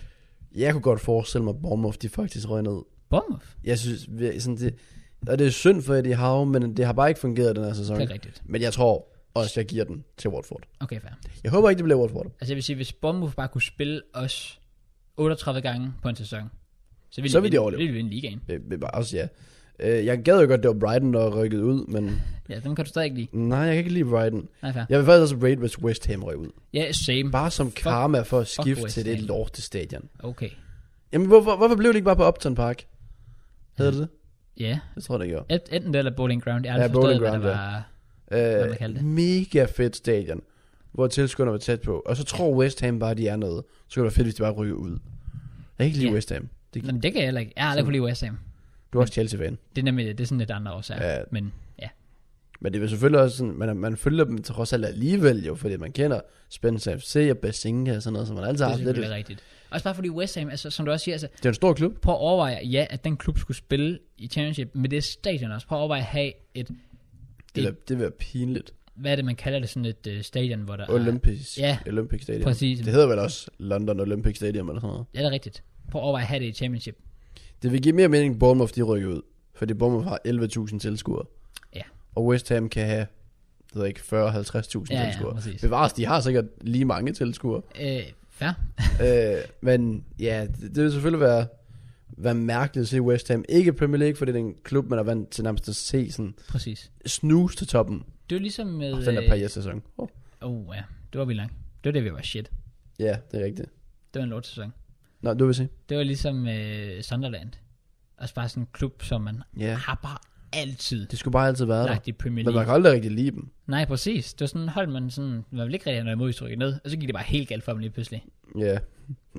Speaker 2: Jeg kunne godt forestille mig, at Bournemouth de faktisk røg ned.
Speaker 1: Bournemouth,
Speaker 2: Jeg synes, vi- sådan det, og det er synd for Eddie Howe, men det har bare ikke fungeret den her sæson.
Speaker 1: det er rigtigt.
Speaker 2: Men jeg tror også, jeg giver den til Watford.
Speaker 1: Okay, fair.
Speaker 2: Jeg håber ikke, det bliver Watford.
Speaker 1: Altså jeg vil sige, hvis Bournemouth bare kunne spille os 38 gange på en sæson, så ville,
Speaker 2: Så ville de
Speaker 1: vinde-
Speaker 2: overleve.
Speaker 1: ville de vinde ligaen.
Speaker 2: Øh, men bare Også ja. Øh, Jeg gad jo godt, det var Brighton, der rykkede ud, men
Speaker 1: Ja, dem kan du stadig ikke lide.
Speaker 2: nej, jeg kan ikke lide Brighton.
Speaker 1: Nej, fair.
Speaker 2: Jeg vil faktisk også rate, hvis West Ham røg ud.
Speaker 1: Ja, same.
Speaker 2: Bare som karma for at
Speaker 1: fuck
Speaker 2: skifte
Speaker 1: West
Speaker 2: til det
Speaker 1: Ham.
Speaker 2: lorte stadion.
Speaker 1: Okay.
Speaker 2: Jamen, hvorfor, hvorfor blev det ikke bare på Upton Park? Hedder det det?
Speaker 1: Ja,
Speaker 2: Jeg tror, det gjorde.
Speaker 1: Et- enten det eller Bowling Ground. Jeg har
Speaker 2: Ja,
Speaker 1: aldrig forstået,
Speaker 2: Bowling
Speaker 1: hvad der
Speaker 2: Ground,
Speaker 1: var...
Speaker 2: Øh,
Speaker 1: man kalder det.
Speaker 2: mega fedt stadion, hvor tilskuerne var tæt på. Og så tror West Ham bare, de er noget. Så kunne det være fedt, hvis de bare rykker ud. Jeg kan ikke lide
Speaker 1: Ja.
Speaker 2: yeah. West Ham. Det,
Speaker 1: Jamen, det kan jeg heller ikke. Jeg har aldrig kunne lide West Ham.
Speaker 2: du er også Chelsea-fan.
Speaker 1: Det er nemlig det er sådan lidt andre årsager.
Speaker 2: Ja.
Speaker 1: Men ja,
Speaker 2: Men det er selvfølgelig også sådan, man, man følger dem trods alt alligevel jo, fordi man kender Spence FC og Basinga og sådan noget, som man altid
Speaker 1: det
Speaker 2: har
Speaker 1: er
Speaker 2: haft lidt. Det
Speaker 1: selvfølgelig rigtigt. Også bare fordi West Ham, altså, som du også siger, altså,
Speaker 2: er en stor klub.
Speaker 1: prøv at overveje, ja, at den klub skulle spille i championship, men det er stadion også. Prøv at overveje at have et,
Speaker 2: Det, vil- det vil være pinligt.
Speaker 1: hvad er det, man kalder det, sådan et øh, stadion, hvor der er...
Speaker 2: Olympics,
Speaker 1: Ja.
Speaker 2: Olympic Stadium.
Speaker 1: Præcis.
Speaker 2: Det hedder vel også London Olympic Stadium eller sådan noget.
Speaker 1: Ja, det er rigtigt. Prøv at overveje at have det i championship.
Speaker 2: Det vil give mere mening, at Bournemouth de rykker ud. Fordi Bournemouth har 11.000 tilskuere.
Speaker 1: Ja.
Speaker 2: Og West Ham kan have, det ved jeg ikke, 40-50.000 ja,
Speaker 1: Ja, ja,
Speaker 2: tilskuere.
Speaker 1: præcis.
Speaker 2: Bevares, de har sikkert lige mange tilskuere. (laughs)
Speaker 1: Øh, fair.
Speaker 2: øh, men ja, det, det vil selvfølgelig være, være mærkeligt at se West Ham. Ikke i Premier League, fordi det er en klub, man er vant til nærmest at se sådan
Speaker 1: Præcis.
Speaker 2: snuse til toppen.
Speaker 1: Det var ligesom med...
Speaker 2: Øh, den der par sæson. Oh.
Speaker 1: øh, oh, ja. Det var vi langt. Det var det, vi var shit.
Speaker 2: Ja, det er rigtigt.
Speaker 1: Det var en lortesæson.
Speaker 2: Nå, du vil sige.
Speaker 1: Det var ligesom øh, Sunderland. Altså bare sådan en klub, som man
Speaker 2: Ja,
Speaker 1: har bare altid
Speaker 2: det skulle bare altid være der.
Speaker 1: lagt i Premier
Speaker 2: Men man
Speaker 1: League.
Speaker 2: kan aldrig rigtig lide dem.
Speaker 1: Nej, præcis. Det var sådan, holdt man sådan, man ville ikke rigtig have noget imod, hvis de rykkede ned. Og så gik det bare helt galt for dem lige pludselig.
Speaker 2: Ja,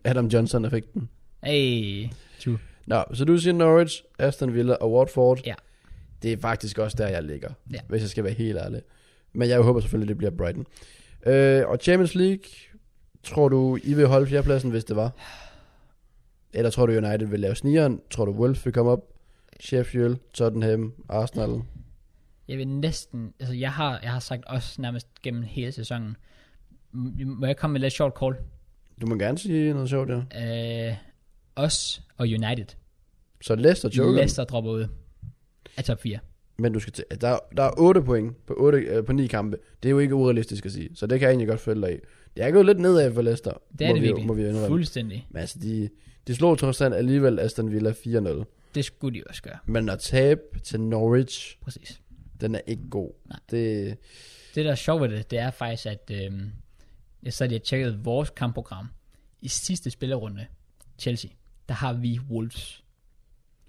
Speaker 2: Adam Johnson der fik den.
Speaker 1: Ej, true.
Speaker 2: Nå, så du siger Norwich, Aston Villa og Watford.
Speaker 1: Ja.
Speaker 2: Det er faktisk også der, jeg ligger,
Speaker 1: Ja.
Speaker 2: hvis jeg skal være helt ærlig. Men jeg håber selvfølgelig, det bliver Brighton. Øh, og Champions League, tror du, I vil holde fjerdepladsen, hvis det var? Eller tror du, United vil lave snigeren? Tror du, Wolves vil komme op? Sheffield, Tottenham, Arsenal.
Speaker 1: Jeg vil næsten, altså jeg har, jeg har sagt også nærmest gennem hele sæsonen, M- må jeg komme med et lidt sjovt call?
Speaker 2: Du må gerne sige noget sjovt, ja.
Speaker 1: Øh, os og United.
Speaker 2: Så Leicester joker.
Speaker 1: Leicester dropper ud af top 4.
Speaker 2: Men du skal til, der, der er 8 point på, 8, øh, på 9 kampe. Det er jo ikke urealistisk at sige, så det kan jeg egentlig godt følge dig i. Jeg er gået lidt nedad for Leicester.
Speaker 1: Det er
Speaker 2: må
Speaker 1: det
Speaker 2: vi,
Speaker 1: virkelig.
Speaker 2: Må vi indrømme.
Speaker 1: Fuldstændig.
Speaker 2: Men altså, de, de slog trods alt alligevel Aston Villa 4-0.
Speaker 1: Det skulle de også gøre.
Speaker 2: Men at tabe til Norwich,
Speaker 1: Præcis.
Speaker 2: den er ikke god.
Speaker 1: Nej.
Speaker 2: Det,
Speaker 1: Det, der er sjovt ved det, det er faktisk, at øhm, jeg sad lige og tjekkede vores kampprogram. I sidste spillerunde, Chelsea, der har vi Wolves.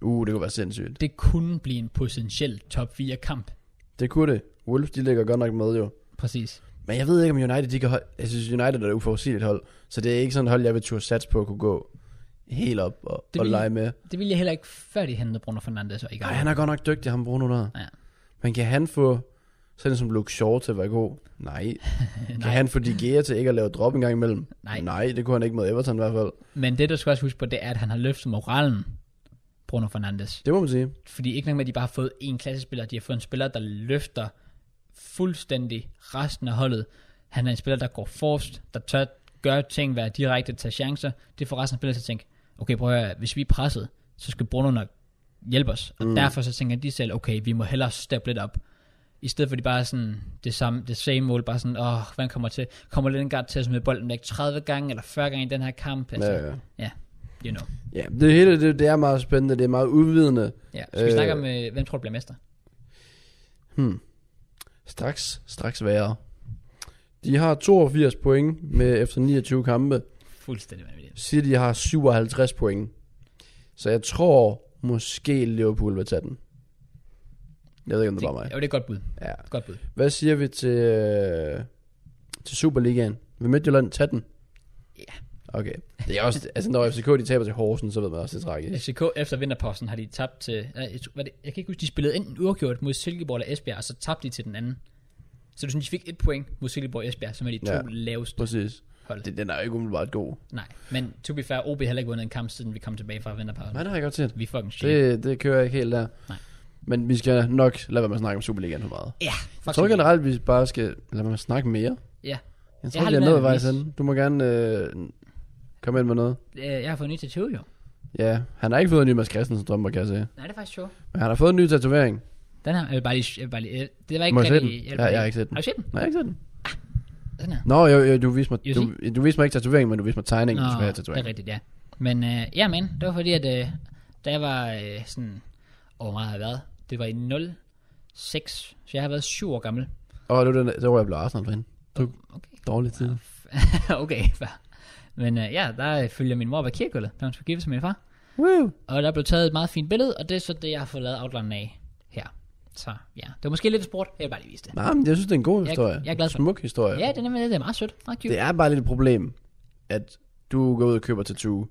Speaker 2: uh, det kunne være sindssygt.
Speaker 1: Det kunne blive en potentiel top 4 kamp.
Speaker 2: Det kunne det. Wolves, de ligger godt nok med jo.
Speaker 1: Præcis.
Speaker 2: Men jeg ved ikke, om United, de kan hold... Jeg synes, United er et uforudsigeligt hold. Så det er ikke sådan et hold, jeg vil turde satse på at kunne gå helt op og,
Speaker 1: Det
Speaker 2: og
Speaker 1: vil-
Speaker 2: lege med.
Speaker 1: Det ville jeg heller ikke, før de hentede Bruno Fernandes og i gang.
Speaker 2: Nej, han er godt nok dygtig, ham Bruno der.
Speaker 1: Ja.
Speaker 2: Men kan han få sådan en som Luke Shaw til at være god?
Speaker 1: (laughs)
Speaker 2: Nej. Kan
Speaker 1: Nej.
Speaker 2: han få De Gea til ikke at lave drop en gang imellem?
Speaker 1: Nej.
Speaker 2: Nej, det kunne han ikke mod Everton i hvert fald.
Speaker 1: Men det, du skal også huske på, det er, at han har løftet moralen, Bruno Fernandes.
Speaker 2: Det må man sige.
Speaker 1: Fordi ikke nok med, at de bare har fået en klassespiller, de har fået en spiller, der løfter fuldstændig resten af holdet. Han er en spiller, der går forrest, der tør gøre ting, være direkte, tage chancer. Det får resten af spillerne til at tænke, okay, prøv at høre, hvis vi er presset, så skal Bruno nok hjælpe os. Og mm. derfor så tænker de selv, okay, vi må hellere steppe lidt op. I stedet for at de bare er sådan, det samme, det same mål, bare sådan, åh, oh, hvordan kommer til, kommer Lindgaard til at smide bolden væk 30 gange eller 40 gange i den her kamp? Altså,
Speaker 2: Ja, ja.
Speaker 1: ja, you know.
Speaker 2: Ja, det hele det, det er meget spændende, det er meget udvidende.
Speaker 1: Ja. Skal vi
Speaker 2: Øh.
Speaker 1: snakke om, øh, hvem tror du bliver mester?
Speaker 2: Hmm. Straks, straks værre. De har 82 point med efter 29 kampe.
Speaker 1: Fuldstændig vanvittigt.
Speaker 2: City har 57 point. Så jeg tror måske Liverpool vil tage den. Jeg ved ikke, om det var mig.
Speaker 1: Jo, det er et godt bud.
Speaker 2: Ja.
Speaker 1: Godt bud.
Speaker 2: Hvad siger vi til, øh, til Superligaen? Vil Midtjylland tage den?
Speaker 1: Ja.
Speaker 2: Okay. Det er også, altså når FCK de taber til Horsen, så ved man også, det er tragisk.
Speaker 1: FCK efter vinterposten har de tabt til... nej, jeg tror- hvad er det, jeg kan ikke huske, de spillede enten uafgjort mod Silkeborg eller Esbjerg, og så tabte de til den anden. Så du synes, de fik et point mod Silkeborg og Esbjerg, som er de to
Speaker 2: Ja.
Speaker 1: ja. laveste
Speaker 2: Præcis.
Speaker 1: hold. Det.
Speaker 2: Det, den er jo ikke umiddelbart god.
Speaker 1: Nej, men to be fair, OB har heller ikke vundet en kamp, siden vi kom tilbage fra vinterposten.
Speaker 2: Nej, det har jeg godt set.
Speaker 1: Vi er fucking shit. Det...
Speaker 2: Det, det kører ikke helt der.
Speaker 1: Nej.
Speaker 2: Men vi skal nok lade være med at snakke om Superligaen for meget.
Speaker 1: Ja,
Speaker 2: Jeg
Speaker 1: fuck
Speaker 2: tror
Speaker 1: Silkeborg.
Speaker 2: generelt, vi bare skal lade være med at snakke mere.
Speaker 1: Ja.
Speaker 2: Jeg
Speaker 1: har
Speaker 2: tror, vi
Speaker 1: lidt
Speaker 2: er
Speaker 1: mere
Speaker 2: nået vejs
Speaker 1: vis.
Speaker 2: ende. Du må gerne øh, komme ind med noget.
Speaker 1: Øh, Jeg har fået en ny tattoo, jo.
Speaker 2: Ja, han har ikke fået en ny Mads Christensen drømmer, kan jeg se.
Speaker 1: Nej, det er faktisk sjovt.
Speaker 2: Men han har fået en ny tatovering.
Speaker 1: Den her, jeg vil bare lige... Jeg vil bare lige øh, det var ikke
Speaker 2: Må jeg se
Speaker 1: rigtig-
Speaker 2: den?
Speaker 1: vil
Speaker 2: Ja,
Speaker 1: bare
Speaker 2: jeg har
Speaker 1: lige-
Speaker 2: ikke set den.
Speaker 1: Har du set den?
Speaker 2: Nej, ikke sådan.
Speaker 1: Den her.
Speaker 2: Nå, jo, jo, du viste mig,
Speaker 1: Jo,
Speaker 2: du, du viste mig ikke tatoveringen, men du viste mig tegningen, du skulle have
Speaker 1: det er
Speaker 2: tatoveringen.
Speaker 1: rigtigt, ja. Men øh, ja, men det var fordi, at øh, da jeg var øh, sådan, åh, hvor meget har jeg været? Det var i 06, så jeg har været syv år gammel. (laughs)
Speaker 2: Åh, det var den, der var jeg blev Arsenal fan. Du,
Speaker 1: Okay,
Speaker 2: dårlig tid.
Speaker 1: okay, (laughs) fair. Men øh, ja, der øh, følger min mor ved kirkegulvet, da hun skulle giftes med min far.
Speaker 2: Woo!
Speaker 1: Og der blev taget et meget fint billede, og det er så det, jeg har fået lavet outlinen af her. Så ja, det var måske lidt sport, jeg vil bare lige vise det.
Speaker 2: Nej, men jeg synes, det er en god
Speaker 1: Jeg-
Speaker 2: historie.
Speaker 1: jeg er glad for-
Speaker 2: Smuk historie.
Speaker 1: Ja, det er nemlig det, er meget sødt, meget cute.
Speaker 2: Det er bare lidt et problem, at du går ud og køber tattoo.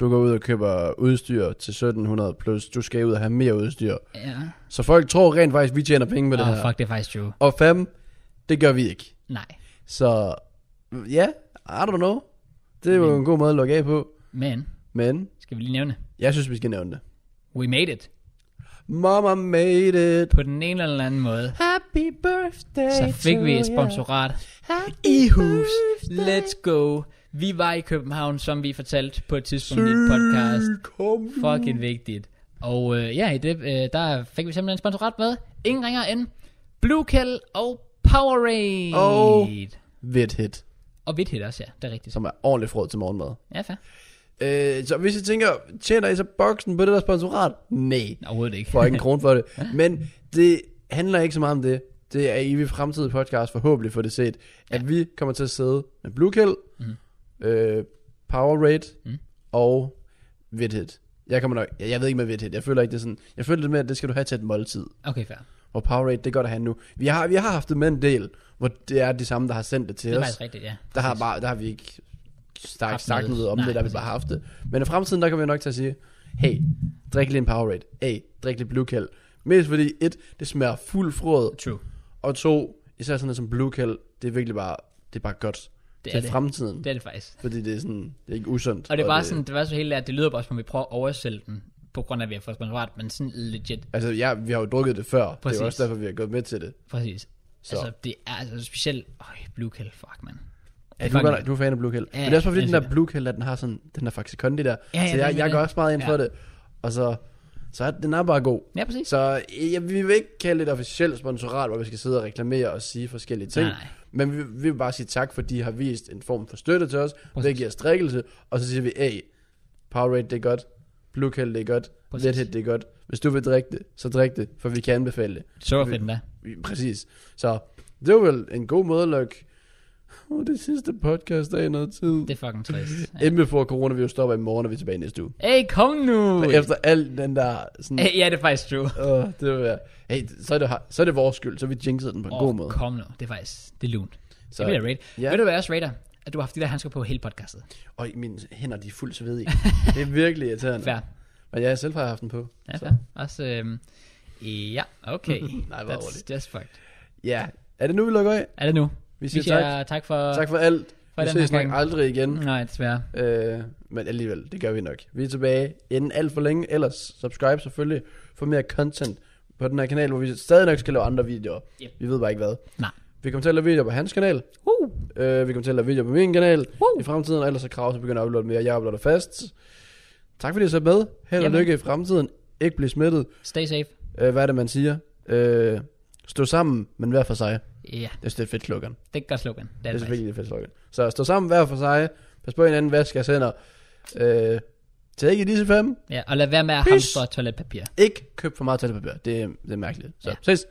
Speaker 2: Du går ud og køber udstyr til 1700 plus. Du skal ud og have mere udstyr.
Speaker 1: Ja.
Speaker 2: Så folk tror rent faktisk, vi tjener penge med det
Speaker 1: Åh,
Speaker 2: her.
Speaker 1: Ah, fuck, det er faktisk jo.
Speaker 2: Og fem, det gør vi ikke.
Speaker 1: Nej.
Speaker 2: Så ja, I don't know. Det er jo en god måde at lukke af på.
Speaker 1: Men,
Speaker 2: Men
Speaker 1: skal vi lige nævne,
Speaker 2: jeg synes, vi skal nævne det.
Speaker 1: we made it.
Speaker 2: Mama made it.
Speaker 1: På den ene eller anden måde,
Speaker 2: Happy birthday
Speaker 1: Så fik
Speaker 2: to
Speaker 1: vi
Speaker 2: you.
Speaker 1: et sponsorat
Speaker 2: Happy
Speaker 1: i hus.
Speaker 2: birthday.
Speaker 1: Let's go. Vi var i København, som vi fortalte på et tidspunkt i et podcast.
Speaker 2: Kom.
Speaker 1: Fucking vigtigt. Og øh, ja, i det, øh, der fik vi simpelthen en sponsorat med. Ingen ringer end Bluekel og Powerade.
Speaker 2: Og- Ved hit,
Speaker 1: Og hvidt hit også, ja. Det er rigtigt.
Speaker 2: som er ordentligt frød til morgenmad.
Speaker 1: Ja, fair.
Speaker 2: Øh, så hvis I tænker, tjener I så boksen på det der sponsorat? Nej,
Speaker 1: Overhovedet ikke. (laughs)
Speaker 2: får ikke en krone for det. Men det handler ikke så meget om det. Det er i evig fremtidig podcast, forhåbentlig får det set, at vi kommer til at sidde med Blue Kill,
Speaker 1: Mhm.
Speaker 2: mm. øh, Powerade mm. og Vidthed. Jeg kommer nok, jeg, jeg ved ikke med Vidthed, jeg føler ikke det er sådan, jeg føler det med, at det skal du have til et måltid.
Speaker 1: Okay, fair.
Speaker 2: Og Powerade, det er godt at have nu. Vi har, vi har haft det med en del, hvor det er de samme, der har sendt det til
Speaker 1: Det er
Speaker 2: os.
Speaker 1: faktisk rigtigt, ja.
Speaker 2: Der har, bare, der har vi ikke sagt,
Speaker 1: Haft
Speaker 2: sagt
Speaker 1: noget.
Speaker 2: noget om
Speaker 1: Nej,
Speaker 2: det, der har vi bare haft det. Men i fremtiden, der kommer vi nok til at sige, hey, drik lige en Powerade. Hey, drik lidt Blue Kale. Mest fordi, et, det smager fuld frød,
Speaker 1: True.
Speaker 2: og to, især sådan noget som Blue Kale, det er virkelig bare, det er bare godt
Speaker 1: Det
Speaker 2: til
Speaker 1: er det.
Speaker 2: fremtiden.
Speaker 1: Det er det faktisk.
Speaker 2: Fordi det er sådan, det er ikke usundt.
Speaker 1: Og det var sådan, det var så helt at det lyder bare som om vi prøver at oversælge den, på grund af, at vi har fået sponsorat, men sådan legit.
Speaker 2: Altså, ja, vi har jo drukket det før. Præcis.
Speaker 1: Præcis.
Speaker 2: Det er også derfor, vi har gået med til det.
Speaker 1: Præcis.
Speaker 2: Så.
Speaker 1: Så. Altså, det er altså specielt... Øj, Blue Kill, fuck, man.
Speaker 2: Ja,
Speaker 1: Det
Speaker 2: du, er
Speaker 1: fucking-
Speaker 2: godt, nok- du er fan af Blue Hell. Ja,
Speaker 1: Ja,
Speaker 2: men det er også bare fordi,
Speaker 1: det
Speaker 2: den
Speaker 1: er
Speaker 2: der
Speaker 1: sikkert.
Speaker 2: Blue Hell, den har sådan, den der faktisk kondi der.
Speaker 1: Ja, ja,
Speaker 2: så
Speaker 1: det er
Speaker 2: jeg, jeg
Speaker 1: det.
Speaker 2: går også meget ind for
Speaker 1: Ja.
Speaker 2: det. Og så, så er den er bare god.
Speaker 1: Ja, præcis.
Speaker 2: øh, Så ja, vi vil ikke kalde det et officielt sponsorat, hvor vi skal sidde og reklamere og sige forskellige ting.
Speaker 1: Nej, nej.
Speaker 2: Men vi, vi vil bare sige tak, for de har vist en form for støtte til os. Præcis. Det
Speaker 1: Præcis.
Speaker 2: giver os drikkelse. Og så siger vi, hey, Powerade det er godt. Blue Hell det er godt.
Speaker 1: Præcis.
Speaker 2: Red Hit det er godt. Hvis du vil drikke det, så drik det, for vi kan anbefale det.
Speaker 1: Så fedt den da.
Speaker 2: Vi- Præcis. Så det var vel en god måde at lukke oh, det sidste podcast af i noget tid.
Speaker 1: Det er fucking
Speaker 2: (laughs)
Speaker 1: trist.
Speaker 2: Ja. Inden before coronavirus stopper i morgen, og vi er tilbage næste uge.
Speaker 1: Hey, kom nu!
Speaker 2: Efter al den der sådan...
Speaker 1: Hey, ja, det er faktisk true.
Speaker 2: Åh, det vil være... Hey, så er det, har- så er det vores skyld, så vi jinxede den på en
Speaker 1: Åh,
Speaker 2: god måde.
Speaker 1: Kom nu, det er faktisk, det er lunt. Så.
Speaker 2: Så-
Speaker 1: Det bliver rate.
Speaker 2: Ja.
Speaker 1: Ja. Ved du hvad jeg også rater? At du har haft de der handsker på hele podcastet.
Speaker 2: Og mine hænder, de er fuldt svedige. det er virkelig irriterende.
Speaker 1: Fair.
Speaker 2: Men jeg selv har haft den på.
Speaker 1: Ja,
Speaker 2: så.
Speaker 1: fair. Også, øhm, ja,
Speaker 2: (laughs)
Speaker 1: okay.
Speaker 2: Nej, hvor
Speaker 1: That's
Speaker 2: roligt.
Speaker 1: just fucked.
Speaker 2: Ja. Er det nu, vi lukker af?
Speaker 1: Er det nu?
Speaker 2: Vi siger tak.
Speaker 1: tak for...
Speaker 2: Tak for alt.
Speaker 1: for
Speaker 2: vi
Speaker 1: den
Speaker 2: ses
Speaker 1: her
Speaker 2: nok
Speaker 1: gang. Mm.
Speaker 2: aldrig igen.
Speaker 1: Nej, desværre.
Speaker 2: Øh, men alligevel, det gør vi nok. Vi er tilbage inden alt for længe. Ellers subscribe selvfølgelig for mere content på den her kanal, hvor vi stadig nok skal lave andre videoer.
Speaker 1: Yep.
Speaker 2: Vi ved bare ikke hvad.
Speaker 1: Nej.
Speaker 2: Vi kommer til at lave videoer på hans kanal.
Speaker 1: Uh,
Speaker 2: Øh, vi kommer til at lave videoer på min kanal.
Speaker 1: Woo!
Speaker 2: I fremtiden, og ellers så krav, så begynder at uploade mere. Jeg uploader fast. Tak fordi I så med. Held og
Speaker 1: Jamen.
Speaker 2: lykke i fremtiden. Ikke blive smittet.
Speaker 1: stay safe.
Speaker 2: Øh, hvad er det, man siger? Øh, stå sammen, men hver for sig.
Speaker 1: Ja,
Speaker 2: Jeg synes, det er fedt slogan.
Speaker 1: det er et godt slogan. Det er
Speaker 2: Det er
Speaker 1: det faktisk.
Speaker 2: selvfølgelig fedt slogan. Så stå sammen hver for sig. Pas på hinanden, vask jeres hænder. Øh, tag ikke i disse fem.
Speaker 1: Ja, og lad være med at
Speaker 2: Peace.
Speaker 1: hamstre toiletpapir.
Speaker 2: Ikke køb for meget toiletpapir. Det, er- det er mærkeligt. Så
Speaker 1: Ja.
Speaker 2: ses.